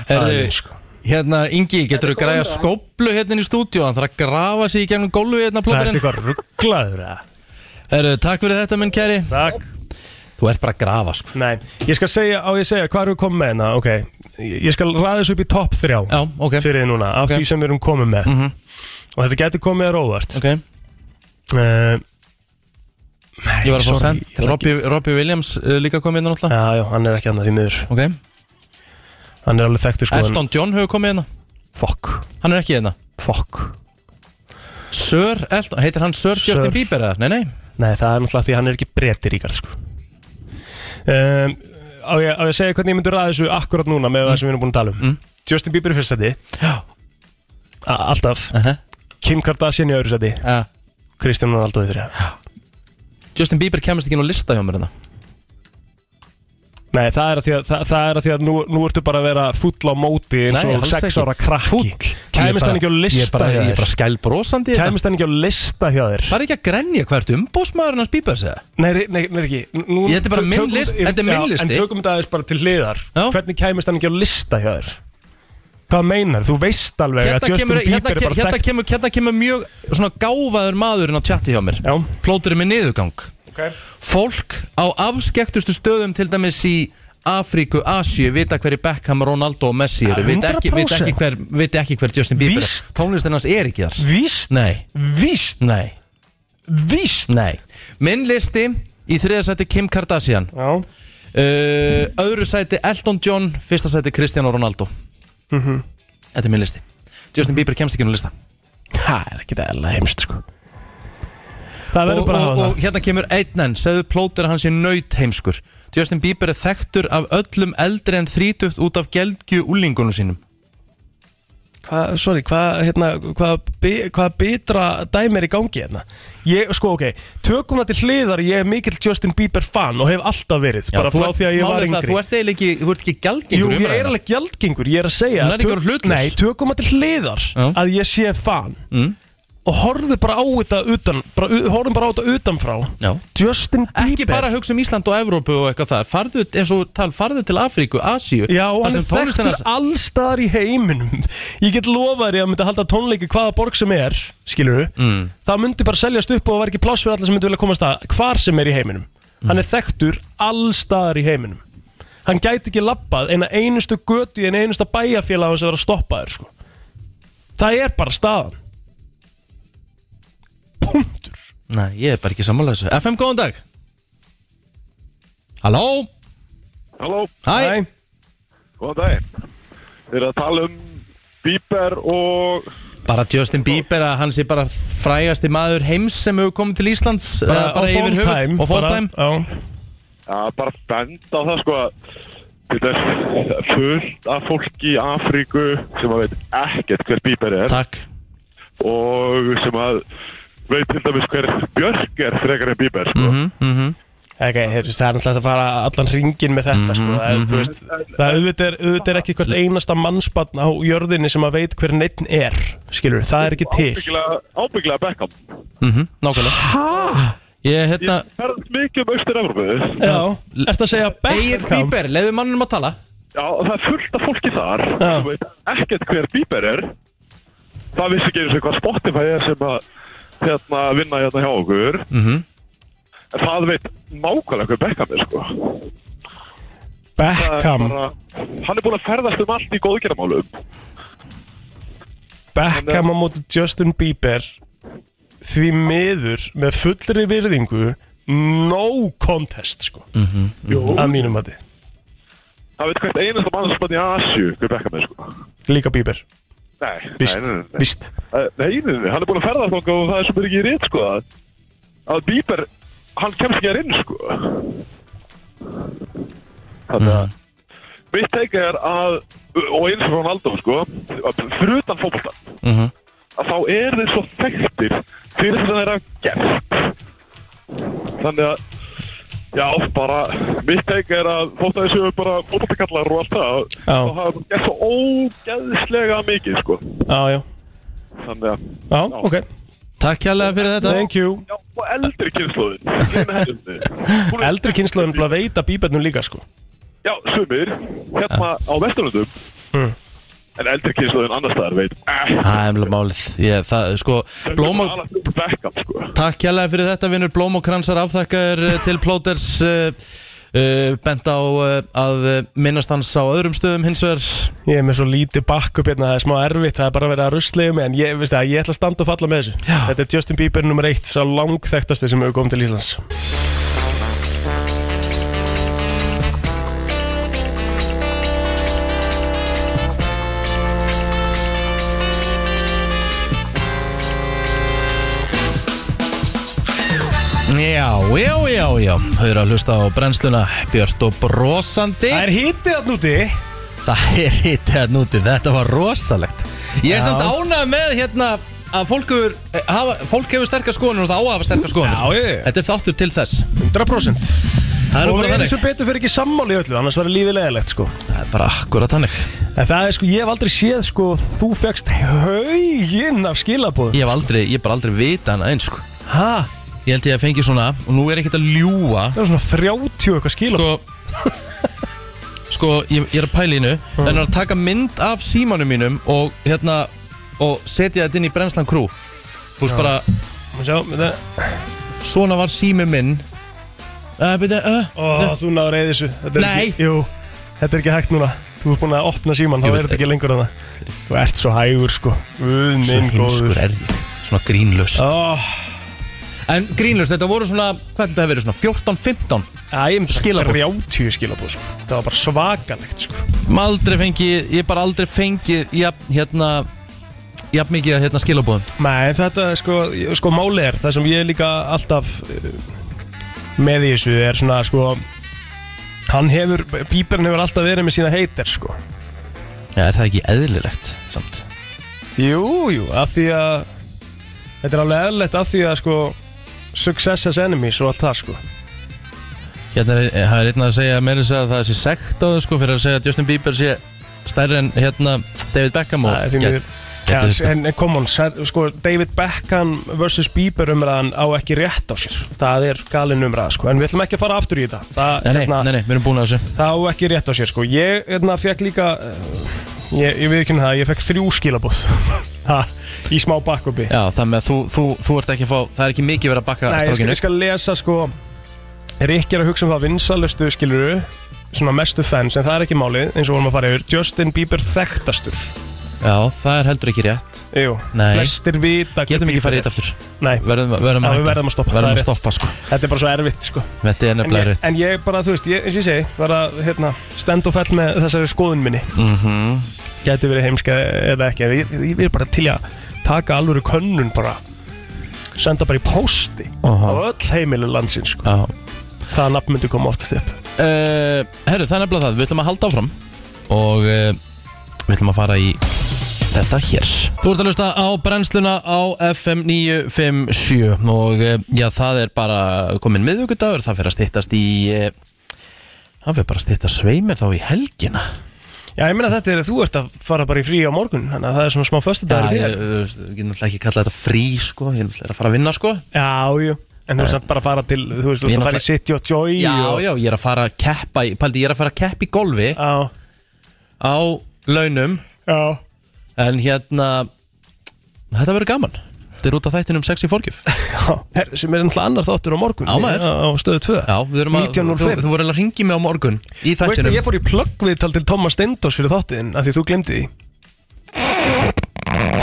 [SPEAKER 1] Herðu,
[SPEAKER 2] sko.
[SPEAKER 1] hérna, Ingi, getur þú græða skóplu hérna inn í stúdíu Hann þarf að grafa sig í gegnum gólfi hérna
[SPEAKER 2] Það
[SPEAKER 1] plóterinn
[SPEAKER 2] ertu eitthvað rugglaður eða?
[SPEAKER 1] Herru, takk fyrir þetta, minn kæri
[SPEAKER 2] Takk
[SPEAKER 1] Þú ert bara að grafa, sko
[SPEAKER 2] Nei, ég skal segja, á ég að segja, hvað erum við komið með hérna, ok Ég ég skal ræða þessu upp í topp þrjá Já,
[SPEAKER 1] ok
[SPEAKER 2] Fyrir þið núna, af
[SPEAKER 1] Ok.
[SPEAKER 2] því sem við erum komið með
[SPEAKER 1] Mhm.
[SPEAKER 2] Og þetta getur komið að róvart
[SPEAKER 1] Ok
[SPEAKER 2] uh,
[SPEAKER 1] Ég var að fá
[SPEAKER 2] sorry, ég
[SPEAKER 1] sent
[SPEAKER 2] ætla
[SPEAKER 1] Robbie, Robbie Williams uh, líka komið hérna náttúrulega
[SPEAKER 2] Já, já, hann er ekki annað því miður
[SPEAKER 1] Ok
[SPEAKER 2] Hann er alveg þekktur sko en-
[SPEAKER 1] Elton John hefur komið hérna
[SPEAKER 2] Fuck
[SPEAKER 1] Hann er ekki hérna
[SPEAKER 2] Fuck
[SPEAKER 1] Sir Elton, heitir hann Sir, Justin Bieber eða? Nei, nei
[SPEAKER 2] Nei, það er náttúrulega því að hann er ekki breytir íkart sko um, á, ég, á ég að segja hvernig ég myndi ræða þessu akkurat núna með
[SPEAKER 1] Mhm.
[SPEAKER 2] það sem við erum búin að tala um Justin Bieber í fyrsta sæti A- Alltaf Kim Kardashian í öðru sæti Kristján Ronaldo í þriða
[SPEAKER 1] Justin Bieber kemist ekki inn á lista hjá mér hérna. þetta
[SPEAKER 2] Nei, það er að því að, það, það er að, því að nú, nú ertu bara að vera full á móti eins
[SPEAKER 1] Nei,
[SPEAKER 2] og
[SPEAKER 1] alls
[SPEAKER 2] 6
[SPEAKER 1] ekki.
[SPEAKER 2] ára krakki Kæmist hann ekki á
[SPEAKER 1] Ég er
[SPEAKER 2] lista
[SPEAKER 1] bara,
[SPEAKER 2] hjá
[SPEAKER 1] ég er
[SPEAKER 2] þér?
[SPEAKER 1] bara skælbrósandi
[SPEAKER 2] Kæmist hann ekki á lista hjá þér
[SPEAKER 1] Það er ekki að grenja hvert umbósmaðurinn hans Bieber segja
[SPEAKER 2] Nei, nei, nei, nei ekki Nú-
[SPEAKER 1] Ég- þetta er bara
[SPEAKER 2] tö-
[SPEAKER 1] minn
[SPEAKER 2] tökum-
[SPEAKER 1] list- þetta er minn
[SPEAKER 2] Já,
[SPEAKER 1] listi.
[SPEAKER 2] En tökum þetta aðeins bara til hliðar Hvernig kæmist hann ekki á lista hjá þér? Hvað meinar? Þú veist alveg
[SPEAKER 1] Hérna
[SPEAKER 2] að Justin
[SPEAKER 1] kemur,
[SPEAKER 2] Bieber
[SPEAKER 1] hérna,
[SPEAKER 2] er bara
[SPEAKER 1] ke- hérna, kemur, hérna kemur mjög svona gáfaður maðurinn á chati hjá mér
[SPEAKER 2] Já.
[SPEAKER 1] Plóturinn með niðurgang
[SPEAKER 2] Ok.
[SPEAKER 1] Fólk á afskektustu stöðum til dæmis í Afríku, Asíu vita hverju Beckham, Ronaldo og Messi eru vita ekki, vita, ekki
[SPEAKER 2] 100%.
[SPEAKER 1] hver, vita ekki hver Justin Bieber Víst. er Tónlistin hans er ekki þar
[SPEAKER 2] Víst
[SPEAKER 1] Nei
[SPEAKER 2] Víst
[SPEAKER 1] Nei
[SPEAKER 2] Víst
[SPEAKER 1] Nei Minn listi í þriða sæti Kim Kardashian
[SPEAKER 2] Já
[SPEAKER 1] uh, Öðru sæti Elton John Fyrsta sæti Cristiano Ronaldo
[SPEAKER 2] Mhm.
[SPEAKER 1] Þetta er minn listi Justin Bieber kemst ekki inn á lista
[SPEAKER 2] Það er ekki eðla heimst sko Það verður
[SPEAKER 1] og,
[SPEAKER 2] bara að
[SPEAKER 1] og,
[SPEAKER 2] hafa
[SPEAKER 1] og hérna kemur einn enn segðu plótir að hann sé nöyt heimskur Justin Bieber er þekktur af öllum eldri en 30 út af geldgju úlingunum sínum
[SPEAKER 2] Hvað, sorry, hvað, hérna, hvað, bi- hvað bitra dæmi er í gangi hérna? Ég, sko, ok, tökum það til hliðar, ég er mikill Justin Bieber fan og hef alltaf verið, bara
[SPEAKER 1] þú
[SPEAKER 2] frá
[SPEAKER 1] ert-
[SPEAKER 2] því að ég var
[SPEAKER 1] málið
[SPEAKER 2] yngri.
[SPEAKER 1] það, Þú ert eiginlega ekki, þú ert ekki
[SPEAKER 2] Jú,
[SPEAKER 1] geldgengur
[SPEAKER 2] ég er alveg gjaldgengur, ég er að segja
[SPEAKER 1] Hún er ekki
[SPEAKER 2] tök-
[SPEAKER 1] að vera hlutlaus.
[SPEAKER 2] Nei, tökum að til hliðar að ég sé fan
[SPEAKER 1] Mm.
[SPEAKER 2] og horfðu bara á þetta utan bara, u- horfum bara á þetta utanfrá
[SPEAKER 1] Já.
[SPEAKER 2] Justin Bieber
[SPEAKER 1] Ekki bara hugsa um Ísland og Evrópu og eitthvað það Farðu, eins og tal, farðu til Afríku, Asíu
[SPEAKER 2] Já, og
[SPEAKER 1] þar
[SPEAKER 2] hann
[SPEAKER 1] sem
[SPEAKER 2] er
[SPEAKER 1] tónlistin
[SPEAKER 2] þekktur
[SPEAKER 1] hans-
[SPEAKER 2] alls staðar í heiminum Ég get lofað þér að myndi halda tónleiki hvaða borg sem er, skilur þú mm. Það myndi bara seljast upp og það var ekki pláss fyrir alla sem myndi vilja komast að hvar sem er í heiminum
[SPEAKER 1] Mm.
[SPEAKER 2] Hann er þekktur alls staðar í heiminum Hann gæti ekki labbað eina einustu götu í eina einusta bæjarfélag hans að vera að stoppa þér sko. Það er bara staðan
[SPEAKER 1] Nei, ég er bara ekki sammála þessu FM, góðan dag Halló
[SPEAKER 13] Halló
[SPEAKER 1] Hæ
[SPEAKER 13] Góðan daginn Þið eru að tala um Bieber og
[SPEAKER 1] Bara Justin Bieber að hann sé bara frægasti maður heims sem hefur komið til Íslands
[SPEAKER 13] Bara
[SPEAKER 1] eh,
[SPEAKER 13] á
[SPEAKER 1] yfir
[SPEAKER 13] full
[SPEAKER 1] höfuð.
[SPEAKER 13] time,
[SPEAKER 1] Og full
[SPEAKER 13] bara,
[SPEAKER 1] time
[SPEAKER 13] Já, bara bend á það sko að Þetta er fullt af fólki í Afríku sem að veit ekkert hver Bieber er
[SPEAKER 1] Takk
[SPEAKER 13] Og sem að veit til dæmis hver Björk er frekar en Bieber sko.
[SPEAKER 2] Ok, þú veist, það er náttúrulega að fara allan ringin með
[SPEAKER 1] Mhm,
[SPEAKER 2] þetta, sko, það er, þú veist,
[SPEAKER 1] Mm.
[SPEAKER 2] það er auðvitað er, auðvitað er ekki hvert einasta mannsbarn á jörðinni sem að veit hver neitt er, skilur, það er ekki til.
[SPEAKER 13] Ábyggilega, ábyggilega Beckham
[SPEAKER 1] Mhm, Nákvæmlega
[SPEAKER 2] Hæ?
[SPEAKER 1] Ég, hérna
[SPEAKER 13] Ég ferðast mikið um austur-Evropu
[SPEAKER 2] Já, ert að segja Beckham?
[SPEAKER 1] Egil Bieber, leiðu mannum að tala
[SPEAKER 13] Já, og það er fullt af fólki þar sem veit ekkert hver Bieber er það vissi ekki eins og hvað Spotify er sem að hérna, vinna hérna hjá okkur
[SPEAKER 1] Mhm.
[SPEAKER 13] en það veit nákvæmlega hver Beckham er sko Það
[SPEAKER 2] Beckham,
[SPEAKER 13] er bara, hann er búin að ferðast um allt í góðgerðamálum
[SPEAKER 2] Beckham á móti Justin Bieber, því miður með fullri virðingu, no contest, sko,
[SPEAKER 13] Jú.
[SPEAKER 2] að mínum að þið,
[SPEAKER 13] það veit hvert einasta mann sem er í Asju hver Beckham er sko
[SPEAKER 2] líka Bieber.
[SPEAKER 13] Nei,
[SPEAKER 2] Víst,
[SPEAKER 13] nei, nei, nei, nei.
[SPEAKER 2] víst.
[SPEAKER 13] Eh, Nei, nei, nei, hann er búin að ferðast okkur og það er sem er ekki í rétt sko að að Bieber, hann kemst ekki að inn sko Þannig að mitt teik er að og eins og Ronaldo sko að fyrir utan fótbolta
[SPEAKER 1] Mhm.
[SPEAKER 13] að þá er þeir svo þekktir fyrir þess að þeir hafa gert þannig að já, bara mitt teik er að þótt að þessu bara fótboltakallar og allt það
[SPEAKER 2] Já.
[SPEAKER 13] og það hafa gert svo ógeðslega mikið sko
[SPEAKER 2] Já, já.
[SPEAKER 13] þannig að
[SPEAKER 2] Já, ok.
[SPEAKER 1] Takk hérlega fyrir þetta
[SPEAKER 2] Thank you
[SPEAKER 13] Já, og eldri kynnslóðin
[SPEAKER 2] Eldri kynnslóðin bara veit að bíbernum líka sko
[SPEAKER 13] Já, sumir, hérna á Vesturlundum
[SPEAKER 2] Mm.
[SPEAKER 13] En eldri kynnslóðin annars staðar veit eh,
[SPEAKER 1] Það er emla málið Ég, það, sko, blóm og
[SPEAKER 13] alveg Beckham, sko
[SPEAKER 1] Takk hérlega fyrir þetta vinnur Blóm og kransar afþakkar eh, til plóters uh, uh, Bent á uh, að eh, minnast hans á öðrum stöðum hins vegar
[SPEAKER 2] Ég er með svo lítið bakkup hérna, það er smá erfitt, það er bara verið að ruslega mig en ég, veist það, ég ætla að standa og falla með þessu Já. Þetta er Justin Bieber nummer eitt, sá langþektasti sem hefur komið til Íslands
[SPEAKER 1] mm Já, já, já, já Þau eru að hlusta á brennsluna Björt og brosandi Það
[SPEAKER 2] er hitið að núti
[SPEAKER 1] Það er hitið að núti, þetta var rosalegt Ég er
[SPEAKER 2] Já.
[SPEAKER 1] samt ánað með hérna að fólk hefur, eh, hafa, fólk hefur sterkar skoðanir og það á að hafa sterkar skoðanir Já, ég Þetta er þáttur til þess
[SPEAKER 2] 100%
[SPEAKER 1] Það er nú
[SPEAKER 2] Og
[SPEAKER 1] bara
[SPEAKER 2] við erum
[SPEAKER 1] þannig.
[SPEAKER 2] svo betur fyrir ekki sammáli í öllu, annars var lífið leðilegt sko
[SPEAKER 1] Það er bara akkurat þannig
[SPEAKER 2] En það er sko, ég hef aldrei séð sko, þú fegst hauginn af skilabóðum
[SPEAKER 1] Ég hef aldrei, ég hef bara aldrei vita hann eins sko
[SPEAKER 2] Hæ?
[SPEAKER 1] Ég held ég að fengi svona, og nú er ekkert að ljúa
[SPEAKER 2] Það er svona 30 eitthvað skilabóð
[SPEAKER 1] Sko, sko ég, ég er að pæla í hennu mm. En er að taka mynd af símanum mínum og hérna, og setja þetta inn í brennslan krú Þú veist
[SPEAKER 2] Já.
[SPEAKER 1] bara,
[SPEAKER 2] Sjá, þetta
[SPEAKER 1] svona var sími minn uh, byrja, uh,
[SPEAKER 2] Ó, þú náður eða þessu Þetta er
[SPEAKER 1] Nei.
[SPEAKER 2] ekki, Jú, þetta er ekki hægt núna Þú ert búin að opna síman,
[SPEAKER 1] Ég
[SPEAKER 2] þá er
[SPEAKER 1] veit
[SPEAKER 2] þetta ekki lengur að það Þú ert svo hægur sko Guð
[SPEAKER 1] Svo
[SPEAKER 2] minn
[SPEAKER 1] heimskur
[SPEAKER 2] góður
[SPEAKER 1] er ég, svona grínlust
[SPEAKER 2] oh.
[SPEAKER 1] En grínlust, þetta voru svona, hvað heldur þetta að vera, svona 14-15 Skilaboð.
[SPEAKER 2] 30 skilabóð sko Það var bara svakalegt sko
[SPEAKER 1] Maður aldrei fengið, ég hef bara aldrei fengið, jafn, hérna, jafn mikið af, hérna skilabóðum
[SPEAKER 2] Nei, þetta er sko, ég- sko máli er Það sem ég er líka alltaf eh, með í þessu er svona sko Hann hefur, píperinn hefur alltaf verið með sína heitir sko
[SPEAKER 1] Já, er það ekki eðlilegt samt?
[SPEAKER 2] Jú, jú, af því að Þetta er alveg eðlilegt af því að sko Success as enemies og allt það sko
[SPEAKER 1] Hérna er, það er einn að segja meira þess að það sé sekt á þau sko fyrir að segja að Justin Bieber sé stærri en hérna David Beckham og
[SPEAKER 2] Það er því
[SPEAKER 1] get-
[SPEAKER 2] miður
[SPEAKER 1] getur
[SPEAKER 2] Já,
[SPEAKER 1] þetta.
[SPEAKER 2] en en come on, sær- sko, David Beckham vs. Bieber umræðan á ekki rétt á sér Það er galin umræða sko En við ætlum ekki að fara aftur í þetta Það, hérna,
[SPEAKER 1] Nei, nei, nei, nei, við erum búin að þessu
[SPEAKER 2] það á ekki rétt á sér sko Ég hérna, fekk líka eh, Ég, ég veit ekki um það, ég fekk þrjú skilabóð [laughs] Ha, Í smá bakkupi
[SPEAKER 1] Já, það með að þú, þú, þú ert ekki að fá, það er ekki mikið verið að bakka
[SPEAKER 2] Nei, ég skal,
[SPEAKER 1] strákinu
[SPEAKER 2] ég skal lesa sko Rikki er að hugsa um það vinsalustu skiluru Svona mestu fans En það er ekki málið eins og vorum að fara yfir Justin Bieber þekktastur
[SPEAKER 1] Já, það er heldur ekki rétt
[SPEAKER 2] Jú,
[SPEAKER 1] Nei.
[SPEAKER 2] flestir vita hver
[SPEAKER 1] Getum ekki
[SPEAKER 2] Bieber
[SPEAKER 1] farið í
[SPEAKER 2] er.
[SPEAKER 1] þetta aftur
[SPEAKER 2] Nei,
[SPEAKER 1] Verðum, verðum að
[SPEAKER 2] Já, við
[SPEAKER 1] hætta.
[SPEAKER 2] verðum að stoppa, það
[SPEAKER 1] Verðum
[SPEAKER 2] er
[SPEAKER 1] að
[SPEAKER 2] rétt.
[SPEAKER 1] stoppa sko
[SPEAKER 2] þetta er bara svo erfitt sko
[SPEAKER 1] Þetta er
[SPEAKER 2] en ég,
[SPEAKER 1] nefnilega rétt
[SPEAKER 2] en ég bara, þú veist, ég, eins og ég segi Var að, hérna, stend og fell með þessari skoðun minni
[SPEAKER 1] Mhm.
[SPEAKER 2] Gæti verið heimska eða ekki en Ég, ég, ég er bara til í að taka alvöru könnun bara Senda bara í pósti
[SPEAKER 1] Aha.
[SPEAKER 2] Á öll heimilu landsins sko
[SPEAKER 1] Já.
[SPEAKER 2] Hvaða nafn myndi koma oftast upp
[SPEAKER 1] uh, Herru, það er nefnilega það, við ætlum að halda áfram Og uh, við ætlum að fara í þetta hér Þú ert að lusta á brennsluna á FM 957 Og uh, já, það er bara komin miðvíkudagur Það fyrir að styttast í uh, Það fyrir bara að styttast sveimir þá í helgina
[SPEAKER 2] Já, ég meina þetta er að þú ert að fara bara í frí á morgun Þannig að það er svona smá föstudagur
[SPEAKER 1] ég,
[SPEAKER 2] þér
[SPEAKER 1] ég, ég, ég get náttúrulega ekki að kalla þetta frí sko Ég náttúrulega er að fara að vinna sko
[SPEAKER 2] Já, jú En þú ert samt bara að fara til, þú veist, þú
[SPEAKER 1] Ég
[SPEAKER 2] ert að fara í
[SPEAKER 1] náttúrulega-
[SPEAKER 2] City og Joy
[SPEAKER 1] Já,
[SPEAKER 2] og...
[SPEAKER 1] já, ég er að fara að keppa í- Paldi, ég er að fara að keppa í golfi
[SPEAKER 2] á,
[SPEAKER 1] á launum
[SPEAKER 2] Já
[SPEAKER 1] En hérna Þetta verður gaman Þetta er út af þættinum 6 í forgjöf
[SPEAKER 2] Já, her, sem er náttúrulega annar þáttur á morgun
[SPEAKER 1] Á maður.
[SPEAKER 2] Á stöðu 2
[SPEAKER 1] Já, við erum að Þú,
[SPEAKER 2] 19.05.
[SPEAKER 1] þú voru að ringi mig á morgun Í
[SPEAKER 2] Þú veist
[SPEAKER 1] þættinum
[SPEAKER 2] að ég fór í plöggviðtal til Thomas Stendos fyrir þáttiðin af því að þú glemdi því
[SPEAKER 1] [laughs]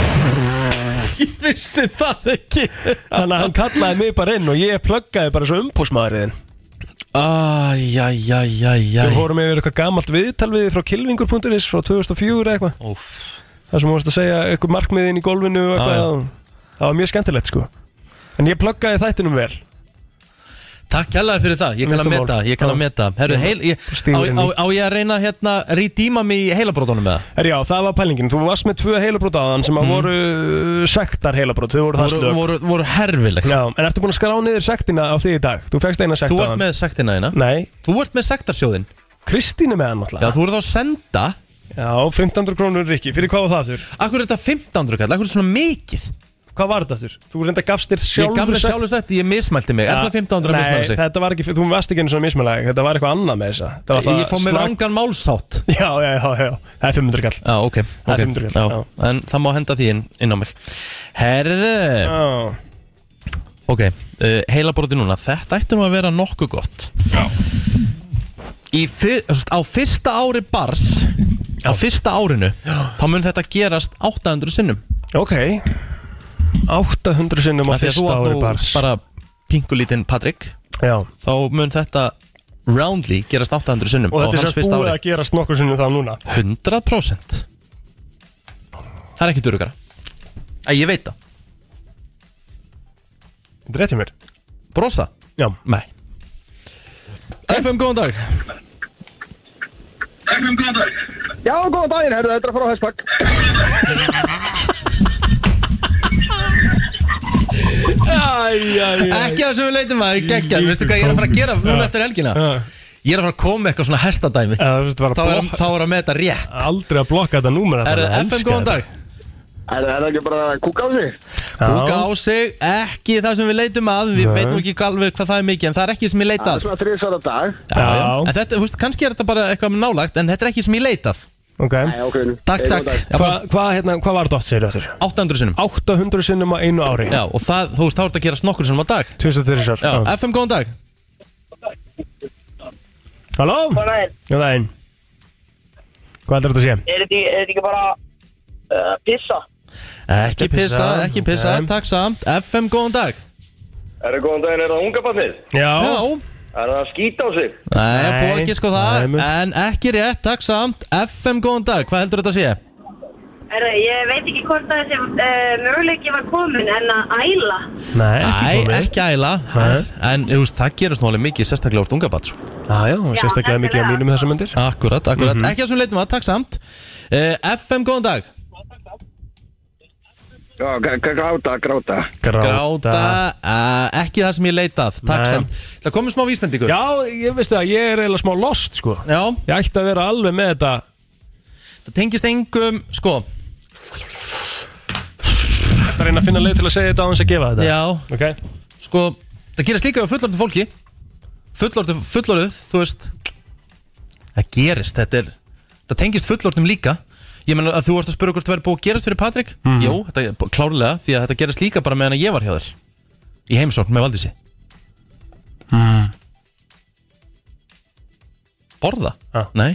[SPEAKER 1] ég vissi það ekki
[SPEAKER 2] Þannig að hann kallaði mig bara inn og ég plöggaði bara svo umbúsmaðurinn
[SPEAKER 1] Æjæjæjæjæ
[SPEAKER 2] Við fórum yfir eitthvað gamalt viðtal við þig frá kilvingur.is frá 2004 eða eitthvað Það sem þú varst að segja eitthvað markmiðin í golfinu og
[SPEAKER 1] Já, já.
[SPEAKER 2] eitthvað Það var mjög skemmtilegt sko En ég plöggaði þættinum vel
[SPEAKER 1] Takk hérlega fyrir það, ég kann að
[SPEAKER 2] Næsta mál.
[SPEAKER 1] meta Ég kann
[SPEAKER 2] Já.
[SPEAKER 1] að meta Herru, heil, ég, á,
[SPEAKER 2] Stígur inn
[SPEAKER 1] á,
[SPEAKER 2] í.
[SPEAKER 1] á ég að reyna hérna Redeema mig í heilabrótunum með það
[SPEAKER 2] Herri, já, það var pælingin. Þú varst með tvö heilabrót aðan sem að voru uh, sektar heilabrót. Þau voru það
[SPEAKER 1] Mhm. Voru-
[SPEAKER 2] slök.
[SPEAKER 1] voru- voru herfileg.
[SPEAKER 2] Já, en ertu búin að skrá niður sektina á því í dag? Þú fegst eina sekt
[SPEAKER 1] Þú
[SPEAKER 2] aðan.
[SPEAKER 1] ert með sektina þína
[SPEAKER 2] Nei.
[SPEAKER 1] Þú ert með sektarsjóðin.
[SPEAKER 2] Kristín er með hann
[SPEAKER 1] Já,
[SPEAKER 2] alltaf.
[SPEAKER 1] þú eru þá að senda
[SPEAKER 2] Já, 1500 krónur Rikki. Fyrir hvað var það þurr?
[SPEAKER 1] Akkur er þetta 1500 kall, akkur er þetta svona mikið
[SPEAKER 2] Hvað var þetta þurr? Þú reynda gafst þér
[SPEAKER 1] Ég gaf
[SPEAKER 2] sjálfur
[SPEAKER 1] mér sjálfur sett, ég mismælti mig Er
[SPEAKER 2] Já,
[SPEAKER 1] það 1500 að mismæla sig?
[SPEAKER 2] Nei, þetta var ekki, þú varst ekki einu svona mismælaði. Þetta var eitthvað annað með þessa. Þetta var það
[SPEAKER 1] Ég fór með
[SPEAKER 2] slag-
[SPEAKER 1] rangan málsátt
[SPEAKER 2] Já, já, já, já. Það er 500 kall.
[SPEAKER 1] Já, ok,
[SPEAKER 2] Það er
[SPEAKER 1] ok
[SPEAKER 2] 500
[SPEAKER 1] já.
[SPEAKER 2] kall, já.
[SPEAKER 1] En það má henda því inn, inn á mig Herðu
[SPEAKER 2] Já.
[SPEAKER 1] Ok, uh, heilabróti núna Þetta ætti nú að vera nokkuð gott Já fyr, þú veist, Á fyrsta ári bars Á fyrsta árinu Já. Þá mun þetta gerast 800 sinnum
[SPEAKER 2] Ok 800 sinnum
[SPEAKER 1] Af
[SPEAKER 2] á
[SPEAKER 1] því að
[SPEAKER 2] fyrsta
[SPEAKER 1] þú átt
[SPEAKER 2] ári
[SPEAKER 1] nú
[SPEAKER 2] bars.
[SPEAKER 1] Bara pingulítinn Patrik
[SPEAKER 2] Já
[SPEAKER 1] Þá mun þetta roundly gerast 800 sinnum á
[SPEAKER 2] Og þetta er
[SPEAKER 1] hans
[SPEAKER 2] sem
[SPEAKER 1] fyrsta
[SPEAKER 2] búið
[SPEAKER 1] ári
[SPEAKER 2] að gerast nokkur sinnum þá núna.
[SPEAKER 1] 100% Það er ekki durugara Æ, ég veit það
[SPEAKER 2] Þetta er rétt hjá mér
[SPEAKER 1] Brosa
[SPEAKER 2] Já
[SPEAKER 1] Nei FM, góðan dag
[SPEAKER 9] FM, góðan dag.
[SPEAKER 8] Já, góðan daginn, herðu, þetta er að fara á hestpakk.
[SPEAKER 1] Ekki það sem við leitum að, geggjað Veistu hvað ég er að fara að gera núna eftir helgina Ég er að fara að koma með eitthvað svona hestadæmi
[SPEAKER 2] Þá
[SPEAKER 1] er að- þá er að með þetta rétt
[SPEAKER 2] Aldrei að blokka þetta númer
[SPEAKER 1] Er það FM, góðan dag
[SPEAKER 8] Er það ekki bara að kúka á sig?
[SPEAKER 1] Kúka á sig, ekki það sem við leitum að Við
[SPEAKER 8] Nei.
[SPEAKER 1] veitum ekki alveg hvað það er mikið En það er ekki sem ég leita
[SPEAKER 8] Það er
[SPEAKER 1] að
[SPEAKER 8] svona þrísvara dag.
[SPEAKER 1] Já, já. En þetta, þú veist, kannski er þetta bara eitthvað nálagt En þetta er ekki sem ég leitað
[SPEAKER 2] Ok
[SPEAKER 1] Takk, takk Já,
[SPEAKER 2] Hvað hva, hérna, hva var þetta oft segir þessir?
[SPEAKER 1] 800 sinnum
[SPEAKER 2] 800 sinnum á einu ári
[SPEAKER 1] Já, og það, þú veist, þá er þetta að gera snokkur sinnum á dag
[SPEAKER 2] 2003 svar
[SPEAKER 1] Já, FM, góðan dag
[SPEAKER 2] Halló? Já, það er einn Hvað heldur þetta að sé?
[SPEAKER 5] Er þetta er þetta ekki bara uh, pissa?
[SPEAKER 1] Ekki pissa, ekki pissa,
[SPEAKER 2] ok.
[SPEAKER 1] takk samt FM, góðan dag
[SPEAKER 14] Er það góðan daginn, er það unga barnið?
[SPEAKER 2] Já
[SPEAKER 14] Er það að skýta á sig?
[SPEAKER 1] Nei, búið ekki sko það En ekki rétt, takk samt FM, góðan dag, hvað heldur þetta að sé?
[SPEAKER 15] Herra, ég veit ekki hvort að þessi uh, möguleiki var komin en að æla.
[SPEAKER 2] Nei,
[SPEAKER 1] ekki, Æ, ekki æla En þú veist, það gerist nálega mikið sérstaklega úr dungabat sko.
[SPEAKER 2] ah, Já, já sérstaklega mikið á mínum þessum myndir
[SPEAKER 1] Akkurat, akkurat, Mhm. ekki að sem leitum að, takk samt uh, FM, góðan dag
[SPEAKER 8] Já, gr- gr- gráta, gráta.
[SPEAKER 1] Gráta, uh, ekki það sem ég leitað Takk
[SPEAKER 2] Nei.
[SPEAKER 1] samt, það komið smá vísbendingu
[SPEAKER 2] Já, ég veist það, ég er eiginlega smá lost sko
[SPEAKER 1] Já
[SPEAKER 2] Ég ætti að vera alveg með þetta
[SPEAKER 1] Það tengist engum, sko
[SPEAKER 2] Þetta reyna að finna leið til að segja þetta á hans að gefa þetta
[SPEAKER 1] Já,
[SPEAKER 2] okay.
[SPEAKER 1] sko, það gerist líka á fullorðu fólki Fullorðu, fullorðuð, þú veist Það gerist, þetta er Það tengist fullorðum líka Ég meina að þú varst að spura hvort það væri búið að gerast fyrir Patrik
[SPEAKER 2] Mhm.
[SPEAKER 1] Jú, þetta er b- klárlega Því að þetta gerist líka bara meðan að ég var hjá þér Í heimsókn með Valdísi
[SPEAKER 2] mm.
[SPEAKER 1] Borða? Nei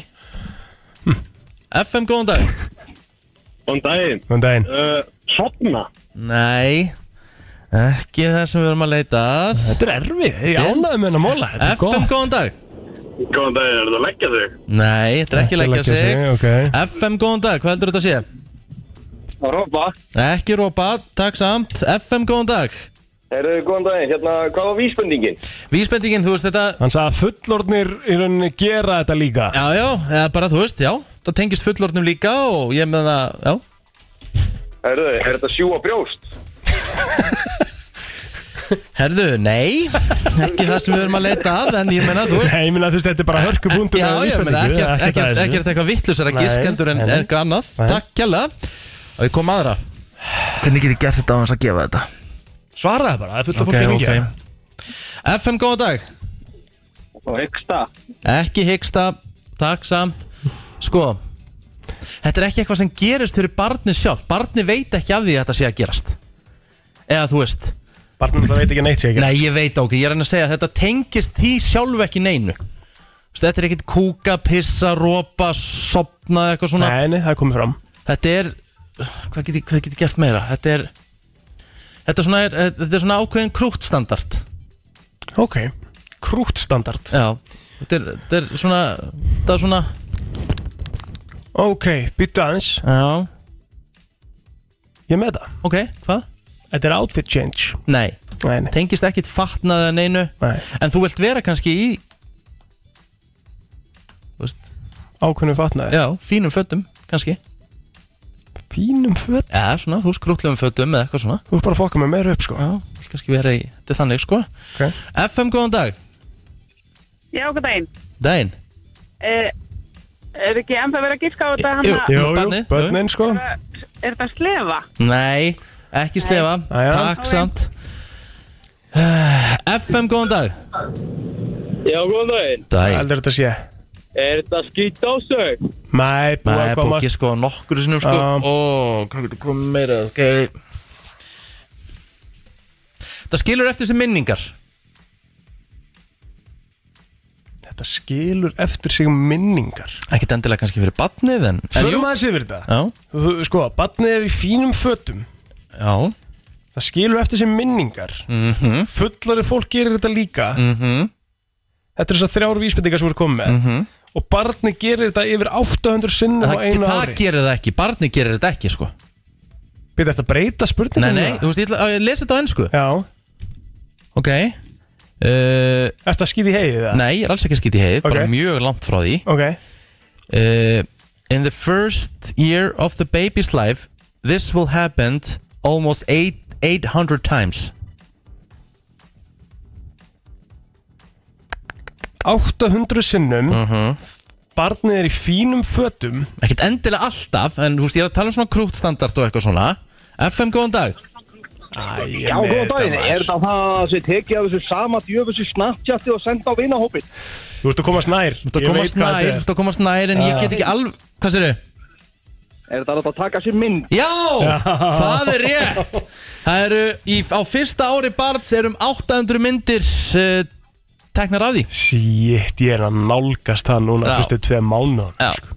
[SPEAKER 1] FM, góðan dag
[SPEAKER 14] Góðan daginn.
[SPEAKER 2] Góðan daginn.
[SPEAKER 14] Uh, sopna.
[SPEAKER 1] Nei Ekki það sem við erum að leita að
[SPEAKER 2] Þetta er erfið, ég ánægði með hennar móla Þetta er
[SPEAKER 1] FM,
[SPEAKER 2] gott.
[SPEAKER 1] góðan dag
[SPEAKER 14] Góðan daginn, er það að leggja sig?
[SPEAKER 1] Nei, þetta er ekki leggja sig FM, góðan dag, hvað heldur þetta að sé?
[SPEAKER 14] Rópa.
[SPEAKER 1] Ekki rópa, takk samt FM, góðan dag
[SPEAKER 14] Er það góðan daginn, hérna, hvað var vísbendingin?
[SPEAKER 1] Vísbendingin, þú veist þetta
[SPEAKER 2] Hann sagði að fullornir í rauninni gera þetta líka
[SPEAKER 1] Já, já, eða bara þú veist, já Það tengist fullorðnum líka og ég með það, já
[SPEAKER 14] Er það, er þetta sjúa brjóst?
[SPEAKER 1] Herðu, nei [laughs] Ekki það sem við erum að leita að En ég meina, þú veist
[SPEAKER 2] Nei, ég meina, þú veist, þetta er bara
[SPEAKER 1] Sko,
[SPEAKER 2] hörkubúndur
[SPEAKER 1] Já, ég meina, ekkert, ekkert, ekkert eitthvað vittlusar að gisk heldur en en eitthvað annað Takk kjalla Og ég kom aðra Hvernig get ég gert þetta á hans að gefa þetta?
[SPEAKER 2] Svaraði bara, það er fullt af
[SPEAKER 1] Ok,
[SPEAKER 2] fólki að ringja.
[SPEAKER 1] ok FM, góðan dag
[SPEAKER 14] Og hyggsta.
[SPEAKER 1] Ekki hyggsta, takk samt Sko Þetta er ekki eitthvað sem gerist fyrir barnið sjálf Barnið veit ekki af því að þetta sé að gerast Eða þú veist
[SPEAKER 2] Barnið það veit ekki neitt sé að gerast.
[SPEAKER 1] Nei, ég veit okkur, ég er að reyna að segja að þetta tengist því sjálf ekki neinu Þú veist, Þetta er ekkit kúka, pissa, rópa, sopna eitthvað svona
[SPEAKER 2] Nei, nei, það er komið fram
[SPEAKER 1] Þetta er, hvað get ég, hvað get ég gert meira? Þetta er, þetta er svona, er, þetta er svona ákveðin krútstandard
[SPEAKER 2] Ok, krútstandard
[SPEAKER 1] Já, þetta er, þetta er svona, þetta er svona
[SPEAKER 2] Ok, byttu aðeins
[SPEAKER 1] Já
[SPEAKER 2] Ég er með það
[SPEAKER 1] Ok, hvað?
[SPEAKER 2] Þetta er outfit change
[SPEAKER 1] Nei,
[SPEAKER 2] nei, nei.
[SPEAKER 1] tengist ekkit fatnaða neinu
[SPEAKER 2] Nei.
[SPEAKER 1] En þú vilt vera kannski í Þú veist
[SPEAKER 2] Ákveðnum fatnaði
[SPEAKER 1] Já, fínum fötum, kannski
[SPEAKER 2] Fínum fötum?
[SPEAKER 1] Já, svona, þú skrútlegum fötum eða eitthvað svona
[SPEAKER 2] Þú ert bara að fokka með meira upp sko
[SPEAKER 1] Já, vilt kannski vera í, þetta er þannig sko
[SPEAKER 2] okay.
[SPEAKER 1] FM, góðan dag
[SPEAKER 16] Já, hvað daginn?
[SPEAKER 1] Daginn
[SPEAKER 16] Uh, er ekki ennþá verið að giska á þetta hann að...
[SPEAKER 2] Jú, jú, börnin sko
[SPEAKER 16] Er þetta slefa?
[SPEAKER 1] Nei, ekki slefa Takk samt [sighs] FM, góðan dag
[SPEAKER 14] Já, góðan daginn.
[SPEAKER 1] Daginn
[SPEAKER 2] Heldur þetta sé
[SPEAKER 14] Er þetta skýta á sig?
[SPEAKER 2] Nei, búið
[SPEAKER 1] Nei,
[SPEAKER 2] að
[SPEAKER 1] búið
[SPEAKER 2] koma
[SPEAKER 1] ekki sko nokkur sinnum sko
[SPEAKER 2] Já.
[SPEAKER 1] Ó, hvað getur komið meira okay. Það skilur eftir sem minningar
[SPEAKER 2] Þetta skilur eftir sig minningar
[SPEAKER 1] Ekkert endilega kannski fyrir badnið en en jú.
[SPEAKER 2] Förum aðeins yfir þetta
[SPEAKER 1] Já,
[SPEAKER 2] Þú- þú- Sko, barnið er í fínum fötum
[SPEAKER 1] já
[SPEAKER 2] Það skilur eftir sig minningar
[SPEAKER 1] mm
[SPEAKER 2] Fullari fólk gerir þetta líka
[SPEAKER 1] Mhm.
[SPEAKER 2] Þetta er þess að þrjár vísbendingar sem voru komið með
[SPEAKER 1] Mhm.
[SPEAKER 2] Og barnið gerir þetta yfir 800 sinnum á
[SPEAKER 1] Það,
[SPEAKER 2] einu
[SPEAKER 1] það
[SPEAKER 2] ári
[SPEAKER 1] gerir það ekki, barnið gerir þetta ekki sko
[SPEAKER 2] Býttu eftir að breyta spurningum
[SPEAKER 1] Nei, nei, þú veist, ég, ætla- á, ég lesi þetta á ennsku
[SPEAKER 2] Já
[SPEAKER 1] Ok uh, Er
[SPEAKER 2] þetta skýt í heið?
[SPEAKER 1] Nei, ég er alls ekki skýt í heið, bara
[SPEAKER 2] Ah. Ok.
[SPEAKER 1] mjög langt frá því
[SPEAKER 2] Ok
[SPEAKER 1] uh, In the first year of the baby's life This will happen almost eight, 800 times
[SPEAKER 2] 800 sinnum
[SPEAKER 1] Mhm.
[SPEAKER 2] Barnið er í fínum fötum
[SPEAKER 1] Ekkert endilega alltaf, en þú veist, ég er að tala um svona krútstandard og eitthvað svona FM, góðan dag
[SPEAKER 2] Æ,
[SPEAKER 8] Já, góðan daginn, er þetta það að þið tekið af þessu sama djöfusu snapchati og senda á vinahópin?
[SPEAKER 2] Þú ert að komast nær
[SPEAKER 1] Þú ert að komast nær, þú ert að komast nær En ég
[SPEAKER 8] Já.
[SPEAKER 1] get ekki alveg, hvað sér
[SPEAKER 8] Er þetta hægt að taka sér mynd?
[SPEAKER 1] Já, það er rétt Það eru, í, á fyrsta ári barns erum 800 myndir uh, teknar af því
[SPEAKER 2] Shit, ég er að nálgast það núna
[SPEAKER 1] Já.
[SPEAKER 2] fyrstu tveið mánu
[SPEAKER 1] sko.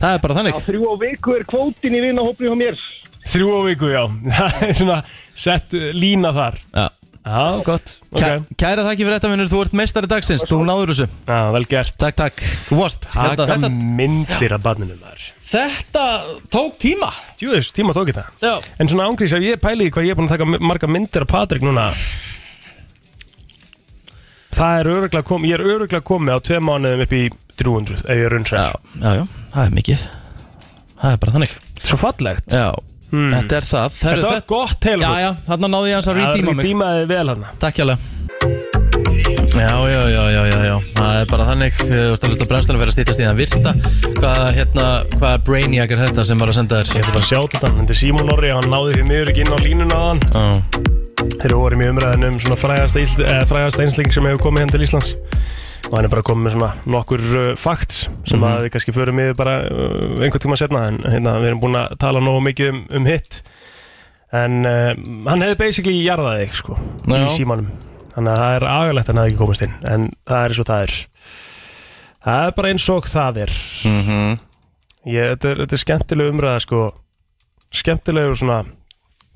[SPEAKER 1] Það er bara þannig
[SPEAKER 8] Á þrjú á viku er kvótin í vinahópin hjá mér
[SPEAKER 2] sko. Þrjú á viku, já [laughs] Það er svona sett uh, lína þar
[SPEAKER 1] Já,
[SPEAKER 2] já gott
[SPEAKER 1] okay. Kæra þakki fyrir þetta vinnur, þú ert meistari dagsins, þú náður þessu
[SPEAKER 2] Já, vel gert
[SPEAKER 1] Takk, takk, þú varst
[SPEAKER 2] Taka
[SPEAKER 1] Þetta- Hérna, þetta-
[SPEAKER 2] myndir af barninu maður
[SPEAKER 1] Þetta tók tíma
[SPEAKER 2] Júðis, tíma tók þetta
[SPEAKER 1] Já.
[SPEAKER 2] En svona ángrís, ef ég pæli í hvað ég er búin að taka marga myndir af Patrik núna Það er öruglega komið, ég er öruglega komið á tveið mánuðum upp í 300 ef ég er runnsæð
[SPEAKER 1] Já, já, það er mikið Það er bara þannig
[SPEAKER 2] Svo fallegt
[SPEAKER 1] Já, þetta er það Herru,
[SPEAKER 2] Þetta var gott heilum
[SPEAKER 1] Já, já, þarna náði ég hans að
[SPEAKER 2] Já,
[SPEAKER 1] redeema mig
[SPEAKER 2] redeemaði vel þarna.
[SPEAKER 1] Takk hjálega Já, já, já, já, já, já Það er bara þannig Þú ert að hlusta brennstunum fyrir að stýttast í það virta Hvað, hérna, hvað brainiac er þetta sem var að senda þér Ég
[SPEAKER 2] ætla bara að sjá þetta, þetta er Simon Orri hann náði því miður ekki inn á línuna á hann Þeir eru orðið mjög umræðin um svona frægasta, ísl, eh, frægasta einsling sem hefur komið henn til Íslands og hann er bara komið með svona nokkur uh, facts sem að við kannski förum yfir bara uh, einhvern tíma setna en hérna, við erum búin að tala nógu mikið um, um hitt en uh, hann hefði basically jarðað þig sko
[SPEAKER 1] Já.
[SPEAKER 2] í símanum þannig að það er agalegt að hann hefði ekki komist inn en það er eins og það er það er bara eins og það er
[SPEAKER 1] Mhm.
[SPEAKER 2] Ég, þetta, er, þetta er skemmtileg umræða sko skemmtilegur svona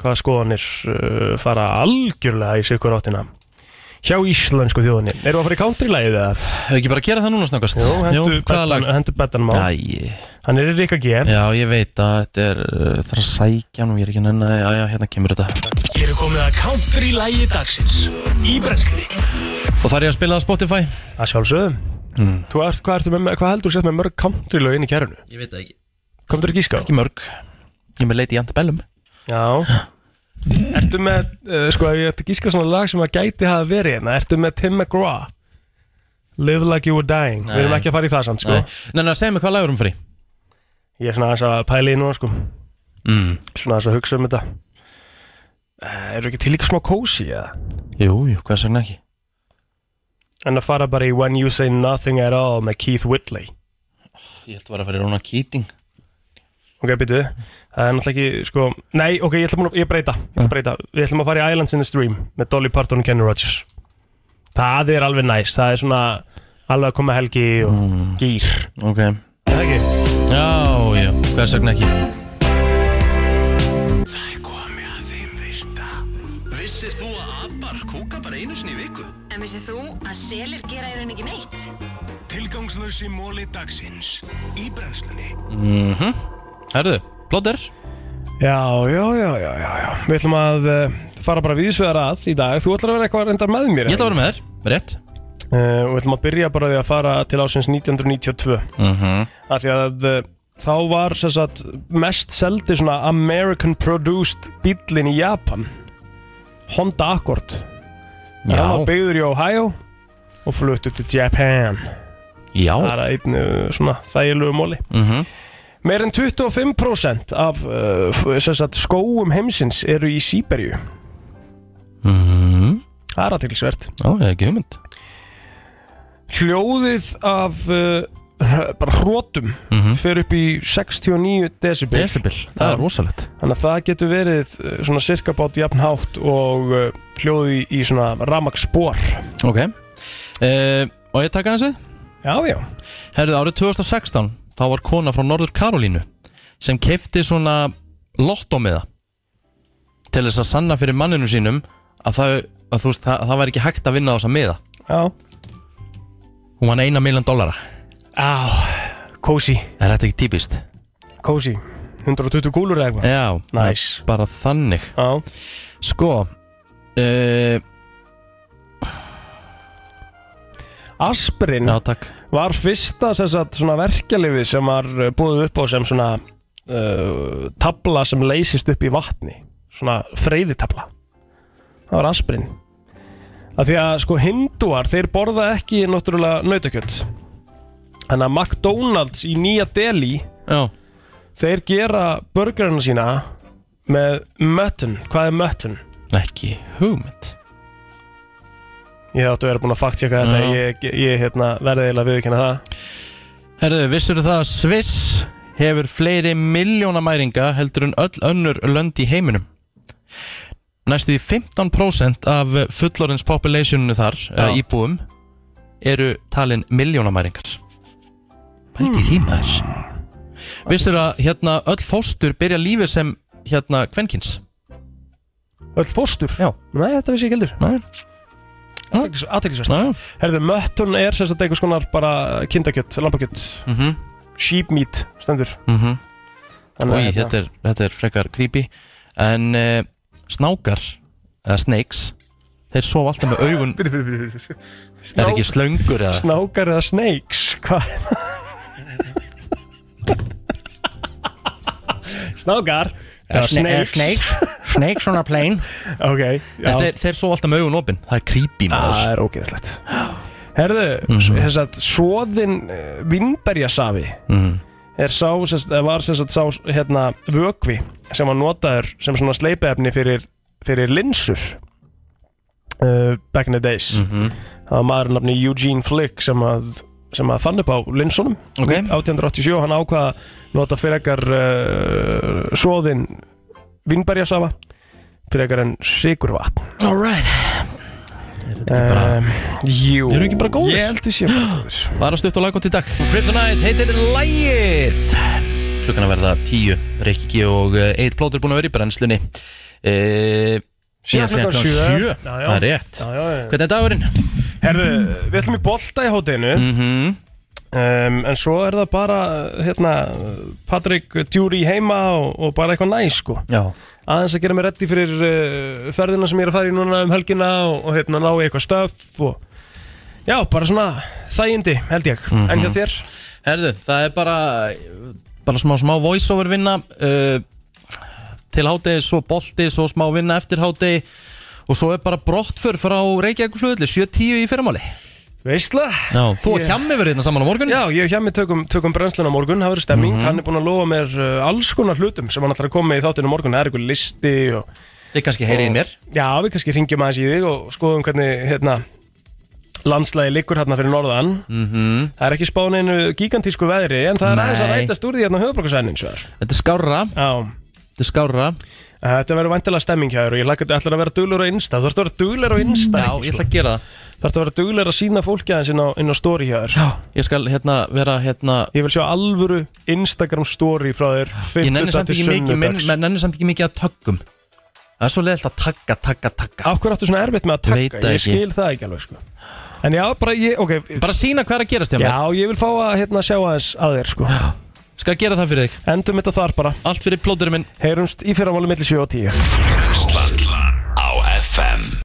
[SPEAKER 2] hvaða skoðanir uh, fara algjörlega í sikur áttina hjá íslensku þjóðinni Erum við að fara í countrylægið eða?
[SPEAKER 1] Hefur ekki bara að gera það núna snakast?
[SPEAKER 2] Jú, hendur
[SPEAKER 1] Jú, hvaða lag?
[SPEAKER 2] beddan- hendur beddanum á
[SPEAKER 1] Æi
[SPEAKER 2] Hann er í Rikka G
[SPEAKER 1] Já, ég veit að þetta er uh, Það er að sækja nú, ég er ekki að nenni að Já, já, hérna kemur þetta
[SPEAKER 2] Hér er komið að countrylægið dagsins í brensli
[SPEAKER 1] Og þar er ég að spila það á Spotify
[SPEAKER 2] Að sjálfsögðum
[SPEAKER 1] mm.
[SPEAKER 2] Þú ert, hvað, ertu með, hvað heldur þú sett með mörg countrylög inn í kærunu?
[SPEAKER 1] Ég veit það ekki
[SPEAKER 2] Komður ekki í ská?
[SPEAKER 1] Ekki mörg Ég er með leiti í Antebellum
[SPEAKER 2] Já Ertu með, uh, sko, ef ég ætti að gíska svona lag sem að gæti hafa verið hérna Ertu með Tim McGraw Live Like You Were Dying Við erum
[SPEAKER 1] Nei.
[SPEAKER 2] ekki að fara í það samt, sko
[SPEAKER 1] Nei. Nei, nei, segja mig hvað lagurum fyrir
[SPEAKER 2] Ég er svona aðeins að pæla í núna, sko
[SPEAKER 1] mm.
[SPEAKER 2] Svona aðeins að hugsa um þetta uh, Eru ekki til líka smá kósi, eða?
[SPEAKER 1] Jú, jú, hvað segna ekki
[SPEAKER 2] En að fara bara í When You Say Nothing At All með Keith Whitley
[SPEAKER 1] Ég held að vera að fyrir Rona Keating
[SPEAKER 2] Ok, býtu Það er náttúrulega ekki, sko Nei, ok, ég ætlum að ég breyta, ég ætla að breyta Við ætlum að fara í Islands in the Stream með Dolly Parton og Kenny Rogers Það er alveg næs Það er svona alveg að koma helgi og gýr
[SPEAKER 1] Ok
[SPEAKER 2] Er það ekki?
[SPEAKER 1] Já, já, hvað segna ekki
[SPEAKER 4] Vissir þú að abar kúka bara einu sinni í viku?
[SPEAKER 17] En vissið þú að selir gera í rauninni ekki neitt?
[SPEAKER 4] Tilgangslösi móli dagsins í brennslunni
[SPEAKER 1] mm -hmm. Herðu, blóttir
[SPEAKER 2] Já, já, já, já, já, já Við ætlum að uh, fara bara viðsvegar að í dag Þú ætlar að vera eitthvað reyndar með mér
[SPEAKER 1] Ég ætla að vera með þér, rétt
[SPEAKER 2] uh, Og við ætlum að byrja bara á því að fara til ásins 1992
[SPEAKER 1] mm -hmm.
[SPEAKER 2] af því að uh, þá var sem sagt, mest seldi svona American produced bílinn í Japan Honda Accord
[SPEAKER 1] Já.
[SPEAKER 2] hann var byggður í Ohio og fluttu til Japan
[SPEAKER 1] Já
[SPEAKER 2] það er einn uh, svona þægilegu móli
[SPEAKER 1] mm -hmm.
[SPEAKER 2] meir en 25% af uh, f- sem sagt, skóum heimsins eru í Sýberju það er aðtilsvert
[SPEAKER 1] Já, Mhm. ég er ekki hugmynd
[SPEAKER 2] hljóðið af uh, bara hrótum fer upp í 69 decibel
[SPEAKER 1] Mhm. Decibel, það er
[SPEAKER 2] Já.
[SPEAKER 1] rosalegt
[SPEAKER 2] Þannig að það getur verið uh, svona cirka bát jafn hátt og uh, hljóði í svona ramagsspor.
[SPEAKER 1] Ok uh, Og ég taka þessi?
[SPEAKER 2] Já, já
[SPEAKER 1] Herðu, árið 2016 þá var kona frá Norður Karolínu sem keifti svona lottómiða til þess að sanna fyrir manninu sínum að það, að þú veist, það, það væri ekki hægt að vinna á þessa miða
[SPEAKER 2] Já
[SPEAKER 1] Hún vann eina miljón dólara
[SPEAKER 2] Á, kósi
[SPEAKER 1] Er þetta ekki típist?
[SPEAKER 2] Kósi, 120 gúlur eða eitthvað.
[SPEAKER 1] Já, nice. bara Sko, þannig
[SPEAKER 2] Já.
[SPEAKER 1] eh, Sko uh,
[SPEAKER 2] Aspirin Já, var fyrsta sem sagt, svona verkjalifið sem var búið upp á sem svona uh, tabla sem leysist upp í vatni svona freyðitabla það var aspirin af því að sko hindúar þeir borða ekki náttúrulega nautakjött þannig að McDonalds í Nýja Delhi Já. þeir gera burgerina sína með mutton hvað er mutton?
[SPEAKER 1] Ekki hugmynd
[SPEAKER 2] Ég áttu að vera búin að faktíka þetta
[SPEAKER 1] Já.
[SPEAKER 2] Ég, ég hérna, verði eiginlega að viðkynna það
[SPEAKER 1] Herðu, vissur það að Sviss hefur fleiri miljónamæringa heldur en öll önnur lönd í heiminum? Næstu því 15% af fullorins populationinu þar, ja. íbúum, eru talin miljónamæringar. Pældi því maður. Vissur að hérna öll fóstur byrja lífið sem hérna kvenkins?
[SPEAKER 2] Öll fóstur?
[SPEAKER 1] Já.
[SPEAKER 2] Nei, þetta vissi ég ekki heldur Nei Aðteglisvært Herðu, möttun er sem sagt einhvers konar bara kindakjött, lambakjött
[SPEAKER 1] Mhm.
[SPEAKER 2] Sheep meat stendur
[SPEAKER 1] mm -hmm.
[SPEAKER 2] Þannig að
[SPEAKER 1] Új,
[SPEAKER 2] hérna-
[SPEAKER 1] þetta, er, þetta er frekar creepy En uh, snákar Eða snakes Þeir sofa alltaf með augun
[SPEAKER 2] [laughs] Bíddu, bíddu, bíddu, bíddu.
[SPEAKER 1] Er ekki slöngur eða
[SPEAKER 2] Snákar eða snakes Hvað
[SPEAKER 1] [laughs]
[SPEAKER 2] Snákar
[SPEAKER 1] Eða sne- eða snakes. Snakes on a plane
[SPEAKER 2] Ok
[SPEAKER 1] En [laughs] þeir, þeir sofa alltaf með augun opin Það er creepy maður
[SPEAKER 2] Það er ógeðslegt Herðu, mm
[SPEAKER 1] Mhm.
[SPEAKER 2] þess að svoðin vinnberjasafi
[SPEAKER 1] Mhm.
[SPEAKER 2] er sá, sess, eh, var sess að sá hérna, vökvi sem var notaður sem svona sleipaefni fyrir, fyrir linsur uh, back in the days
[SPEAKER 1] Mhm.
[SPEAKER 2] það var maður nafni Eugene Flick sem að, sem að fann upp á linsunum
[SPEAKER 1] okay.
[SPEAKER 2] 1887 hann ákvað að nota fyrir ekkar uh, svoðin vinnberjasafa fyrir ekkar en sigurvatn
[SPEAKER 1] Alright
[SPEAKER 2] Um, jú
[SPEAKER 1] Eru ekki bara góðir?
[SPEAKER 2] Ég held við séum bara góðir
[SPEAKER 1] Bara stutt og laggótt í dag Kryptonite heitir lægið Klukkan að verða tíu Rikki G og eh, Egill Plóter búin að vera í brennslunni uh, Síðan segja
[SPEAKER 2] klukkan
[SPEAKER 1] klukkan
[SPEAKER 2] sjö.
[SPEAKER 1] sjö
[SPEAKER 2] Já, já.
[SPEAKER 1] Það er rétt
[SPEAKER 2] [gasps] Já, já, já.
[SPEAKER 1] Hvernig er dagurinn?
[SPEAKER 2] Herðu, við ætlum í bolta í hátinu Mhm.
[SPEAKER 1] -hmm.
[SPEAKER 2] um, En svo er það bara hérna, Patrik Djúri heima og, og bara eitthvað næ sko.
[SPEAKER 1] Já
[SPEAKER 2] Aðeins að gera mig reddi fyrir uh, ferðina sem ég er að fara í núna um helgina og, og hérna, ná í eitthvað stöf og... Já, bara svona þægindi held ég
[SPEAKER 1] Mhm.
[SPEAKER 2] En hjá þér?
[SPEAKER 1] Herðu, það er bara bara smá, smá voiceover vinna uh, til hátegi, svo bolti svo smá vinna eftir hátegi og svo er bara brottför frá Reykjavík flugulli 7.10 í fyrramáli
[SPEAKER 2] Veistla?
[SPEAKER 1] Já, þú og
[SPEAKER 2] Ég-
[SPEAKER 1] Hjammi verður hérna saman á morgun
[SPEAKER 2] Já, ég hef hjá mig tökum, tökum brennslun á morgun, það verður stemming
[SPEAKER 1] Mhm.
[SPEAKER 2] Hann er búinn að lofa mér uh, alls konar hlutum sem hann ætlar að koma með í þáttinu á morgun Það er eitthvað listi og
[SPEAKER 1] Þið kannski heyrið í
[SPEAKER 2] og-
[SPEAKER 1] mér.
[SPEAKER 2] Já, við kannski ringjum aðeins í þig og skoðum hvernig hérna, landslægi liggur hérna fyrir norðan
[SPEAKER 1] Mhm.
[SPEAKER 2] Það er ekki spáin einu gigantísku veðri en það er aðeins að
[SPEAKER 1] Nei.
[SPEAKER 2] rætast úr því hérna á höfuborgarsvæðinu eins og það
[SPEAKER 1] Þetta er skárra
[SPEAKER 2] Já
[SPEAKER 1] Þetta er skárra
[SPEAKER 2] Þetta verður vantilega stemming hjá þér og ég lakka þetta ætlar að vera duglur á Insta Þú ætlar að vera duglur á Insta sko.
[SPEAKER 1] Já, ég ætla að gera það
[SPEAKER 2] Þú ætlar að vera duglur að sína fólki aðeins inn á, inn á story hjá þér
[SPEAKER 1] Já Ég skal hérna vera hérna
[SPEAKER 2] Ég vil sjá alvöru Instagram story frá þér
[SPEAKER 1] Ég nenni samt ekki mikið minn,
[SPEAKER 2] sunnudags.
[SPEAKER 1] menn nenni samt ekki mikið að taggum Það er svo leiðilt að tagga, tagga, tagga
[SPEAKER 2] Akkur áttu svona erfitt með að
[SPEAKER 1] Veit
[SPEAKER 2] taka
[SPEAKER 1] það
[SPEAKER 2] Ég
[SPEAKER 1] ekki.
[SPEAKER 2] skil það ekki alveg sko En já, bara ég, ok
[SPEAKER 1] Bara sína hvað er að gerast hjá mér.
[SPEAKER 2] Já, ég vil fá að hérna sjá aðeins að þér sko
[SPEAKER 1] Skal gera það fyrir þig
[SPEAKER 2] Endum þetta þar bara
[SPEAKER 1] Allt fyrir plóturinn minn
[SPEAKER 2] Heyrumst í fyrramáli milli 7 og 10
[SPEAKER 4] Brennslan á FM